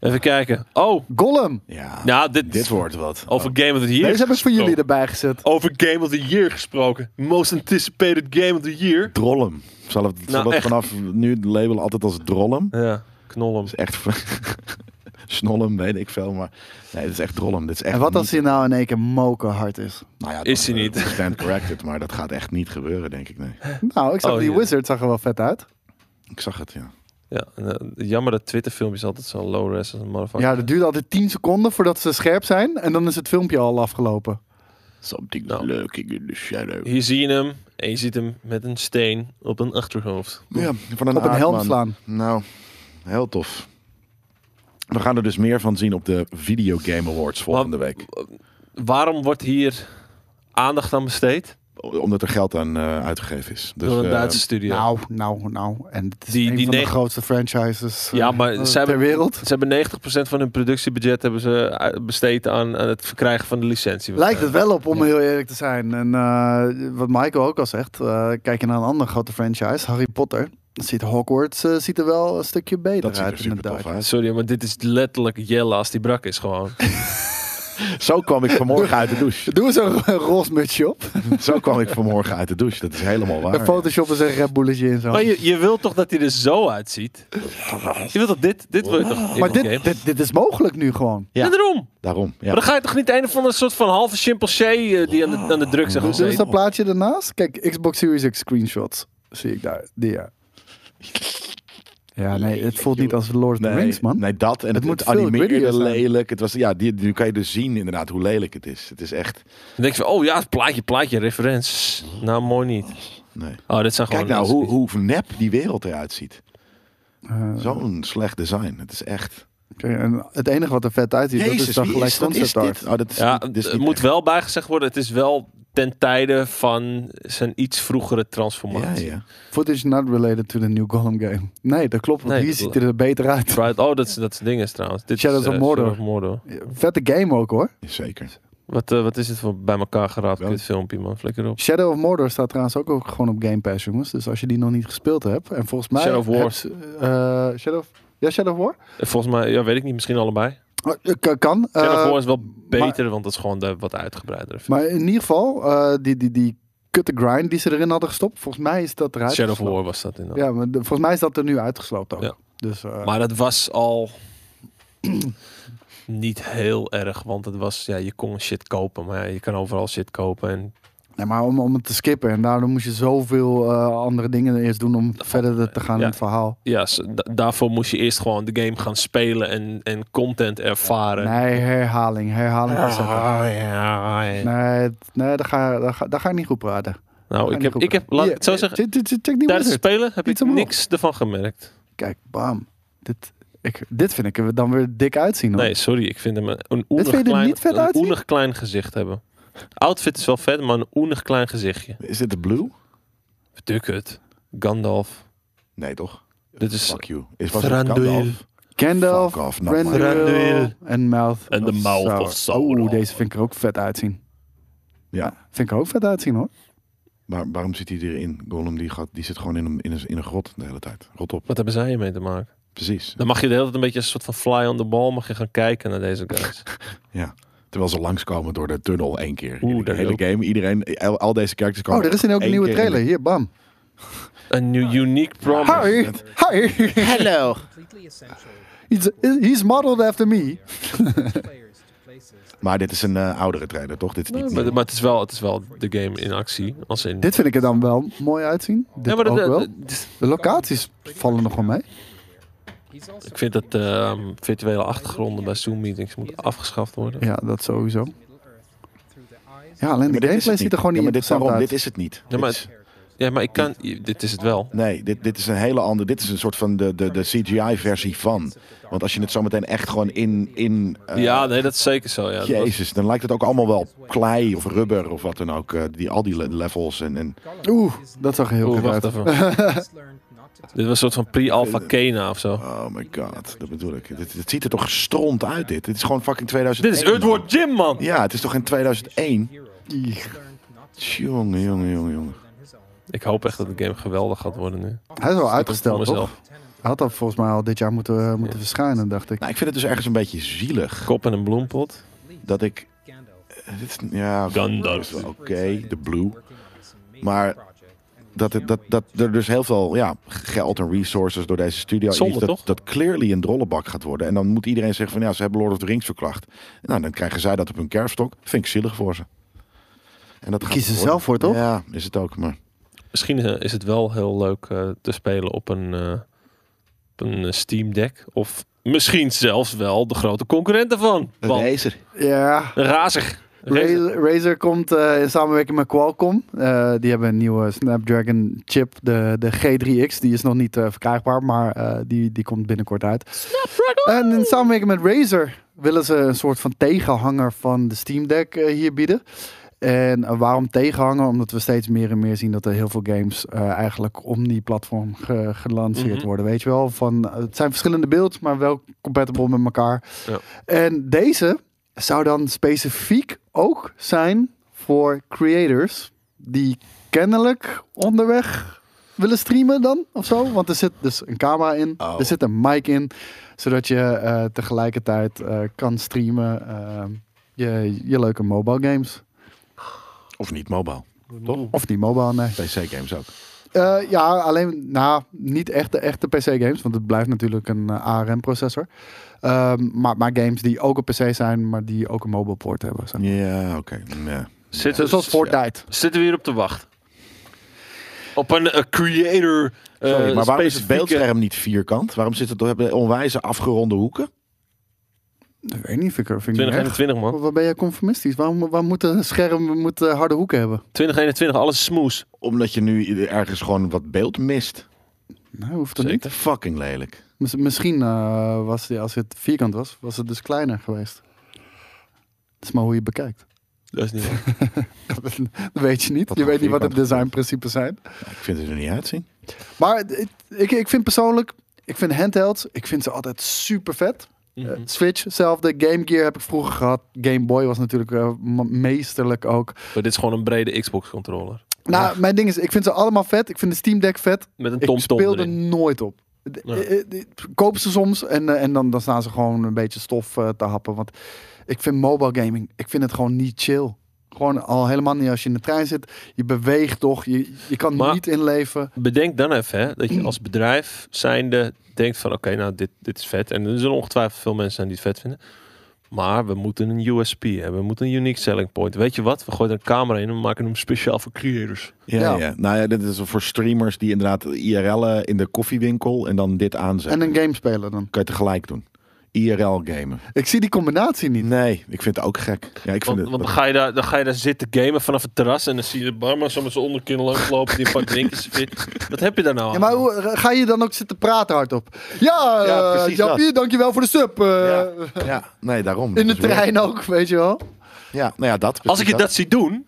Speaker 1: Even kijken. Oh,
Speaker 3: Golem!
Speaker 2: Ja.
Speaker 1: nou, dit,
Speaker 2: Dit wordt wat.
Speaker 1: over Game of the Year.
Speaker 3: Deze heb ik voor jullie
Speaker 1: gesproken.
Speaker 3: erbij gezet.
Speaker 1: Over Game of the Year gesproken. Most anticipated Game of the Year.
Speaker 2: Drollum. Zal het, zal het
Speaker 1: Nou, echt.
Speaker 2: vanaf nu het label altijd als Drollum?
Speaker 1: Ja, knol hem.
Speaker 2: Dat is echt... Snollum, weet ik veel, maar... Nee, dit is echt Drollum. Dit is echt
Speaker 3: En wat als
Speaker 2: niet-
Speaker 3: hij nou in één keer mokerhard is?
Speaker 2: Nou ja,
Speaker 1: Is
Speaker 2: dan,
Speaker 1: hij
Speaker 2: eh,
Speaker 1: niet.
Speaker 2: Stand corrected, maar dat gaat echt niet gebeuren, denk ik, nee.
Speaker 3: Nou, ik zag
Speaker 1: Oh,
Speaker 3: die
Speaker 1: ja.
Speaker 3: wizard zag er wel vet uit.
Speaker 2: Ik zag het, ja.
Speaker 1: Ja, en, eh, jammer dat Twitter-filmpjes altijd zo low-res als een motherfucker.
Speaker 3: Ja, dat duurt altijd 10 seconden voordat ze scherp zijn. En dan is het filmpje al afgelopen.
Speaker 2: Something
Speaker 1: Nou.
Speaker 2: lurking in the
Speaker 3: dus,
Speaker 2: shadow.
Speaker 1: Hier zie je hem en je ziet hem met een steen op een achterhoofd.
Speaker 2: Ja, van een
Speaker 3: Op een
Speaker 2: aardman.
Speaker 3: helm slaan.
Speaker 2: Nou, heel tof. We gaan er dus meer van zien op de Video Game Awards volgende
Speaker 1: Maar-
Speaker 2: week.
Speaker 1: Waarom wordt hier aandacht aan besteed?
Speaker 2: Omdat er geld aan eh, uitgegeven is. Dus,
Speaker 1: Door een
Speaker 2: eh,
Speaker 1: Duitse studio.
Speaker 3: Nou, nou, nou. En het is
Speaker 1: Die-
Speaker 3: een
Speaker 1: die
Speaker 3: van
Speaker 1: negen-
Speaker 3: de grootste franchises eh,
Speaker 1: ja, maar
Speaker 3: eh,
Speaker 1: ze
Speaker 3: ter
Speaker 1: hebben,
Speaker 3: wereld.
Speaker 1: ze hebben 90% van hun productiebudget hebben ze eh, besteed aan, aan het verkrijgen van de licentie.
Speaker 3: Lijkt het wel op, om heel eerlijk te zijn. En eh, wat Michael ook al zegt, eh, kijk je naar een andere grote franchise, Harry Potter. Dan ziet Hogwarts eh, ziet er wel een stukje beter
Speaker 2: dat ziet er
Speaker 3: uit,
Speaker 2: super
Speaker 3: inderdaad.
Speaker 2: tof uit.
Speaker 1: Ah, Sorry, maar dit is letterlijk Jelle als die brak is gewoon.
Speaker 2: Zo kwam ik vanmorgen uit de douche.
Speaker 3: Doe eens een roze mutsje op.
Speaker 2: Zo kwam ik vanmorgen uit de douche. Dat is helemaal waar.
Speaker 3: En Photoshop is een Red Bulletje in zo.
Speaker 1: Maar je, je wilt toch dat hij er zo uitziet? Je wilt toch dit? Dit wil je
Speaker 2: Ah,
Speaker 1: toch in
Speaker 3: Maar
Speaker 1: de
Speaker 3: dit,
Speaker 1: game?
Speaker 3: dit, dit is mogelijk nu gewoon.
Speaker 1: Ja.
Speaker 2: Ja.
Speaker 1: daarom.
Speaker 2: Daarom. Ja.
Speaker 1: Maar dan ga je toch niet een of andere soort van halve chimpansee eh, die aan de, aan de drugs zijn
Speaker 3: Dus dit is
Speaker 1: gezeten?
Speaker 3: dat plaatje daarnaast. Kijk, Xbox Series X screenshots zie ik daar. Die, ja. ja, nee, het voelt niet als Lord of the Rings, man.
Speaker 2: nee, dat. En het,
Speaker 3: moet
Speaker 2: moet
Speaker 3: veel grittier
Speaker 2: animeerde
Speaker 3: zijn.
Speaker 2: lelijk. Het was, ja, die, nu kan je dus zien inderdaad hoe lelijk het is. Het is echt...
Speaker 1: Dan denk je van, oh ja, plaatje, plaatje, referentie. Nou, mooi niet.
Speaker 2: Nee.
Speaker 1: Oh, dit zijn gewoon...
Speaker 2: Kijk nou hoe, hoe nep die wereld eruit ziet.
Speaker 3: Eh.
Speaker 2: Zo'n slecht design. Het is echt...
Speaker 3: Oké, En het enige wat er vet uitziet, dat is dan
Speaker 2: wie
Speaker 3: gelijk
Speaker 2: is- dat is
Speaker 3: concept art.
Speaker 2: dit? Oh, dat is
Speaker 1: Ja,
Speaker 2: niet- dit is
Speaker 1: het
Speaker 2: niet
Speaker 1: moet
Speaker 2: echt.
Speaker 1: wel bijgezegd worden, het is wel ten tijde van zijn iets vroegere transformatie.
Speaker 2: ja.
Speaker 3: Footage not related to the new Gollum game. Nee, dat klopt. Want
Speaker 1: Nee,
Speaker 3: hier
Speaker 1: dat-
Speaker 3: ziet hij er beter uit.
Speaker 1: Right. Oh, dat is dat is ding is trouwens. Dit
Speaker 3: Shadows
Speaker 1: is,
Speaker 3: of
Speaker 1: eh,
Speaker 3: Mordor.
Speaker 1: Shadows of Mordor.
Speaker 3: Vette game ook hoor.
Speaker 2: Zeker.
Speaker 1: Wat, eh, wat is het voor bij elkaar geraakt
Speaker 2: Wel.
Speaker 1: dit filmpje man? Flikker op.
Speaker 3: Shadow of Mordor staat trouwens ook, ook gewoon op Game Pass, jongens. Dus als je die nog niet gespeeld hebt. En volgens mij.
Speaker 1: Shadow of War.
Speaker 3: hebben ze, eh, Shadow of, ja, Shadow of War?
Speaker 1: Eh, Volgens mij, ja, weet ik niet, misschien allebei.
Speaker 3: Oh, k- kan.
Speaker 1: Shadow of
Speaker 3: eh,
Speaker 1: War is wel beter, want dat is gewoon de wat uitgebreidere film.
Speaker 3: maar in ieder geval, eh, die, die, die kutte grind die ze erin hadden gestopt. Volgens mij is dat eruit.
Speaker 1: Shadow of
Speaker 3: gesloopt.
Speaker 1: War was dat inderdaad.
Speaker 3: Ja, maar de- volgens mij is dat er nu uitgesloopt ook.
Speaker 1: Ja.
Speaker 3: Dus, eh,
Speaker 1: Maar dat was al niet heel erg, want het was, ja, je kon shit kopen, maar ja, je kan overal shit kopen. En
Speaker 3: nee, maar om, om het te skippen. En daardoor moest je zoveel eh, andere dingen eerst doen om verder te gaan
Speaker 1: Ja.
Speaker 3: in het verhaal.
Speaker 1: ja, s- da- daarvoor moest je eerst gewoon de game gaan spelen en, en content ervaren.
Speaker 3: Nee, herhaling. Herhaling. verzetten.
Speaker 1: Ah, ja, ja.
Speaker 3: Nee, t- nee daar, ga, daar, ga, daar ga ik niet goed praten. Daar ga
Speaker 1: Nou,
Speaker 3: niet
Speaker 1: ik heb,
Speaker 3: goed
Speaker 1: ik heb,
Speaker 3: praten.
Speaker 1: laat ik
Speaker 3: Hier,
Speaker 1: het zo
Speaker 3: eh,
Speaker 1: zeggen,
Speaker 3: check- check- check- check die
Speaker 1: tijdens het
Speaker 3: wizard.
Speaker 1: spelen heb ik
Speaker 3: Iets omhoog.
Speaker 1: niks ervan gemerkt.
Speaker 3: Kijk, bam. Dit, ik, dit vind ik er dan weer dik uitzien. Hoor.
Speaker 1: Nee, sorry, ik vind hem een- een
Speaker 3: vind je
Speaker 1: oenig
Speaker 3: er
Speaker 1: klein,
Speaker 3: niet vet
Speaker 1: een
Speaker 3: uitzien?
Speaker 1: oenig klein gezicht hebben. Outfit is wel vet, maar een oenig klein gezichtje.
Speaker 2: Is dit de blue?
Speaker 1: Duk het. Gandalf.
Speaker 2: Nee, toch?
Speaker 1: Dit is
Speaker 2: Fuck you. Is was het
Speaker 1: Thranduil.
Speaker 2: Gandalf?
Speaker 3: Gandalf,
Speaker 2: Fuck off, not my-
Speaker 3: Randuil
Speaker 1: Thranduil.
Speaker 3: en Mouth.
Speaker 1: En de
Speaker 3: of
Speaker 1: Mouth
Speaker 3: Sauron.
Speaker 1: of Sauron.
Speaker 3: Oeh, deze vind ik er ook vet uitzien.
Speaker 2: Ja.
Speaker 3: Vind ik er ook vet uitzien hoor.
Speaker 2: Maar waarom zit hij erin? Gollum die, gaat, die zit gewoon in een, in, een, in een grot de hele tijd. Rot op.
Speaker 1: Wat hebben zij hiermee te maken?
Speaker 2: Precies.
Speaker 1: Dan mag je de hele tijd een beetje een soort van fly on the ball mag je gaan kijken naar deze guys.
Speaker 2: Ja. Terwijl ze langskomen door de tunnel één keer.
Speaker 1: Oeh,
Speaker 2: in de
Speaker 1: daar
Speaker 2: hele
Speaker 1: ook.
Speaker 2: game. Iedereen, al, al deze characters komen
Speaker 3: Oh, er is een ook een
Speaker 2: één
Speaker 3: nieuwe
Speaker 2: keer in de-
Speaker 3: trailer. Hier, bam.
Speaker 1: Een new unique promise.
Speaker 3: Hi, hi. Hello.
Speaker 4: Completely essential
Speaker 3: He's, he's modeled after me.
Speaker 4: for players to places.
Speaker 2: Maar dit is een eh, oudere trailer, toch? Dit is niet nieuw.
Speaker 1: Maar, maar het, is wel, het is wel de game in actie. Als in...
Speaker 3: Dit vind ik er dan wel mooi uitzien. Dit
Speaker 1: Ja, maar
Speaker 3: ook
Speaker 1: dat-
Speaker 3: wel.
Speaker 1: dat- dat-
Speaker 3: De locaties vallen nog wel mee.
Speaker 4: He's also
Speaker 1: ik vind dat ehm, virtuele achtergronden bij Zoom meetings moeten afgeschaft worden.
Speaker 3: Ja, dat sowieso.
Speaker 4: Middle Earth through the eyes
Speaker 3: Ja, alleen
Speaker 2: Maar
Speaker 3: de
Speaker 2: dit is
Speaker 3: gameplay
Speaker 2: het
Speaker 3: ziet er gewoon
Speaker 2: Ja,
Speaker 3: niet
Speaker 2: maar dit,
Speaker 3: interessant
Speaker 2: daarom,
Speaker 3: uit.
Speaker 2: dit is het niet.
Speaker 1: Ja, maar,
Speaker 2: Dit is-
Speaker 1: ja, maar ik kan. Dit is het wel.
Speaker 2: Nee, dit, dit is een hele andere. Dit is een soort van de, de, de CGI-versie van. Want als je het zometeen echt gewoon in. in eh,
Speaker 1: Ja, nee, dat is zeker zo. Ja. Dat was-
Speaker 2: Jezus, dan lijkt het ook allemaal wel klei of rubber of wat dan ook. eh, die, al die le- levels en. en
Speaker 3: Oeh, dat zag heel
Speaker 1: Oeh,
Speaker 3: goed
Speaker 1: Oh, wacht
Speaker 3: uit.
Speaker 1: even.
Speaker 4: He's learned not to
Speaker 1: Dit was een soort van pre-alpha Kena of zo.
Speaker 2: oh my god, dat bedoel ik. Dit, dit ziet er toch stront uit, dit? Dit is gewoon fucking 2000.
Speaker 1: Dit is Edward Jim, man!
Speaker 2: Ja, het is toch in 2001?
Speaker 3: Eeg.
Speaker 4: learn not to
Speaker 2: Jongen, jongen, jongen, jongen.
Speaker 4: than his own.
Speaker 1: Ik hoop echt dat de game geweldig gaat worden nu.
Speaker 3: Hij is wel
Speaker 1: Voor
Speaker 3: uitgesteld, toch?
Speaker 1: mezelf.
Speaker 3: Hij had dat volgens mij al dit jaar moeten, moeten verschijnen, dacht ik.
Speaker 2: Nou, ik vind het dus ergens een beetje zielig
Speaker 1: Kop en een bloempot.
Speaker 2: dat ik.
Speaker 4: Gandalf.
Speaker 2: eh, Dit, is- ja,
Speaker 1: Gandalf.
Speaker 2: is wel Oké, de blue. Maar dat, het- dat, dat er dus heel veel ja, geld en resources door deze studio
Speaker 1: Zonde,
Speaker 2: is. Dat,
Speaker 1: toch?
Speaker 2: dat clearly een drollenbak gaat worden. En dan moet iedereen zeggen van ja, ze hebben Lord of the Rings verklacht. Nou, dan krijgen zij dat op hun kerfstok. Vind ik zielig voor ze. En dat gaat
Speaker 3: Kiezen
Speaker 2: het
Speaker 3: ze zelf voor, toch?
Speaker 2: Ja, is het ook. Maar
Speaker 1: Misschien eh, is het wel heel leuk eh, te spelen op een, eh, op een eh, Steam Deck. Of misschien zelfs wel de grote concurrent daarvan. Want
Speaker 2: Razer.
Speaker 3: Ja,
Speaker 1: razig.
Speaker 3: Razer, Razer komt eh, in samenwerking met Qualcomm. Eh, die hebben een nieuwe Snapdragon chip, de, de G3X. Die is nog niet eh, verkrijgbaar, maar eh, die, die komt binnenkort uit. En in samenwerking met Razer willen ze een soort van tegenhanger van de Steam Deck eh, hier bieden. En eh, waarom tegenhanger? Omdat we steeds meer en meer zien dat er heel veel games eh, eigenlijk om die platform ge- gelanceerd
Speaker 1: Mhm.
Speaker 3: worden. Weet je wel, van, eh, het zijn verschillende beelds, maar wel compatible met elkaar.
Speaker 1: Ja.
Speaker 3: En deze zou dan specifiek ook zijn voor creators die kennelijk onderweg willen streamen dan of zo. Want er zit dus een camera in,
Speaker 2: Oh.
Speaker 3: er zit een mic in, zodat je eh, tegelijkertijd eh, kan streamen eh, je, je leuke mobile games.
Speaker 2: Of niet mobile.
Speaker 3: Of niet mobile, nee.
Speaker 2: PC-games ook.
Speaker 3: Eh, ja, alleen, nou, niet echt de echte PC-games, want het blijft natuurlijk een eh, ARM-processor. Ehm, maar, maar games die ook een PC zijn, maar die ook een mobile port hebben. Zeg. maar.
Speaker 2: Ja, oké. Ja.
Speaker 1: Zitten,
Speaker 3: Zoals Fortnite.
Speaker 1: zitten we hier op te wachten? Op een eh, creator. eh,
Speaker 2: Sorry, maar waarom is het
Speaker 1: specifieke-
Speaker 2: beeldscherm niet vierkant? Waarom zit het hebben onwijze afgeronde hoeken?
Speaker 3: Ik weet niet, vind ik, vind ik niet erg.
Speaker 1: 2021, man.
Speaker 3: Waar ben jij conformistisch? Waarom, waarom moet een scherm moet, eh, harde hoeken hebben?
Speaker 1: 2021, alles is smooth.
Speaker 2: Omdat je nu ergens gewoon wat beeld mist.
Speaker 3: Nou, hoeft dat
Speaker 1: Zeker.
Speaker 3: niet.
Speaker 2: Fucking lelijk.
Speaker 3: Mis- misschien eh, was die, als het vierkant was, was het dus kleiner geweest. Dat is maar hoe je het bekijkt.
Speaker 1: Dat is niet waar.
Speaker 3: Dat weet je niet.
Speaker 2: Wat
Speaker 3: Je
Speaker 2: voor
Speaker 3: weet niet wat de
Speaker 2: vierkante
Speaker 3: designprincipes zijn.
Speaker 2: Ik vind het er niet uitzien.
Speaker 3: Maar het- ik, ik vind persoonlijk, ik vind handhelds, ik vind ze altijd super vet. Eh,
Speaker 1: Mhm.
Speaker 3: Switch, hetzelfde. Game Gear heb ik vroeger gehad. Game Boy was natuurlijk eh, me- meesterlijk ook.
Speaker 1: Maar dit is gewoon een brede Xbox controller.
Speaker 3: Nou, mijn ding is, ik vind ze allemaal vet. Ik vind de Steam Deck vet.
Speaker 1: Met een
Speaker 3: Ik
Speaker 1: tomtom
Speaker 3: speel er
Speaker 1: erin.
Speaker 3: nooit op. D-
Speaker 1: Ja.
Speaker 3: eh, eh, Koop ze soms en, eh, en dan, dan staan ze gewoon een beetje stof eh, te happen. Want ik vind mobile gaming, ik vind het gewoon niet chill. Gewoon al helemaal niet als je in de trein zit. Je beweegt toch, je, je kan
Speaker 1: Maar-
Speaker 3: niet inleven.
Speaker 1: Bedenk dan even hè, dat je als bedrijf zijnde denkt van oké, nou dit, dit is vet. En er zullen ongetwijfeld veel mensen zijn die het vet vinden. Maar we moeten een USP hebben. We moeten een unique selling point. Weet je wat? We gooien er een camera in en we maken hem speciaal voor creators.
Speaker 2: Ja,
Speaker 3: Ja.
Speaker 2: ja. nou ja, dit is voor streamers die inderdaad IRL'en in de koffiewinkel en dan dit aanzetten.
Speaker 3: En een game spelen dan.
Speaker 2: Kan je tegelijk doen. IRL gamen.
Speaker 3: Ik zie die combinatie niet.
Speaker 2: Nee, ik vind het ook gek. Ja, ik vind
Speaker 1: Want,
Speaker 2: het,
Speaker 1: want dan, ga je daar, dan ga je daar zitten gamen vanaf het terras. En dan zie je de barman zo met zijn onderkin langslopen. Die een paar drinkjes fit. Wat heb je daar nou aan?
Speaker 2: Ah.
Speaker 3: Ja, maar hoe, eh, ga je dan ook zitten praten hardop? Ja, eh
Speaker 2: Ja, precies
Speaker 3: Jappie, dankjewel voor de sub. eh,
Speaker 2: ja, ja, nee, daarom.
Speaker 3: In de
Speaker 2: Dat is weer-
Speaker 3: trein ook, weet je wel.
Speaker 2: Ja, nou ja, dat.
Speaker 1: Als ik je dat zie doen,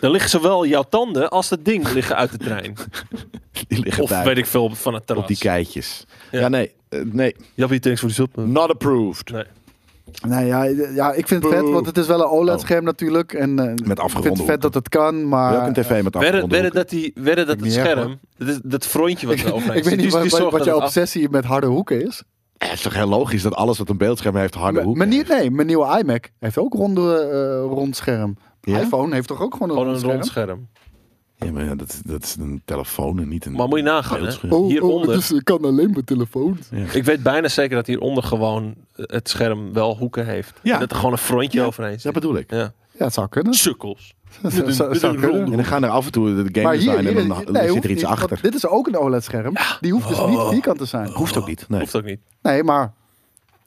Speaker 1: dan liggen zowel jouw tanden als dat ding liggen uit de trein.
Speaker 2: Die liggen
Speaker 1: Of
Speaker 2: daar
Speaker 1: weet ik veel, van het
Speaker 2: op die
Speaker 1: terras.
Speaker 2: keitjes.
Speaker 1: Ja.
Speaker 2: Ja, nee, eh, nee,
Speaker 1: Jappie, thanks voor die zot. man.
Speaker 2: not approved.
Speaker 1: Nee.
Speaker 3: Nou ja, eh, ja ik vind het vet,
Speaker 2: Boe.
Speaker 3: want het is wel een OLED-scherm
Speaker 1: Oh.
Speaker 3: natuurlijk. En, eh, Ik
Speaker 2: afgeronde
Speaker 3: vind het vet
Speaker 2: hoeken.
Speaker 3: dat het kan, maar...
Speaker 2: Welke tv met
Speaker 1: Werden,
Speaker 2: afgeronde
Speaker 1: werden
Speaker 2: hoeken?
Speaker 1: dat, die, werden dat
Speaker 3: Ik
Speaker 1: het
Speaker 3: niet erg,
Speaker 1: scherm, dat, is, dat frontje wat er
Speaker 2: Oh,
Speaker 1: overheen
Speaker 3: ik weet
Speaker 1: zit,
Speaker 3: niet
Speaker 1: die-
Speaker 3: wat,
Speaker 1: die
Speaker 3: wat,
Speaker 1: zorgt
Speaker 3: wat
Speaker 1: dat
Speaker 3: jouw
Speaker 1: het af-
Speaker 3: obsessie met harde hoeken is.
Speaker 2: Eh, Het is toch heel logisch dat alles wat een beeldscherm heeft harde
Speaker 3: M-
Speaker 2: hoeken.
Speaker 3: Mijn, nieuw- nee, mijn nieuwe iMac heeft ook ronde, eh, rond scherm.
Speaker 2: Ja?
Speaker 3: iPhone heeft toch ook gewoon een
Speaker 1: Gewoon
Speaker 3: rond
Speaker 1: een
Speaker 3: scherm?
Speaker 1: rond scherm.
Speaker 2: Ja, maar ja, dat, is- dat is een telefoon en niet een.
Speaker 1: Maar moet je nagaan, hè?
Speaker 2: beeldscherm.
Speaker 3: Oh,
Speaker 1: Hieronder.
Speaker 3: Oh, dus ik kan alleen mijn telefoon.
Speaker 1: Ik weet bijna zeker dat hieronder gewoon het scherm wel hoeken heeft.
Speaker 2: Ja.
Speaker 1: En Dat er gewoon een frontje
Speaker 2: Ja,
Speaker 1: overheen
Speaker 2: Dat
Speaker 1: zit.
Speaker 2: bedoel ik.
Speaker 1: Ja.
Speaker 3: Ja, het zou kunnen.
Speaker 1: Sukkels.
Speaker 3: Zou-
Speaker 1: Met een,
Speaker 3: zou
Speaker 1: met een
Speaker 3: kunnen.
Speaker 1: ronde
Speaker 2: En dan gaan er af en toe de game
Speaker 3: Maar hier,
Speaker 2: design
Speaker 3: hier,
Speaker 2: en dan
Speaker 3: hier-
Speaker 2: dan
Speaker 3: nee,
Speaker 2: zit
Speaker 3: hoeft
Speaker 2: er iets
Speaker 3: niet, want
Speaker 2: achter.
Speaker 3: Dit is ook een OLED-scherm. Die hoeft dus
Speaker 1: Oh.
Speaker 3: niet vierkant te zijn.
Speaker 2: Hoeft ook niet. Nee.
Speaker 1: hoeft ook niet.
Speaker 3: Nee, maar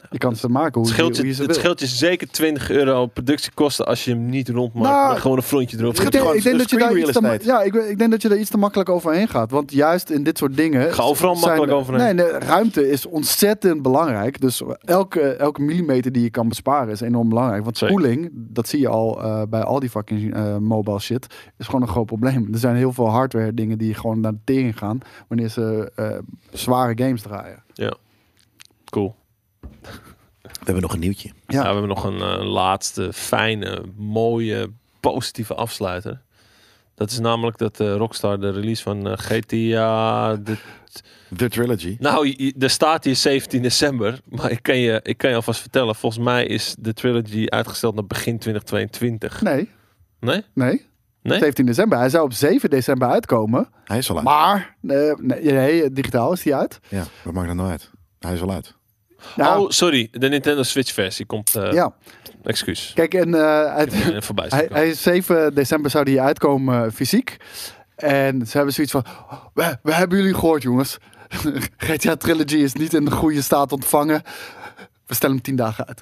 Speaker 3: je kan ze maken
Speaker 1: Het
Speaker 3: hoe, je-
Speaker 1: scheelt,
Speaker 3: hoe
Speaker 1: je,
Speaker 3: je ze
Speaker 1: het
Speaker 3: wil.
Speaker 1: scheelt je zeker 20 euro productiekosten als je hem niet rond maakt.
Speaker 3: Nou,
Speaker 1: maar gewoon een frontje erop.
Speaker 3: Ik
Speaker 2: scheelt
Speaker 1: Ik
Speaker 3: denk,
Speaker 2: gewoon
Speaker 3: ik denk dat je daar
Speaker 2: screen
Speaker 3: iets te,
Speaker 2: real
Speaker 3: ma-
Speaker 2: estate.
Speaker 3: ja, ik, ik denk dat je daar iets te makkelijk overheen gaat. Want juist in dit soort dingen.
Speaker 1: Ga overal
Speaker 3: zijn-
Speaker 1: makkelijk overheen.
Speaker 3: Nee, nee, ruimte is ontzettend belangrijk. Dus elke, elke millimeter die je kan besparen is enorm belangrijk. Want
Speaker 1: Zeker.
Speaker 3: spoeling, dat zie je al eh, bij al die fucking eh, mobile shit, is gewoon een groot probleem. Er zijn heel veel hardware dingen die gewoon naar de tering gaan wanneer ze eh, zware games draaien.
Speaker 1: Cool.
Speaker 2: We hebben nog een nieuwtje.
Speaker 3: Ja.
Speaker 1: Ja. we hebben nog een eh, laatste fijne, mooie, positieve afsluiter. Dat is namelijk dat eh, Rockstar de release van eh, GTA. De,
Speaker 2: De trilogy.
Speaker 1: nou, je- er staat hier 17 december. Maar ik kan, je, ik kan je alvast vertellen. Volgens mij is de trilogy uitgesteld naar begin 2022.
Speaker 3: Nee,
Speaker 1: Nee?
Speaker 3: nee.
Speaker 1: Nee?
Speaker 3: 17 december. Hij zou op 7 december uitkomen.
Speaker 2: Hij is al uit.
Speaker 3: Maar, eh, nee, nee, digitaal is die uit.
Speaker 2: Ja, wat maakt dat nou uit? Hij is al uit.
Speaker 3: Nou,
Speaker 1: Oh, sorry. De Nintendo Switch versie komt. eh,
Speaker 3: ja.
Speaker 1: Excuus.
Speaker 3: Kijk, en eh, uit-
Speaker 1: Ik ben er voorbij.
Speaker 3: hij, hij is 7 december zou die uitkomen eh, fysiek. En ze hebben zoiets van, we, we hebben jullie gehoord jongens. GTA Trilogy is niet in de goede staat ontvangen. We stellen hem 10 dagen uit.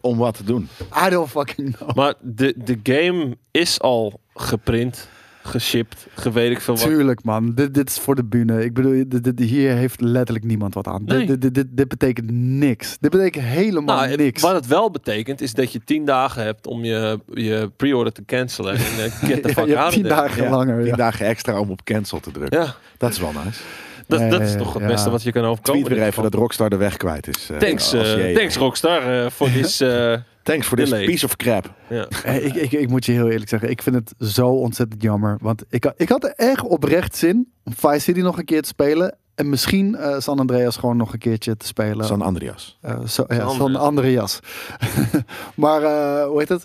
Speaker 2: Om wat te doen.
Speaker 3: I don't fucking know.
Speaker 1: Maar de, de game is al geprint, geshipped, geweet ik veel wat.
Speaker 3: Tuurlijk man, dit, dit is voor de bühne. Ik bedoel, dit, dit- hier heeft letterlijk niemand wat aan. Dit-
Speaker 1: Nee.
Speaker 3: Dit, dit, dit, dit betekent niks. Dit betekent helemaal
Speaker 1: Nou,
Speaker 3: niks.
Speaker 1: Wat het wel betekent is dat je 10 dagen hebt om je, je pre-order te cancelen. En eh, get the fuck
Speaker 3: Ja, je hebt
Speaker 1: out of
Speaker 3: 10
Speaker 1: there.
Speaker 3: dagen langer.
Speaker 2: Tien
Speaker 3: ja.
Speaker 2: dagen extra om op cancel te drukken.
Speaker 1: Ja,
Speaker 2: Dat is wel nice.
Speaker 1: dat,
Speaker 3: Nee,
Speaker 1: dat is toch het
Speaker 3: ja.
Speaker 1: beste wat je kan overkomen.
Speaker 2: Tweet weer
Speaker 1: in
Speaker 2: even
Speaker 1: ieder
Speaker 2: dat Rockstar de weg kwijt is. eh,
Speaker 1: geval. Thanks,
Speaker 2: als
Speaker 1: eh,
Speaker 2: jij-
Speaker 1: thanks Rockstar eh, voor dit.
Speaker 2: Thanks for this
Speaker 1: Delay.
Speaker 2: piece of crap.
Speaker 1: ja.
Speaker 3: Eh, ik, ik, ik moet je heel eerlijk zeggen, ik vind het zo ontzettend jammer. Want ik, ha- ik had er echt oprecht zin om Vice City nog een keer te spelen. En misschien eh, San Andreas gewoon nog een keertje te spelen.
Speaker 2: San Andreas.
Speaker 3: Eh, zo, ja,
Speaker 1: San
Speaker 3: zo'n andere jas. maar eh, hoe heet het?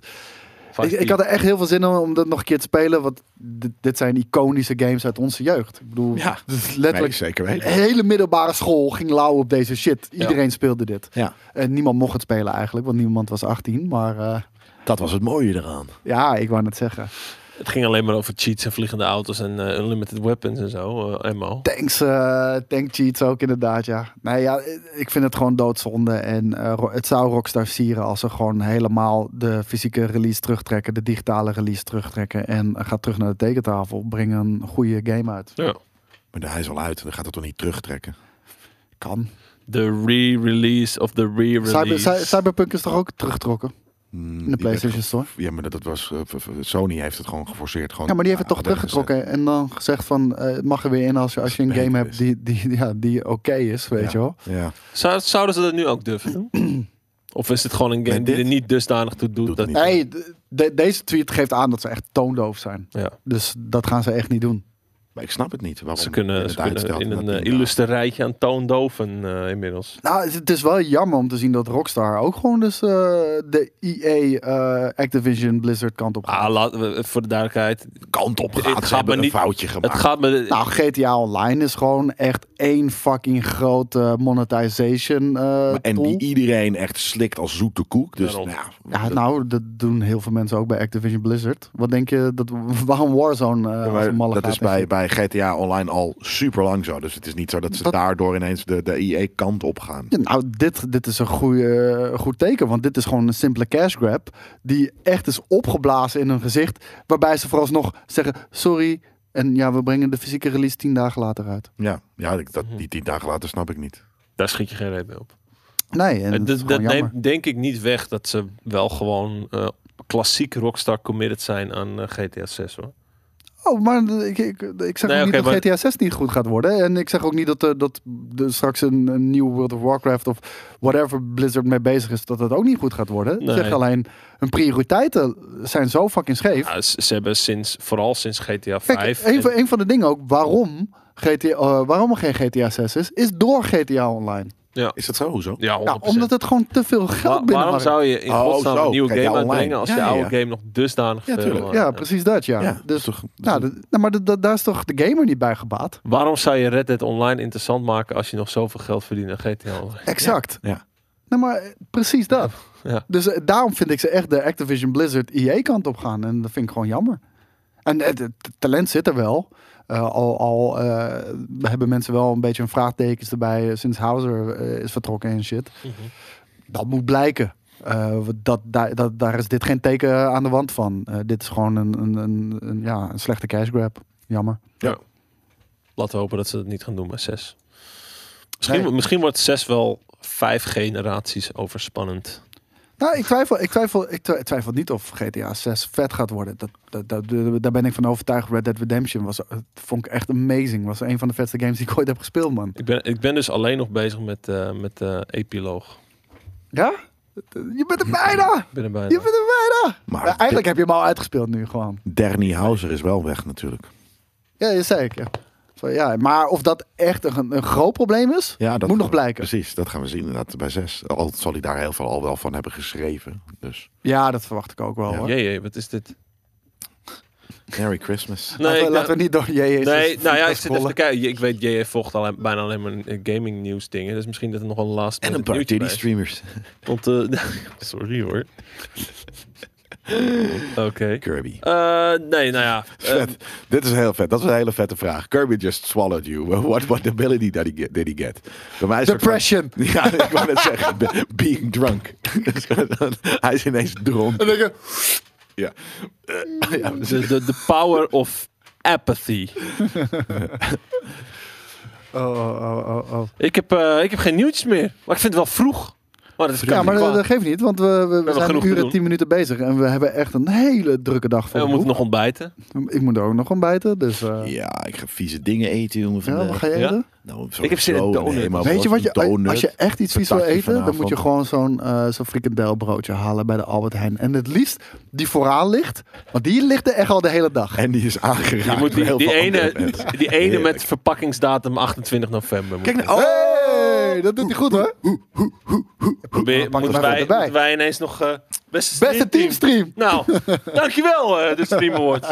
Speaker 3: Ik, ik had er echt heel veel zin in om dat nog een keer te spelen. Want dit, dit zijn iconische games uit onze jeugd. Ik bedoel,
Speaker 2: Ja.
Speaker 3: dit is
Speaker 2: Nee,
Speaker 3: letterlijk...
Speaker 2: zeker
Speaker 3: de
Speaker 2: weten.
Speaker 3: hele middelbare school ging lauw op deze shit. Iedereen speelde dit.
Speaker 2: Ja,
Speaker 3: En niemand mocht het spelen eigenlijk, want niemand was 18. Maar eh,
Speaker 2: dat was het mooie eraan.
Speaker 3: ja, ik wou net zeggen.
Speaker 1: Het ging alleen maar over cheats en vliegende auto's en eh, unlimited weapons en zo. eh, ammo.
Speaker 3: Tanks, eh tank cheats ook inderdaad, ja. Nee, ja, ik vind het gewoon doodzonde. En eh, Ro- het zou Rockstar sieren als ze gewoon helemaal de fysieke release terugtrekken, de digitale release terugtrekken en eh, gaat terug naar de tekentafel. Breng een goede game uit.
Speaker 1: Ja.
Speaker 2: Maar hij is al uit. Dan gaat het toch niet terugtrekken.
Speaker 3: Kan.
Speaker 1: De re-release of the
Speaker 3: Cyber,
Speaker 1: re-release.
Speaker 3: Cy- Cyberpunk is toch ook teruggetrokken?
Speaker 2: Mm,
Speaker 3: in de PlayStation Store.
Speaker 2: Ja, maar dat, dat was, eh, v- v- Sony heeft het gewoon geforceerd. Gewoon
Speaker 3: Ja, maar die heeft het toch
Speaker 2: aan de weg gezet.
Speaker 3: teruggetrokken en dan gezegd van, eh, het mag er weer in als je, als je een
Speaker 2: Beter
Speaker 3: game
Speaker 2: is.
Speaker 3: hebt die, die, ja, die oké is, weet
Speaker 2: Ja.
Speaker 3: je wel.
Speaker 2: Ja,
Speaker 1: Zou- zouden ze dat nu ook durven doen? Of is het gewoon een game
Speaker 2: Met
Speaker 1: die
Speaker 2: dit?
Speaker 1: er niet dusdanig toe doet?
Speaker 2: Doet
Speaker 1: dat,
Speaker 2: het niet.
Speaker 3: Hey, de- de- deze tweet geeft aan dat ze echt toondoof zijn.
Speaker 1: Ja.
Speaker 3: Dus dat gaan ze echt niet doen.
Speaker 2: maar ik snap het niet. Waarom
Speaker 1: Ze kunnen,
Speaker 2: het
Speaker 1: ze kunnen
Speaker 2: uitstelt
Speaker 1: in
Speaker 2: en
Speaker 1: een
Speaker 2: dat
Speaker 1: eh,
Speaker 2: niet-
Speaker 1: illustre rijtje aan toondoven eh, inmiddels.
Speaker 3: Nou, het, het is wel jammer om te zien dat Rockstar ook gewoon dus eh, de EA eh, Activision Blizzard kant op gaat.
Speaker 1: Ah, laat, we- voor de duidelijkheid.
Speaker 2: kant op gaat.
Speaker 1: gaat
Speaker 2: Ze hebben
Speaker 1: maar
Speaker 2: een
Speaker 1: niet-
Speaker 2: foutje gemaakt.
Speaker 1: Het gaat me...
Speaker 3: Nou, GTA Online is gewoon echt één fucking grote monetization eh,
Speaker 2: Maar- en
Speaker 3: tool.
Speaker 2: die iedereen echt slikt als zoete koek. Dus
Speaker 1: Daarom.
Speaker 2: nou,
Speaker 3: Ja,
Speaker 2: dat-
Speaker 3: nou, dat doen heel veel mensen ook bij Activision Blizzard. Wat denk je, dat, waarom Warzone eh
Speaker 2: Ja,
Speaker 3: als
Speaker 2: maar
Speaker 3: een malle
Speaker 2: dat
Speaker 3: gaat
Speaker 2: is
Speaker 3: en
Speaker 2: bij,
Speaker 3: shit?
Speaker 2: bij GTA Online al super lang zo. Dus het is niet zo dat ze
Speaker 3: Dat-
Speaker 2: daardoor ineens de, de IE-kant op gaan.
Speaker 3: Ja, nou, dit, dit is een goede, goed teken, want dit is gewoon een simpele cash grab die echt is opgeblazen in hun gezicht, waarbij ze vooralsnog zeggen, sorry, en ja, we brengen de fysieke release tien dagen later uit.
Speaker 2: Ja, ja ik- dat,
Speaker 1: Mhm.
Speaker 2: die tien dagen later snap ik niet.
Speaker 1: Daar schiet je geen reet mee op.
Speaker 3: Nee, en
Speaker 1: Eh,
Speaker 3: dat,
Speaker 1: dat
Speaker 3: is gewoon
Speaker 1: dat
Speaker 3: jammer.
Speaker 1: neemt denk ik niet weg dat ze wel gewoon eh, klassiek Rockstar committed zijn aan eh, GTA 6 hoor.
Speaker 3: Oh, maar ik, ik, ik zeg
Speaker 1: Nee,
Speaker 3: ook niet
Speaker 1: oké,
Speaker 3: dat
Speaker 1: maar-
Speaker 3: GTA 6 niet goed gaat worden. En ik zeg ook niet dat, eh, dat de, straks een, een nieuw World of Warcraft of whatever Blizzard mee bezig is, dat dat ook niet goed gaat worden.
Speaker 1: Nee.
Speaker 3: Ik zeg alleen, hun prioriteiten zijn zo fucking scheef.
Speaker 1: Ja, ze, ze hebben sinds, vooral sinds GTA 5.
Speaker 3: Kijk, een van, een van de dingen ook waarom, GTA, eh, waarom er geen GTA 6 is, is door GTA Online.
Speaker 2: Is dat zo? Hoezo?
Speaker 1: ja, 100%.
Speaker 3: Ja, omdat het gewoon te veel
Speaker 1: Wa-
Speaker 3: geld
Speaker 1: waarom
Speaker 3: binnenhaalt.
Speaker 1: zou je in
Speaker 2: Oh,
Speaker 1: godsnaam
Speaker 2: zo.
Speaker 1: een nieuwe
Speaker 2: Kijk, ja,
Speaker 1: game
Speaker 2: online.
Speaker 1: uitbrengen als
Speaker 2: Ja,
Speaker 1: de
Speaker 2: ja,
Speaker 1: oude
Speaker 2: ja.
Speaker 1: game nog dusdanig
Speaker 2: Ja,
Speaker 1: veel,
Speaker 2: tuurlijk.
Speaker 1: eh,
Speaker 3: Ja, precies dat, ja.
Speaker 2: Ja, dat is
Speaker 3: dus,
Speaker 2: toch- dat is
Speaker 3: nou,
Speaker 2: een-
Speaker 3: dat- nou, maar dat- dat- daar is toch de gamer niet bij gebaat?
Speaker 1: Waarom zou je Red Dead Online interessant maken als je nog zoveel geld verdient aan GTA Online?
Speaker 3: Exact.
Speaker 2: Ja.
Speaker 3: Nou, maar eh, precies dat.
Speaker 1: Ja.
Speaker 3: Dus eh, daarom vind ik ze echt de Activision Blizzard EA kant op gaan. En dat vind ik gewoon jammer. En het het talent zit er wel. Eh, al al eh, hebben mensen wel een beetje een vraagtekens erbij eh, sinds Hauser eh, is vertrokken en shit. Dat moet blijken. Eh, want dat, daar, dat, daar is dit geen teken aan de wand van. Eh, dit is gewoon een, een, een, een- ja, een slechte cash grab. Jammer.
Speaker 1: Laten we hopen dat ze dat niet gaan doen bij 6. Misschien,
Speaker 3: Nee.
Speaker 1: misschien wordt 6 wel vijf generaties overspannend.
Speaker 3: Nou, ik twijfel, ik twijfel, ik twi- twijfel niet of GTA 6 vet gaat worden. Dat, dat, dat, daar ben ik van overtuigd. Red Dead Redemption was, eh, vond ik echt amazing. Was een van de vetste games die ik ooit heb gespeeld, man.
Speaker 1: Ik ben, ik ben dus alleen nog bezig met, eh met de epiloog.
Speaker 3: Ja? Je bent er bijna!
Speaker 1: Ik ben er bijna.
Speaker 3: Je bent er bijna!
Speaker 2: Maar
Speaker 3: Ja, eigenlijk heb je hem al uitgespeeld nu gewoon.
Speaker 2: de- Dernie Hauser is wel weg natuurlijk.
Speaker 3: Ja, dat zei ik. Ja. Zo, ja, maar of dat echt een, een groot probleem is,
Speaker 2: Ja, dat
Speaker 3: moet nog blijken.
Speaker 2: Precies, dat gaan we zien inderdaad bij zes. Al zal hij daar heel veel al wel van hebben geschreven. Dus
Speaker 3: Ja, dat verwacht ik ook wel.
Speaker 2: Ja.
Speaker 3: Hoor.
Speaker 1: Jee, jee, wat is dit?
Speaker 2: Merry Christmas.
Speaker 1: Nee,
Speaker 3: laten, we,
Speaker 1: ik
Speaker 3: laten we niet door JJ. 's
Speaker 1: Nee, nou ja, ik zit
Speaker 3: scrollen.
Speaker 1: even te kijken. Ik weet, JJ volgt alleen, bijna alleen maar eh, gaming nieuws dingen. Dus misschien dat er nog wel een last
Speaker 2: En een
Speaker 1: minute
Speaker 2: paar
Speaker 1: nieuwtje
Speaker 2: titty
Speaker 1: bij is.
Speaker 2: streamers.
Speaker 1: Want, eh, sorry hoor. Oké.
Speaker 2: Kirby.
Speaker 1: Eh, nee, nou ja. eh,
Speaker 2: Vet. Dit is heel vet. Dat is een hele vette vraag. Kirby just swallowed you. What, what ability did he get? Did he get? Bij mij is het-
Speaker 3: Depression.
Speaker 2: Ja, ik wou net zeggen. be- Being drunk. hij is ineens dronk.
Speaker 3: En dan denk je,
Speaker 2: Ja. Eh, ja, dus-
Speaker 1: de, de, de power of apathy.
Speaker 3: Oh, oh, oh, oh, oh.
Speaker 1: Ik heb, eh, ik heb geen nieuwtjes meer. Maar ik vind het wel vroeg. Maar dat is
Speaker 3: Ja, maar dat, dat geeft niet, want we, we- we, zijn
Speaker 1: genoeg
Speaker 3: een
Speaker 1: te
Speaker 3: uur en
Speaker 1: doen.
Speaker 3: tien minuten bezig. En we hebben echt een hele drukke dag voor
Speaker 1: we
Speaker 3: de
Speaker 1: moeten
Speaker 3: boeg.
Speaker 1: nog ontbijten.
Speaker 3: Ik moet er ook nog ontbijten, dus... eh,
Speaker 2: ja, ik ga vieze dingen eten, jongen.
Speaker 3: ja, wat
Speaker 2: vandaag.
Speaker 3: ga je
Speaker 1: Ja?
Speaker 3: eten?
Speaker 2: Nou,
Speaker 1: Ik heb zin in
Speaker 2: donuts.
Speaker 1: donuts.
Speaker 2: maar
Speaker 3: Weet je wat je...
Speaker 2: een donut.
Speaker 3: Als je echt iets vies wil
Speaker 2: patatje
Speaker 3: eten, dan
Speaker 2: vanavond.
Speaker 3: moet je gewoon zo'n eh zo'n frikandelbroodje halen bij de Albert Heijn. En het liefst die vooraan ligt, want die ligt er echt al de hele dag.
Speaker 2: En die is aangeraakt.
Speaker 1: Je moet
Speaker 2: door
Speaker 1: die,
Speaker 2: heel
Speaker 1: die
Speaker 2: veel andere
Speaker 1: ene,
Speaker 2: mensen.
Speaker 1: die ene
Speaker 2: Heerlijk.
Speaker 1: met verpakkingsdatum 28 november. Kijk,
Speaker 2: nou,
Speaker 3: Hey, dat doet hij goed hoor.
Speaker 1: probeer,
Speaker 3: pak
Speaker 1: moeten,
Speaker 3: maar
Speaker 1: wij,
Speaker 3: erbij.
Speaker 1: moeten wij ineens nog eh, beste,
Speaker 3: Beste teamstream.
Speaker 1: Nou, dankjewel eh de Stream Awards.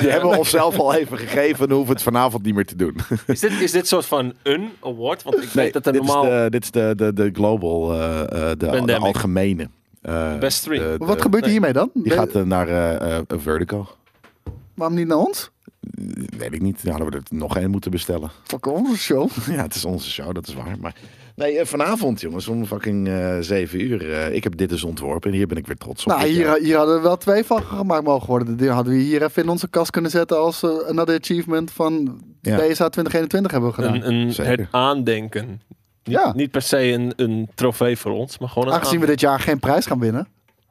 Speaker 2: Die hebben we onszelf al even gegeven en hoeven het vanavond niet meer te doen.
Speaker 1: Is dit, is dit soort van een award? Want ik weet dat er
Speaker 2: dit,
Speaker 1: normaal...
Speaker 2: is de, dit is de, de, de global, eh, eh, de, de
Speaker 1: Pandemic.
Speaker 2: algemene. eh,
Speaker 1: Best stream.
Speaker 2: de- de-
Speaker 3: Wat gebeurt
Speaker 1: nee.
Speaker 3: er hiermee dan?
Speaker 2: Die
Speaker 3: Ben-
Speaker 2: gaat eh, naar eh, eh, Vertigo.
Speaker 3: Waarom niet naar ons?
Speaker 2: Weet ik niet. Nou, Ja, hadden we er nog één moeten bestellen.
Speaker 3: Fuck onze show.
Speaker 2: ja, het is onze show, dat is waar. Maar nee, eh, vanavond jongens, om fucking eh 7 uur. eh, ik heb dit dus ontworpen en hier ben ik eh, weer trots op.
Speaker 3: Nou,
Speaker 2: Dit
Speaker 3: hier,
Speaker 2: jaar.
Speaker 3: hier hadden we wel twee van gemaakt mogen worden. Die hadden we hier even in onze kast kunnen zetten als eh, another achievement van
Speaker 2: Ja.
Speaker 3: DSA 2021 hebben we gedaan.
Speaker 1: een een
Speaker 2: zeker.
Speaker 1: het aandenken. Mm-hmm. Niet,
Speaker 3: Ja.
Speaker 1: niet per se een, een trofee voor ons, maar gewoon een
Speaker 3: Aangezien we dit jaar geen prijs gaan winnen,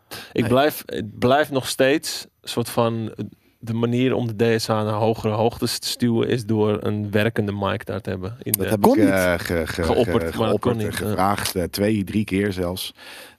Speaker 1: Ik
Speaker 2: Nee.
Speaker 1: blijf, het blijft nog steeds een soort van eh, de manier om de DSA naar hogere hoogtes te stuwen is door een werkende mic daar te hebben. In
Speaker 2: Dat
Speaker 1: de,
Speaker 2: heb
Speaker 3: Kon
Speaker 2: ik
Speaker 3: niet.
Speaker 2: eh, ge- ge-
Speaker 1: Geopperd,
Speaker 2: ge-
Speaker 1: maar dat kon
Speaker 2: geopperd en
Speaker 1: niet, ja.
Speaker 2: gevraagd. eh, twee, drie keer zelfs.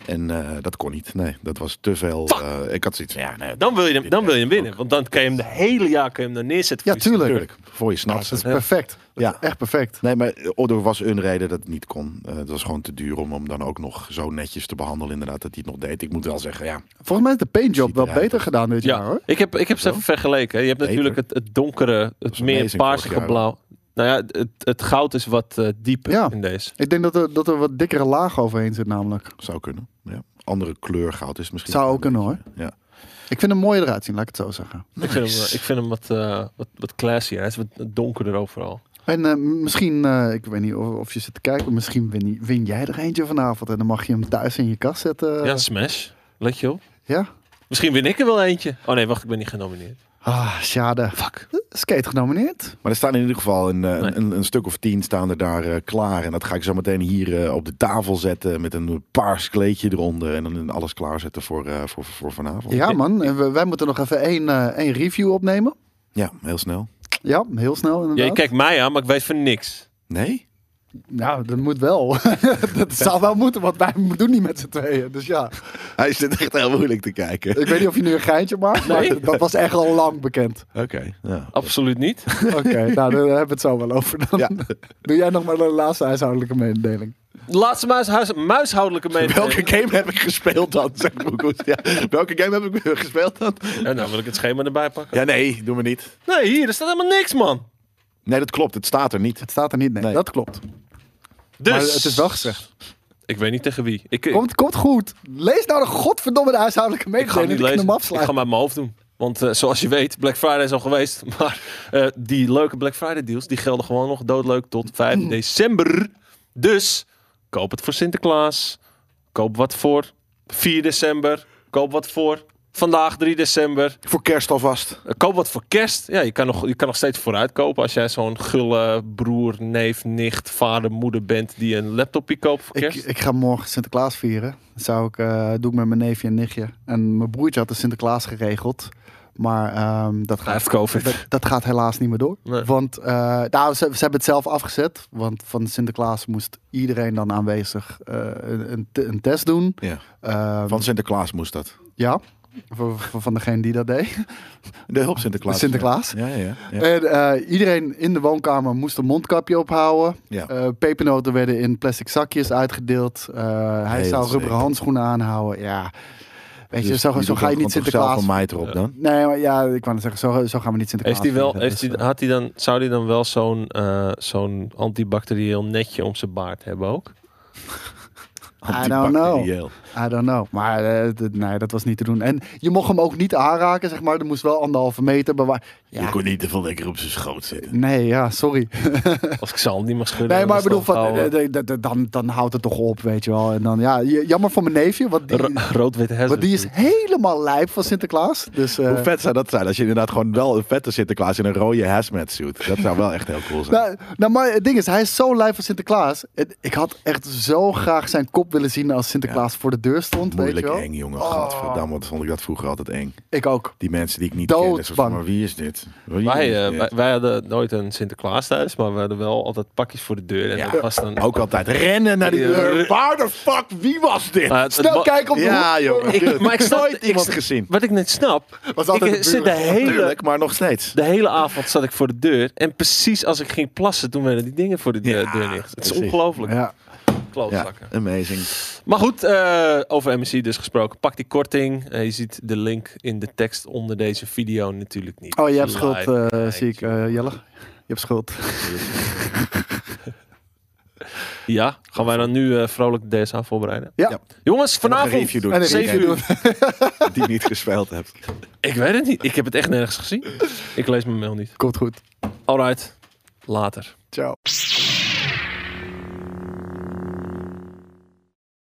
Speaker 2: En eh, dat kon niet. Nee, dat was te veel. eh, ik had zoiets van, ja, nee,
Speaker 1: dan wil je hem, dan wil je hem winnen, want dan kan je hem de hele jaar kan je hem daar neerzetten.
Speaker 3: Ja,
Speaker 1: voor jezelf.
Speaker 3: tuurlijk.
Speaker 2: natuurlijk. Voor je snapt.
Speaker 3: Dat is
Speaker 2: het.
Speaker 3: perfect.
Speaker 2: Ja.
Speaker 3: Ja. Echt perfect.
Speaker 2: Nee, maar eh, er was een reden dat het niet kon. Eh, het was gewoon te duur om hem dan ook nog zo netjes te behandelen. Inderdaad, dat hij het nog deed. Ik moet wel zeggen, ja.
Speaker 3: Volgens mij is de paintjob
Speaker 2: Ziet
Speaker 3: wel
Speaker 2: eruit.
Speaker 3: beter gedaan dit
Speaker 1: Ja,
Speaker 3: jaar hoor.
Speaker 1: ik heb, ik heb ze even vergeleken. Je hebt
Speaker 2: Beter.
Speaker 1: natuurlijk het, het donkere, het
Speaker 2: is
Speaker 1: meer
Speaker 2: amazing vorig
Speaker 1: paarsige
Speaker 2: jaar.
Speaker 1: blauw. Nou ja, het, het goud is wat eh, dieper
Speaker 3: Ja.
Speaker 1: in deze.
Speaker 3: Ik denk dat er, dat er wat dikkere laag overheen zit namelijk.
Speaker 2: Zou kunnen. Ja. Andere kleur goud is misschien.
Speaker 3: Zou
Speaker 2: wel
Speaker 3: ook kunnen hoor.
Speaker 2: beetje, Ja.
Speaker 3: Ik vind hem mooier eruit zien, laat ik het zo zeggen.
Speaker 1: Ik vind hem, eh, ik vind hem wat, eh wat, wat classier. Hij is wat donkerder overal.
Speaker 3: En eh, misschien, eh, ik weet niet of, of je zit te kijken, misschien win, win jij er eentje vanavond. En dan mag je hem thuis in je kast zetten.
Speaker 1: ja, smash. Let je op.
Speaker 3: Ja?
Speaker 1: Misschien win ik er wel eentje. Oh nee, wacht, ik ben niet genomineerd.
Speaker 3: Ah, schade. Fuck. Skate genomineerd.
Speaker 2: Maar er staan in ieder geval een, eh,
Speaker 1: Nee.
Speaker 2: een, een stuk of tien staan er daar eh, klaar. En dat ga ik zo meteen hier eh, op de tafel zetten met een paars kleedje eronder. En dan alles klaarzetten voor, eh, voor, voor vanavond.
Speaker 3: Ja man, en we- wij moeten nog even één, eh, één review opnemen.
Speaker 2: Ja, heel snel.
Speaker 3: Ja, heel snel
Speaker 1: Ja,
Speaker 3: inderdaad.
Speaker 1: je kijkt mij aan, maar ik weet van niks.
Speaker 2: Nee?
Speaker 3: Nou, dat moet wel. dat zou wel moeten, want wij doen niet met z'n tweeën. Dus ja,
Speaker 2: Hij zit echt heel moeilijk te kijken.
Speaker 3: ik weet niet of je nu een geintje maakt, maar
Speaker 1: Nee.
Speaker 3: dat was echt al lang bekend.
Speaker 2: Oké. Ja.
Speaker 1: Absoluut niet.
Speaker 3: Oké, nou, daar hebben we het zo wel over dan.
Speaker 2: Ja.
Speaker 3: Doe jij nog maar de laatste huishoudelijke mededeling.
Speaker 1: Laatste muis, muishoudelijke mededeling.
Speaker 2: Welke game heb ik gespeeld dan? Zeg maar goed. Ja. Welke game heb ik gespeeld dan?
Speaker 1: Ja, nou wil ik het schema erbij pakken.
Speaker 2: Ja, nee, doe me niet.
Speaker 1: Nee, hier, er staat helemaal niks, man.
Speaker 2: Nee, dat klopt. Het staat er niet.
Speaker 3: Het staat er niet, nee.
Speaker 2: Nee.
Speaker 3: Dat klopt.
Speaker 1: Dus.
Speaker 3: Maar het is wel gezegd.
Speaker 1: Ik weet niet tegen wie. Ik, ik,
Speaker 3: Komt, komt goed. Lees nou de godverdomme de huishoudelijke
Speaker 1: ik ga hem
Speaker 3: mededeling.
Speaker 1: niet lezen.
Speaker 3: Ik, ik hem
Speaker 1: Ik ga
Speaker 3: afslaan.
Speaker 1: hem uit mijn hoofd doen. Want eh, zoals je weet, Black Friday is al geweest. Maar eh, die leuke Black Friday deals, die gelden gewoon nog doodleuk tot 5 december. Dus koop het voor Sinterklaas. Koop wat voor 4 december. Koop wat voor vandaag 3 december.
Speaker 2: Voor kerst alvast.
Speaker 1: Eh, Koop wat voor kerst. Ja, je kan nog, je kan nog steeds vooruit kopen. Als jij zo'n gulle broer, neef, nicht, vader, moeder bent die een laptopje koopt voor
Speaker 3: Ik,
Speaker 1: kerst.
Speaker 3: ik ga morgen Sinterklaas vieren. Dat zou ik, eh, doe ik met mijn neefje en nichtje. En mijn broertje had de Sinterklaas geregeld. Maar ehm, dat
Speaker 1: Hij
Speaker 3: gaat
Speaker 1: heeft COVID.
Speaker 3: Dat, dat gaat helaas niet meer door.
Speaker 1: Nee.
Speaker 3: Want eh, nou, ze, ze hebben het zelf afgezet. Want van Sinterklaas moest iedereen dan aanwezig eh, een, een, te- een test doen.
Speaker 2: Ja.
Speaker 3: Ehm,
Speaker 2: Van Sinterklaas moest dat.
Speaker 3: Ja, van, van van degene die dat deed.
Speaker 2: De hulp Sinterklaas.
Speaker 3: Sinterklaas.
Speaker 2: Ja, ja, ja. ja.
Speaker 3: En eh, iedereen in de woonkamer moest een mondkapje ophouden.
Speaker 2: Ja.
Speaker 3: Eh, pepernoten werden in plastic zakjes uitgedeeld. Eh, hij
Speaker 2: Heel
Speaker 3: zou rubberen
Speaker 2: zeker.
Speaker 3: handschoenen aanhouden. Ja, weet je,
Speaker 2: Dus
Speaker 3: zo,
Speaker 2: die
Speaker 3: zo
Speaker 2: doet
Speaker 3: ga je
Speaker 2: dan
Speaker 3: niet
Speaker 2: gewoon toch zelf
Speaker 3: Sinterklaas...
Speaker 2: een mijter op dan.
Speaker 3: Nee, maar ja, ik wou net zeggen, zo, zo gaan we niet Sinterklaas Dus,
Speaker 1: Heeft hij wel,
Speaker 3: vieren.
Speaker 1: heeft hij, had hij dan, zou hij dan wel zo'n eh, zo'n antibacterieel netje om zijn baard hebben ook?
Speaker 3: I don't know.
Speaker 2: Antibacterieel.
Speaker 3: I don't know. Maar eh, d- nee, dat was niet te doen. En je mocht hem ook niet aanraken, zeg maar. Er moest wel anderhalve meter bewaar.
Speaker 2: Je
Speaker 3: Ja,
Speaker 2: kon niet te veel lekker op zijn schoot zitten.
Speaker 3: nee, ja, sorry.
Speaker 1: Als ik zal niet mag schudden.
Speaker 3: Nee, maar ik
Speaker 1: dan
Speaker 3: bedoel,
Speaker 1: is het
Speaker 3: van,
Speaker 1: gewoon
Speaker 3: eh, d- d- dan, dan houdt het toch op, weet je wel. En dan, ja, j- jammer voor mijn neefje, want eh, die,
Speaker 1: gouden- Ro- Rood-witte
Speaker 3: want
Speaker 1: hersen.
Speaker 3: die is helemaal lijp van Sinterklaas. Dus, eh,
Speaker 2: Hoe vet zou dat zijn als je inderdaad gewoon wel een vette Sinterklaas in een rode hazmat suit. Dat zou wel echt heel cool zijn.
Speaker 3: nou, nou, maar het ding is, hij is zo lijp van Sinterklaas. Het- Ik had echt zo graag zijn kop willen zien als Sinterklaas voor de deur stond, weet
Speaker 2: Moeilijk
Speaker 3: je wel. Oh.
Speaker 2: eng, jongen. Gadverdamme, wat vond ik dat vroeger altijd eng.
Speaker 3: Ik ook.
Speaker 2: Die mensen die ik niet
Speaker 3: Doodbang.
Speaker 2: ken. zo van, Maar wie is dit? Wie
Speaker 1: Wij,
Speaker 2: is
Speaker 1: eh,
Speaker 2: dit?
Speaker 1: wij, wij hadden nooit een Sinterklaas thuis, maar we hadden wel altijd pakjes voor de deur. En
Speaker 2: Ja.
Speaker 1: dat was dan...
Speaker 2: Ook altijd rennen naar die
Speaker 1: Ja.
Speaker 2: deur. Waar de fuck? Wie was dit?
Speaker 1: Maar het- het
Speaker 3: Snel
Speaker 1: wa-
Speaker 3: kijken op de
Speaker 2: ja,
Speaker 3: hoek.
Speaker 2: joh.
Speaker 1: Ik, maar ik snap,
Speaker 2: nooit
Speaker 1: ik-
Speaker 2: iemand gezien.
Speaker 1: Wat ik net snap,
Speaker 3: Was altijd
Speaker 1: ik
Speaker 3: de
Speaker 1: zit de
Speaker 3: buren.
Speaker 1: hele,
Speaker 2: Tuurlijk, maar nog steeds.
Speaker 1: de hele avond zat ik voor de deur. En precies als ik ging plassen, toen werden die dingen voor de deur,
Speaker 2: Ja,
Speaker 1: deur neergezet. Het is
Speaker 2: precies.
Speaker 1: ongelooflijk.
Speaker 3: Ja.
Speaker 2: Ja,
Speaker 1: Klootzakken.
Speaker 2: amazing.
Speaker 1: Maar goed, eh, over MSC dus gesproken. Pak die korting. Eh, je ziet de link in de tekst onder deze video natuurlijk niet.
Speaker 3: Oh, je hebt schuld,
Speaker 1: Live.
Speaker 3: eh, zie ik, eh, Jelle. Je hebt schuld.
Speaker 1: Ja, gaan wij dan nu eh, vrolijk de DSA voorbereiden?
Speaker 3: Ja.
Speaker 2: Ja.
Speaker 1: Jongens,
Speaker 2: Vanavond. Een
Speaker 1: vanavond...
Speaker 2: review doen.
Speaker 3: En een
Speaker 2: die
Speaker 3: review
Speaker 2: ik- Die ik niet gespeeld heb.
Speaker 1: Ik weet het niet. Ik heb het echt nergens gezien. Ik lees mijn mail niet.
Speaker 3: Komt goed.
Speaker 1: Alright, later.
Speaker 3: Ciao.